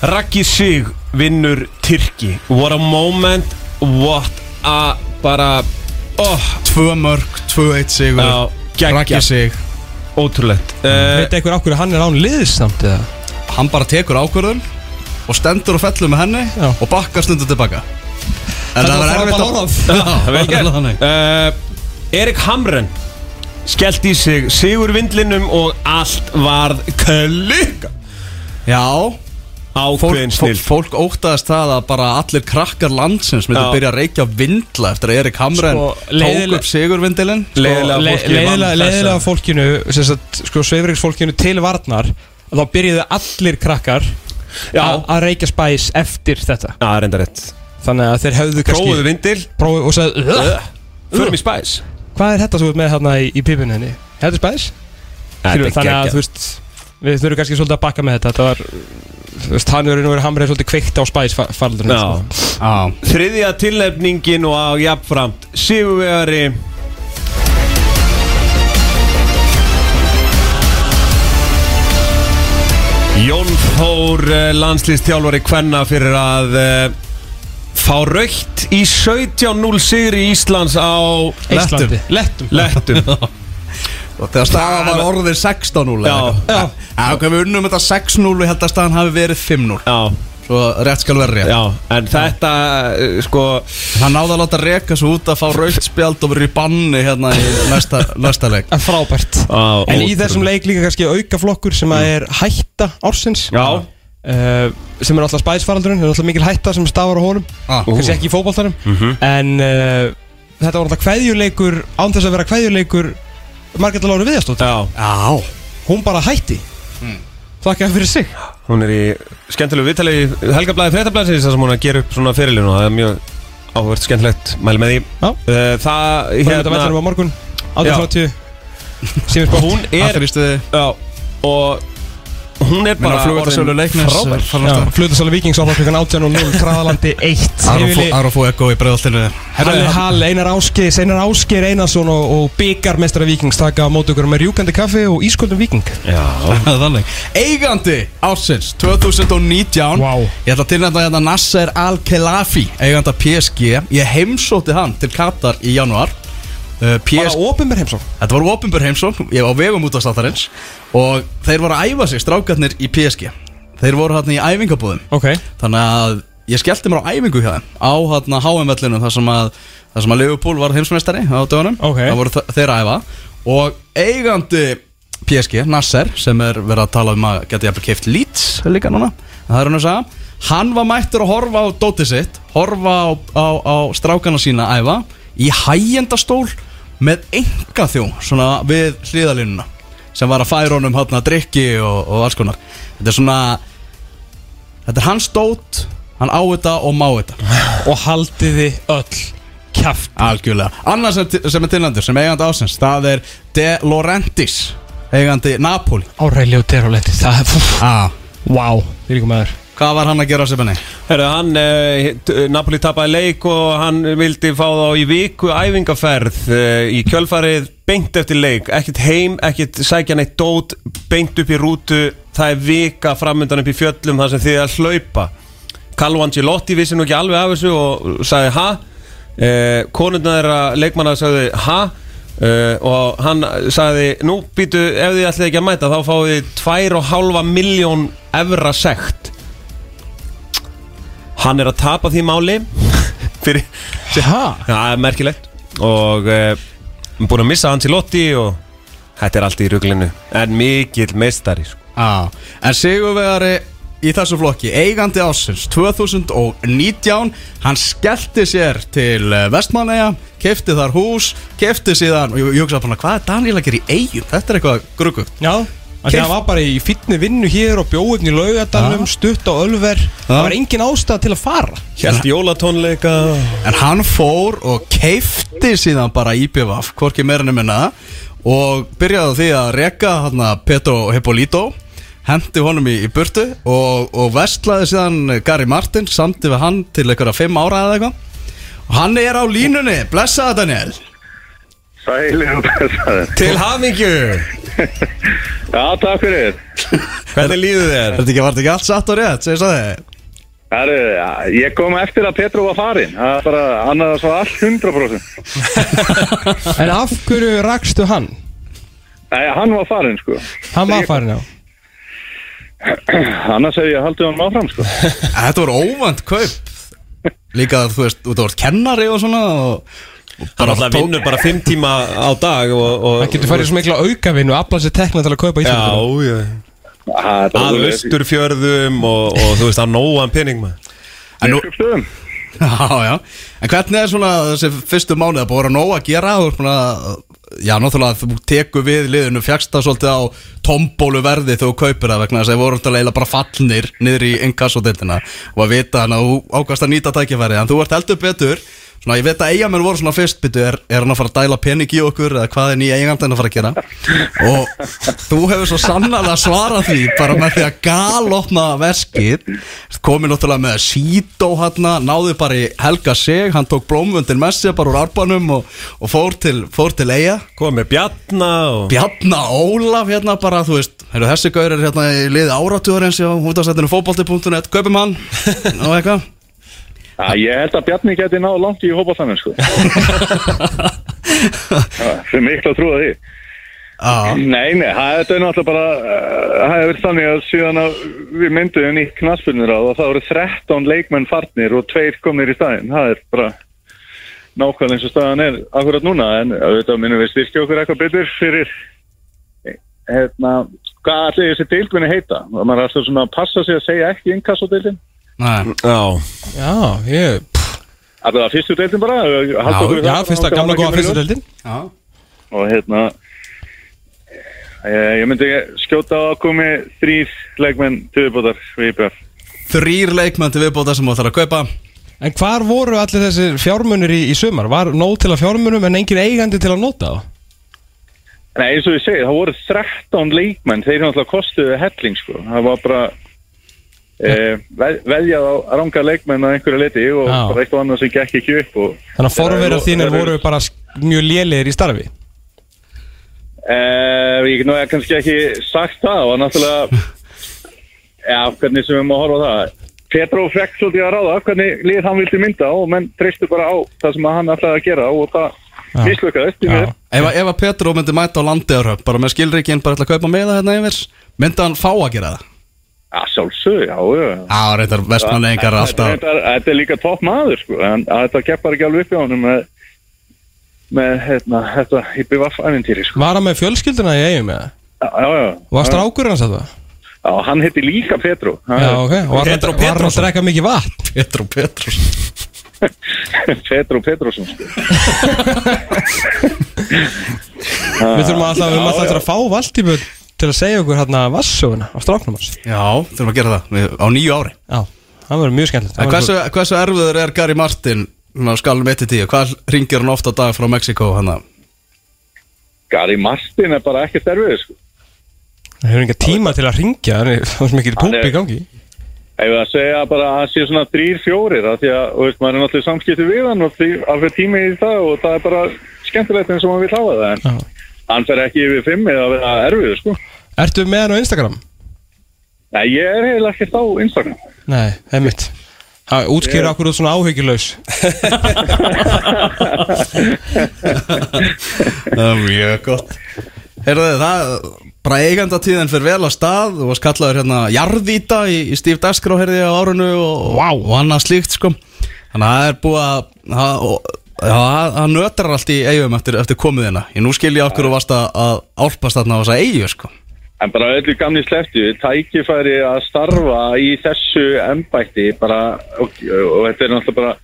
Raggi Sig vinnur Tyrki What a moment What a bara oh,
Tvö mörg, tvö eitt sigur
Já,
Raggi
geggja
sig
Ótrúlegt uh,
Mm. Veit eitthvað okkur að hann er án liðs samt eða?
Hann bara tekur ákvörðun Og stendur og fellur með henni
Já.
Og bakkar stundur tilbaka En það var erfitt að
Það er vel
Það var
gert
þannig.
uh, Erik Hamren Skellt í sig sigur vindlinum Og allt varð klikka
Já
Ákveðin
Fólk, fólk,
snill
fólk óttaðist það að bara allir krakkar landsins myndi
Já.
byrja að reykja vindla eftir að Erik Hamren
Sko, leiðileg-
tók upp sigurvindilinn
Sko,
Leiðilega
Le-
fólki
leiðilega-
vann
Leiðilega
þessa.
fólkinu sem sagt, sko, Sveifriksfólkinu til varnar að þá byrjuðu allir krakkar
Já.
að að reykja spæs eftir þetta
Já, reynda rétt
Þannig að þeir höfðu
Prófuðu
kannski
vindil
prófuðu og sagði "Ugh,
Förum í spæs
Hvað er þetta sem þú ert með hérna í, í pipinu henni? Þetta er spæs? Skilur, þannig að þú veist Við þurfum kannski svolítið að bakka með þetta Þetta var Þú veist, hann er nú verið hamrið svolítið kveikt á spæs faraldurinn
Já.
Já.
Þriðja tilnefningin og á jafnframt Sigurvegari Jón Þór eh, landslýstjálfari Kvenna fyrir að eh, fá raukt í 17-0 sigri Íslands á
Íslandi Lettum
Lettum
Þegar staðan var orðið 16-0 eða
Já.
eitthvað. Já, ok, við unnum þetta 6-0 Ég held að staðan hafi verið 5-0
Já
Svo rétt skal verið rétt
Já, en þetta, eh, sko
Hann náði að láta reka svo út að fá raukt spjald og verið í banni hérna í næsta, næsta leik
eh, Frábært
á,
En í þessum leik líka kannski aukaflokkur sem að er hætta ársins
Mm. Já.
Eh, sem er alltaf spæðisfaraldurinn, það er alltaf mikil hætta sem stafar á honum
Ah.
kannski ekki í fótboltarum
Mhm.
en uh, þetta var alltaf kveðjuleikur án þess að vera kveðjuleikur Margreta Láru Viðastótt
Já.
Já.
hún bara hætti
Mm.
þakka fyrir sig
Hún er í skemmtilegu viðtali í Helgablaði Frettablaðsins þar sem hún er að gera upp svona fyrirlinu og það er mjög áhvert skemmtilegt mæli með því
Já.
Eh, Það,
Framleitt að vellinum á morgun, 18.30, Símirsport
Hún er Já, og hún er
Minna
bara
flugeldasölu
orðin
Leiknis, eh,
frábær.
eh,
fara af stað. Flutasala Vikings áfram klukkan 18.00 Traðalandi 1
Aron Fó Eko í bregðaltinu
Halli Hall, Einar Ásgeir, Einar Ásgeir Einarsson og, og byggarmestara Vikings taka á móti okkur með rjúkandi kaffi og ísköldum Viking
Þannig. Eigandi ársins 2019 wow. Ég ætla að tilnæta hérna Nasser Al-Khelafi Eiganda PSG Ég heimsótti hann til Katar í janúar uh,
Bara opinber heimsókn
Þetta var opinber heimsókn Ég var á vegum út af státtarins Og þeir voru að æfa sig strákarnir í PSG Þeir voru hérna í æfingabúðum
okay.
Þannig að ég skellti mér á æfingu hjá þeim Á hérna HM-vellinu þar sem að þar sem að Liverpool var heimsmeistari á dögunum
okay.
Það voru þe- þeir að æfa Og eigandi PSG, Nasser Sem er verið að tala um að geta jafnvel keift Leeds líka núna en Það er hann að sagða Hann var mættur að horfa á dótið sitt Horfa á, á, á strákana sína að æfa Í hægjendastól Með enga þjó Svona við hliðalínuna Sem var að færa honum hátna að drikki og, og alls konar Þetta er svona Þetta er hans dót Hann á þetta og má þetta
Og haldiði öll kjaft
Algjörlega Annars sem, sem er tilnandur sem eigandi ásins Það er De Laurentiis Eigandi Napoli
Áræli og Deroletti Það er
ah.
Wow Því líka maður
Hvað var hann að gera sem henni?
Herra, hann, eh, t- Napoli tapaði leik og hann vildi fá þá í viku æfingaferð eh, í kjölfarið beint eftir leik, ekkert heim, ekkert sækja neitt dót, beint upp í rútu það er vika framöndan upp í fjöllum þar sem þið er að hlaupa Carlo Angelotti vissi nú ekki alveg af þessu og sagði ha eh, konundna þeirra leikmanna sagði ha Uh, og hann sagði nú býtu ef þið ætlið ekki að mæta þá fáið þið 2,5 miljón evra sekt Hann er að tapa því máli fyrir,
Hæ?
það er merkilegt og eh, búin að missa hann til Lotti og þetta er allt í ruglinu en mikill meistari sko.
ah. En Sigurvegari í þessu flokki Eigandi ásins 2019 Hann skellti sér til Vestmanneja Kefti þar hús Kefti síðan Og ég, ég hugsa bara hvað er Daniel að gera í eigum? Þetta er eitthvað gruggugt
Já Þannig að það var bara í fýtni vinnu hér og bjóðin í laugadalum, stutt á ölver Það var engin ástæða til að fara
Hjælt jólatónleika
En hann fór og keifti síðan bara IPVAF, hvorki meirinu minna og byrjaði á því að reka hana, Petro Hippolito hendi honum í, í burtu og, og vestlaði síðan Gary Martin samti við hann til einhverja fimm ára eða eitthvað og hann er á línunni, blessaða Daniel
Sælir og blessaður
Til hamingju
Já, takk fyrir
Hvernig líður þér?
Er þetta ekki, var þetta ekki allt satt og rétt, segist það þig?
Herru, ég kom eftir að Petru var farin Það er bara, hann er svo allt 100%
En af hverju rakstu hann?
Nei, hann var farin, sko
Hann var farin á
Annars hef ég haldið hann áfram, sko
Þetta voru óvænt kaup líka þú veist, þú voru kennari og svona og, og
Hann alltaf vinnur bara 5 tíma á dag og, og,
Hann getur farið í svo mikla aukavinnu og aflað sér tekna til að kaupa íþjóðum
Já, já Að
þetta var-
austurfjörðum og, og þú veist að nóan pening maður
En nú- Já, já, en hvernig er svona þessi fyrstu mánuð að búið að nóg að gera þú veist svona, já, náttúrulega þú tekur við liðinu, fjagst það svolítið á tombólu verði þegar þú kaupir það vegna þess að þeir voru alltaf bara fallnir niður í inkassodeildina og að vita hann að þú ákast að nýta tækifærið, en þú ert heldur betur svona, ég veit að eigamenn voru svona fyrst byrju, er, er hann að fara að dæla pening í okkur eða hvað er nýja eigandinn að fara að gera og þú hefur svo sannarlega svarað því bara með því að galopna veskið komið náttúrulega með Sító hann náði bara í Helga Sig hann tók blómvöndin með sér bara úr arbanum og, og fór til, fór til eiga
Komið með Bjarna og
Bjarna Ólaf hérna bara þú veist heyrðu, þessi gaur er hérna í liði áratúður eins og út af sættinu fótbolti.net kaupum hann og eitthvað
Já, ég held að Bjarni geti náð langt í hópa þannig, sko Það er mikla trú að því
Nei, nei, það þetta er náttúrulega bara uh, það hefur verið þannig að síðan að við myndum í knaspunir á það þá eru 13 leikmenn farnir og tveir komnir í staðinn, það er bara nákvæmlega eins og staðan er akkurat núna, en auðvitað minnum við styrkja okkur eitthvað betur fyrir hérna, hvað allir þessi deildvinni heita, og maður er alltaf svona að passa sig að segja ekki innkassódeildin
Nei Já Já, ég
að það er fyrstu deildin bara halda
Já,
okkur við
já,
það,
fyrsta
þá
gamla
kemur
góða
í ljós.
fyrstu deildin
Já
og hérna ég, ég myndi skjóta á að komi þrýr leikmenn til viðbótar við IPF
Þrýr leikmenn til viðbóta sem þú ætlar að kaupa
En hvar voru allir þessir fjármunir í, í sumar? Var nóg til að fjármunum en engin eigandi til að nota þá?
Nei, eins og ég segi, það voru 13 leikmenn þeir náttúrulega kostuðu helling sko. það var bara e, veð, veðjað á ranga leikmenn að einhverju liti og
Já.
bara eitthvað annað sem gekk ekki upp og,
Þannig að forverðar þínir voru bara sk- mjög lélegir í starfi
Uh, ég get nú eða kannski ekki sagt það og náttúrulega já, hvernig sem við má horfa á það Petró fekk svolítið að ráða hvernig lið hann vildi mynda og menn treystu bara á það sem hann ætlaði að gera og það mislökaðist í mér
Ef, að- ef að Petru myndi mæta á landiðarhöf bara með skilrikinn, bara ætla að kaupa meða hérna yfir myndi hann fá að gera það?
Já, sjálfsög, já, já
Já, reyndar vestmannegingar
Þetta-
alltaf
Þetta þetta er líka topp maður sko, en að þetta keppar ekki alveg upp í honum með, með hérna, þetta IPVF-æventýri sko.
Var hann með fjölskylduna í eigum eða?
Já, já, já
Var strákur hans að það?
Já, hann heiti líka Petró
Já, ok Og var hann- var hann að drekka mikið vatn?
Petró Petrós
Petró Petrósson sko.
Við þurfum alltaf, við
Já,
þurfum alltaf
já.
eftir að fá Valdíbu til að segja okkur hérna vassöguna á stráknum hans
Já, þurfum að gera það við- á nýju ári
Já, það verður mjög
En
skemmtilegt Það verður
hversu, hversu erfiður er Gary Martin svona um á skalum 1-10, hvað ringir hann ofta dag frá hérna? Mexiko hann að
Gary Martin er bara ekkert erfið sko.
svo- Það hefur enga tíma til að ringja Það er svo mikið
Hann er-
púpi í gangi
Ef að segja bara að það sé svona þrýr, fjórir af því að, þú veist, maður er náttúrulega í samskipti við hann og því alveg tími í það og það er bara skemmtilegt eins og maður vil hafa það en hann fer ekki yfir fimm eða að vera erfið sko.
Ertu með hann á Instagram?
Nei, ég er heila ekkert á Instagram
Nei, einmitt Það útskýra okkur út svona áhyggjulegs
Það er mjög gott Herðu það, bara eigandatíðin fyrir vel á stað og skallaður hérna jarðýta í, í Steve Daskrá herði ég á árunu og, wow. og annað slíkt sko Þannig að það er búið að það- og- já, það það nötrar allt í eigum eftir, eftir komuðina Ég nú skil ég okkur og varst að, að álpast þarna á þessa eigu sko
En bara öllu gamli sleftu, tækifæri að starfa í þessu embætti bara, og, og þetta er náttúrulega bara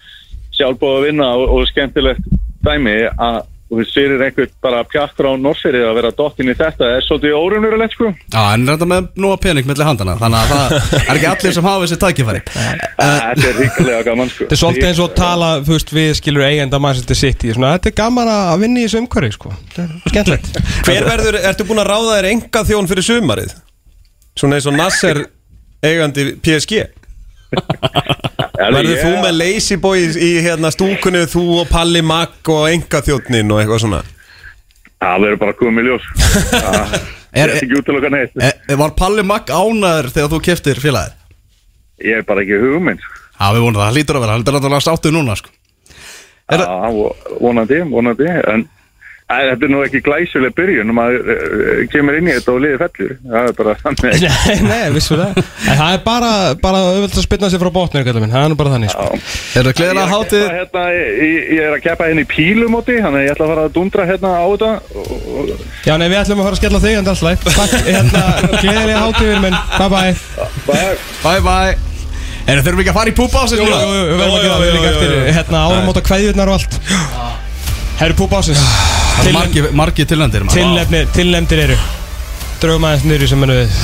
sjálfbóð að vinna og, og skemmtilegt dæmi að þú veist, fyrir einhvern bara pjakkur á norfyrir að vera dottinn í þetta er svolítið órunurulegt sko.
Já, en reynda með nóga pening milli handana Þannig að það er ekki allir sem hafa þessi tækifæri
Þetta er híkulega gaman sko.
Þetta er svolítið eins og að tala, þú veist, við skilur eigenda Manchester City Svona, þetta er gaman að vinna í þessu umhverfi, sko Þetta er Skemmtilegt
Hver verður, ertu búin að ráða þér enga þjón fyrir sumarið? Svona eins og Nasser eigandi PSG Verður
ég-
þú með Lazy Boy í hérna stúkunni Þú og Palli Mack og enga þjónnin og eitthvað svona
Það verður bara komið ljós Það er ekki út til okkar neitt
e, Var Palli Magg ánaður þegar þú keftir félagið?
Ég er bara ekki hugmynd
Já, við vonum það, það lítur að vera, hann er náttúrulega sáttu núna sko.
Já, vonandi, vonandi En Æ, þetta er nú ekki glæsileg byrjun maður uh, kemur inn í þetta og liði fellur það er bara þannig
Nei, nei, vissu það En það er bara, bara auðvitað að spilna sér frá botnir, kallar minn Það er nú bara þannig, sko
Er það
Ég er að keppa hérna, ég, ég er að keppa hérna í pílumóti þannig að ég ætla að fara að dundra hérna á þetta og, og,
Já, nei, við ætlum að fara að skella á þig en alltaf Takk, hérna, gleðilega hátíður minn Bye bye
Bye bye En þurfum við ekki að fara í púpa ásins
Jú, jú,
núna?
jú, við verðum að gera það við líka eftir Hérna, áramóta kveðjurnar og allt Herru púpa ásins
Það er margi, margi tilnefndir maður.
Tilnefni, tilnefndir eru Draugum aðeins niður í sem hennu við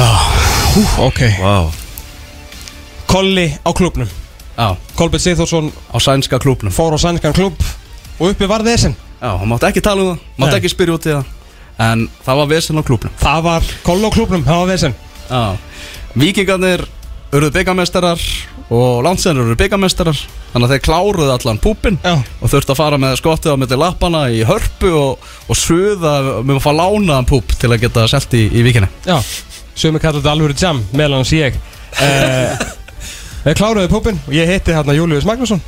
Hú, ok
wow.
Kolli á klubnum
Já.
Kolbjörn Sigþórsson
Á sænska klubnum
Fór á sænskan klub Og uppi var þessin
Já, hann mátti ekki tala um það, mátti
Nei.
ekki spyrja út í það En það var vesen á klubnum
Það var koll á klubnum, það var vesen
Já, vikingarnir urðu byggamestrar og landsennir urðu byggamestrar Þannig að þeir kláruðu allan púpin
Já.
Og þurftu að fara með skottið á milli lappana í hörpu Og, og suða, við maður fá lánaðan púp til að geta selt í, í vikinni
Já, sögum við kallar þetta alvöru jam meðal hans ég uh, Við kláruðu púpin og ég hitti hérna Július Magnússon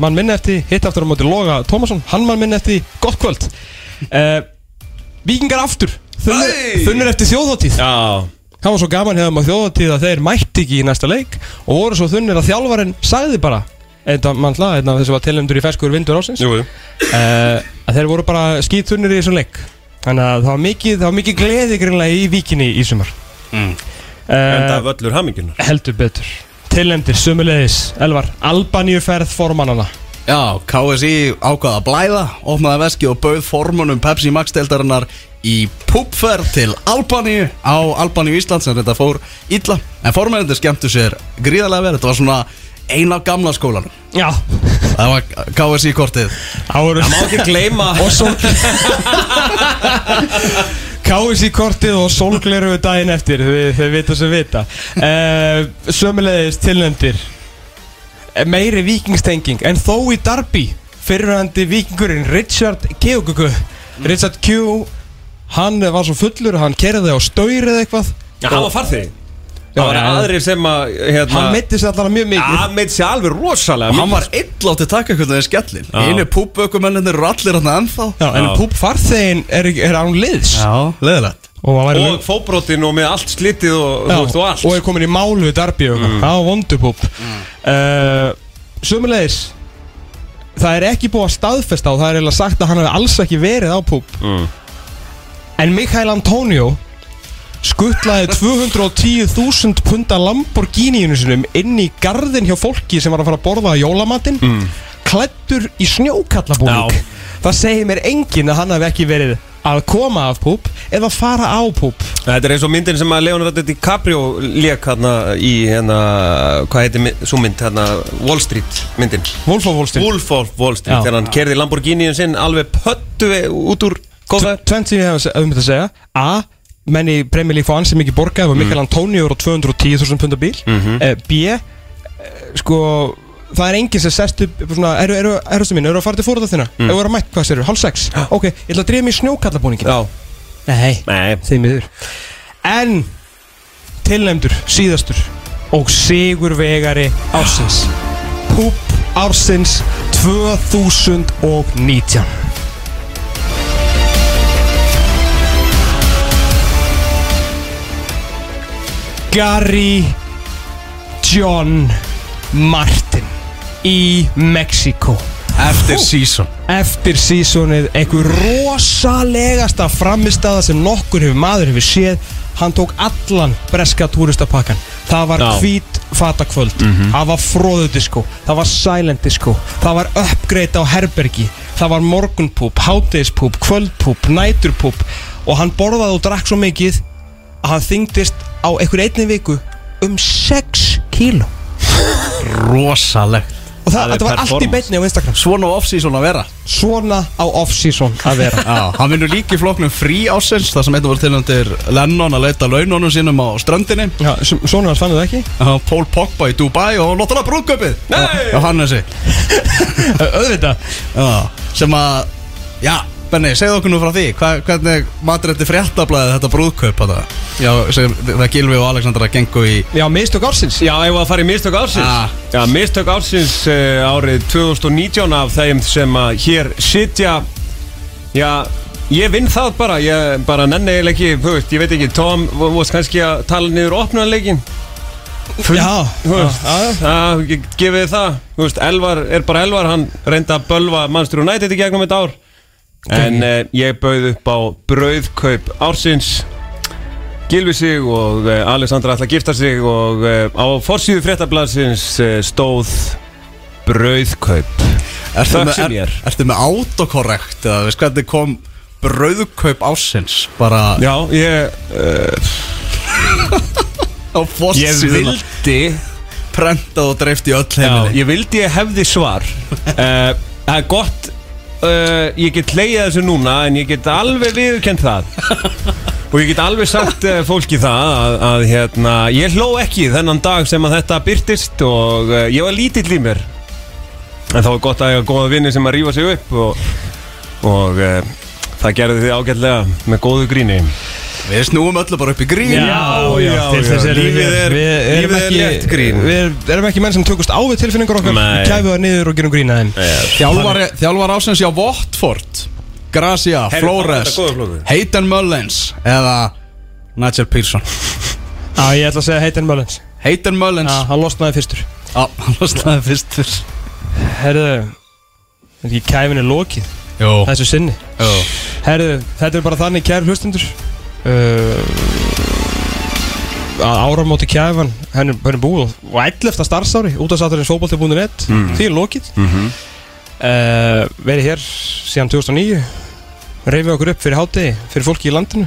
mann minn eftir, hitti aftur á móti Loga Tómasson, hann mann minn eftir gott kvöld uh, Eh, Víkingar aftur þunnur, þunnur eftir þjóðhóttíð Já Það var svo gaman hefðum á þjóðhóttíð að þeir mætti ekki í næsta leik Og voru svo þunnir að þjálfarinn sagði bara Þetta mann hlað, þetta þessi var tilhendur í ferskur vindur ásins Jú, jú Að þeir voru bara skýthunnir í þessum leik Þannig að það var mikið, það var mikið gleði greinlega í vikinni í sumar mm.
Enda völlur hamingjunar.
Heldur betur Tilhendir sumulegis, Elvar, Albaníuferð formannana
Já, KSI ákvaða að blæða, opnaði veski og bauð formunum Pepsi Max-deildarinnar í púpferð til Albaníu á Albaníu Ísland sem þetta fór illa. En formennir skemmtu sér gríðarlega verið, þetta var svona ein af gamla skólanum.
Já.
Það var KSI-kortið.
Það
má ekki gleyma
Og svo KSI kortið og sólgleru daginn eftir, þau- þau vita sem vita uh, Sömulegis tilnefndir Eh, Meiri vikingstenging En þó í Darby Fyrirvændi vikingurinn Richard Keukuku
Mm.
Richard Q Hann var svo fullur, hann kerði á staurið eitthvað
Já, hann var farþegi.
Já,
Það var
já, já.
aðrir sem að hérna,
Hann meiddi sig allavega mjög mikið
Hann meitt sér alveg rosalega
Og hann var ill átti að taka hvernig það er skellin.
Já.
Einu púpökumennir eru allir hann ennþá.
Já, en púpfarþegin er, er án liðs
Já, leðilegt
Og, hann væri
Og fóbrotin og með allt slitið og,
Já,
þú veist, og allt
er komin í mál við Darby og mm. á vondupúp mm. uh, Sumulegis Það er ekki búið að staðfesta og það er eiginlega sagt að hann hefði alls ekki verið á púp
mm.
En Mikael Antonio skuttlaði 210.000 punta Lamborghiniinu sinum inn í garðin hjá fólki sem var að fara að borða jólamatinn mm. klættur í snjókallabúning Það segir mér enginn að hann hefði ekki verið að koma af púp eða fara á púp
Þetta er eins og myndin sem að Leonardo DiCaprio lék hérna í hérna, hvað heitir mi- sú mynd hérna, Wall Street myndin
Wolf of Wall Street
Wolf of Wall Street,
Já.
þegar hann kerði Lamborghiniðin sinn alveg pöttu út úr
Tv- Tvennt sem ég hef um þetta að segja A. Menn í Premier League fá ansi mikið borgað og Mikael Antonio er á 210.000 pundar bíl
Mm. Mhm.
Eh, B. eh, Sko Það er enginn sem sest upp upp svona, eru, eru, eru sem minn, eru að fara til fórða þína
Mm.
eru að mætt, hvað sér, hálf sex ok, ég ætla að dreyja mig í snjókallabúningin
Já.
nei,
nei.
þeim yfir en tilnæmdur, síðastur og sigurvegari ársins Púp ársins 2019 Gary John Martin í Mexiko
Eftir season
Eftir seasonið einhver rosalegasta framistada sem nokkur hefur maður hefur séð Hann tók allan breska túristapakkan Það var
Já.
hvít fatakvöld Það var fróðudiskó Það var silent disco Það var uppgreita á herbergi Það var morgunpúp, hátegispúp, kvöldpúp, næturpúp Og hann borðaði og drakk svo mikið Að hann þyngdist á einhver einni viku Um 6 kíló
Rosalegt
Og það, þetta var allt í beinni á Instagram
Svona á off-season að vera
Svona á off-season að vera
Já, hann vinnur líka í flokknum frí ásins þar sem þetta voru tilhendir Lennon að leita laununum sínum á ströndinni
Já, svona hans fann þetta ekki
Pól Pogba í Dubai og notalega brúköpið Nei Já, hann þessi
Öðvitað
Já, sem að, já, Benni, segðu okkur nú frá því hva, Hvernig matur þetta fréttablaðið þetta brúðkaup þetta? Já, sem, það Gilvi og Alexandra gengu í
Já, mistök ársins
Já, ef að fara í mistök ársins
Ah.
Já, mistök ársins uh, árið 2019 af þeim sem að hér sitja Já, ég vinn það bara Ég bara nenni eiginlega ekki, þú veist, ég veit ekki Tom, þú veist kannski að tala niður opnanleikin
Já,
Já, ég gefið þið það Þú veist, Elvar er bara Elvar Hann reyndi að bölva Manchester United í gegnum þetta ár En eh, ég bauð upp á Brauðkaup ársins Gilvi sig og eh, Alessandra ætla að gifta sig Og eh, á forsýðu fréttablasins eh, stóð Brauðkaup
Ertu
Þökk
með,
sem ég
er,
er
ertu með autokorrekt eða veist hvernig kom brauðkaup ásins bara
Já, ég uh,
á fórsíðuna
Ég vildi
prentað og dreift í öll
Já,
heiminni
ég vildi ég hefði svar Eh, Það er gott uh, Ég get leiðið þessu núna En ég get alveg viðurkend það Og ég get alveg sagt uh, fólki það að, að hérna Ég hló ekki þennan dag sem að þetta byrtist Og uh, ég var lítill í mér En þá er gott að ég hafa góða vinni sem að rífa sig upp Og, og uh, það gerði þið ágætlega Með góðu gríni
Við snúum öllu bara upp í grín
til þess erum við
Lífið
hér.
er,
Við erum
lífið er
ekki-
létt grín
Við erum ekki menn sem tökust á við tilfinningar okkar
Nei.
Kæfið það niður og gerum grína þeim
Þjálfari, þjálfari ásins hjá Votford Gracia,
Heyrðu,
Flores,
þetta er góður flokkur.
Hayden Mullins eða Nigel Pearson
Já, ég ætla að segja Hayden Mullins
Hayden Mullins
Já, hann losnaði fyrstur
Já, hann losnaði fyrstur
Herðu, er ekki kæfinni lokið?
Jó
Þessu sinni
Jó
Herðu, þetta er bara þannig kæri hlustundur uh, að áramóti kæfan henn er, henn er búið og 11. starfsári út af sattarins fótbolti.net
Mm.
því er lokið
Mhm.
uh, verið hér síðan 2009 reyfið okkur upp fyrir hátegi fyrir fólki í landinu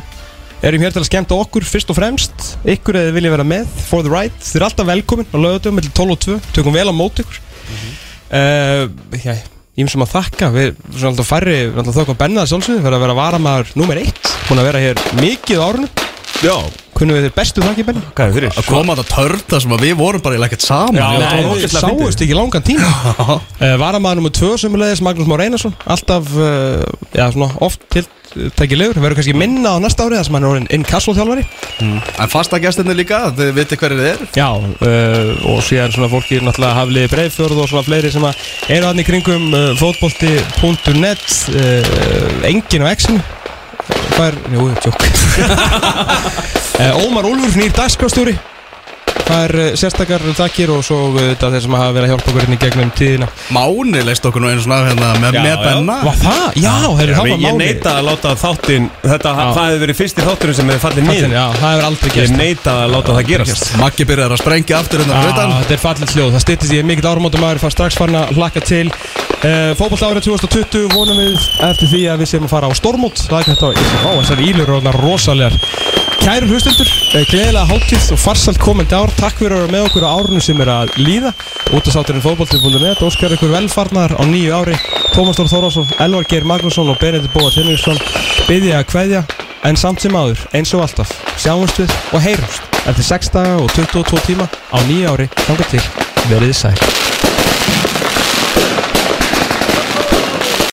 erum hér til að skemmta okkur fyrst og fremst ykkur eða vilja vera með for the ride þið er alltaf velkomin á lögatum mellir 12 og 2 tökum vel á mót ykkur uh, já, ég sem að þakka við við erum alltaf færri við erum alltaf þökkum bennað sjálfsögðu fyrir að vera varamaður númer 1 búin að vera hér mikið á árunum já kunnum við þér bestu þakki benni
hvað er fyrir
að koma þetta törta sem að við vorum bara í ekkert saman Ég
Já,
var
nei,
bara
við
ógeðslega fyndið.
sáust ekki langan tíma uh, Varamaður nummer 2 sem er leiðis Magnús Már Einarsson Alltaf, uh, já svona oft tiltækilegur Verður kannski minna á næsta árið þar sem hann er orðin inkassol þjálfari
En fasta gestinni líka, þið viti hverju þið er
Já, uh, og síðan svona fólki náttúrulega hafliði breyfjörð og svona fleiri sem að eru hann í kringum uh, fótbolti.net uh, Engin á X-inu Hvað er, jú, tjók uh, Ómar Úlfur, nýr dagskrástjóri Það er uh, sérstakar þakkir og svo uh, þetta þeir sem hafa verið að hjálpa okkur inn í gegnum tíðina
Máni leist okkur nú einu svona hérna, með,
Já,
með
já.
benna
Var það? Ah, Já, heyrðu, það var
Ég
Máni.
neita að láta þáttinn Þetta, það hefur verið fyrsti þátturinn sem hefur fallið
Fallinn,
niður
já, það hefur aldrei gerst.
Ég neita að láta það gerast
Maggi byrjar að sprengja aftur hérna
Ah,
fyrir utan.
Þetta er fallið hljóð, það styttist ég mikill árumóttum aður fara strax farin að hlakka til uh, Fótboll árið 2020 vonum við eftir því að við séum að fara á stormót Það er þetta, á þessar ílur og þarna rosalegar Kæru hlustundur, gleðilega hátíð og farsalt komandi ár Takk fyrir að vera með okkur á árunum sem er að líða Útastátturinn fótbolti.net Óskar ykkur velfarnar á nýju ári Tómas Dór Þórásson, Elvar Geir Magnússon og Benedikt Bóa Tinnursson Byðja að kveðja En samt sem áður, eins og alltaf, sjáumst við og heyrumst eftir 6 daga og 22 tíma á nýja ári, þangað til, verið þið sæl.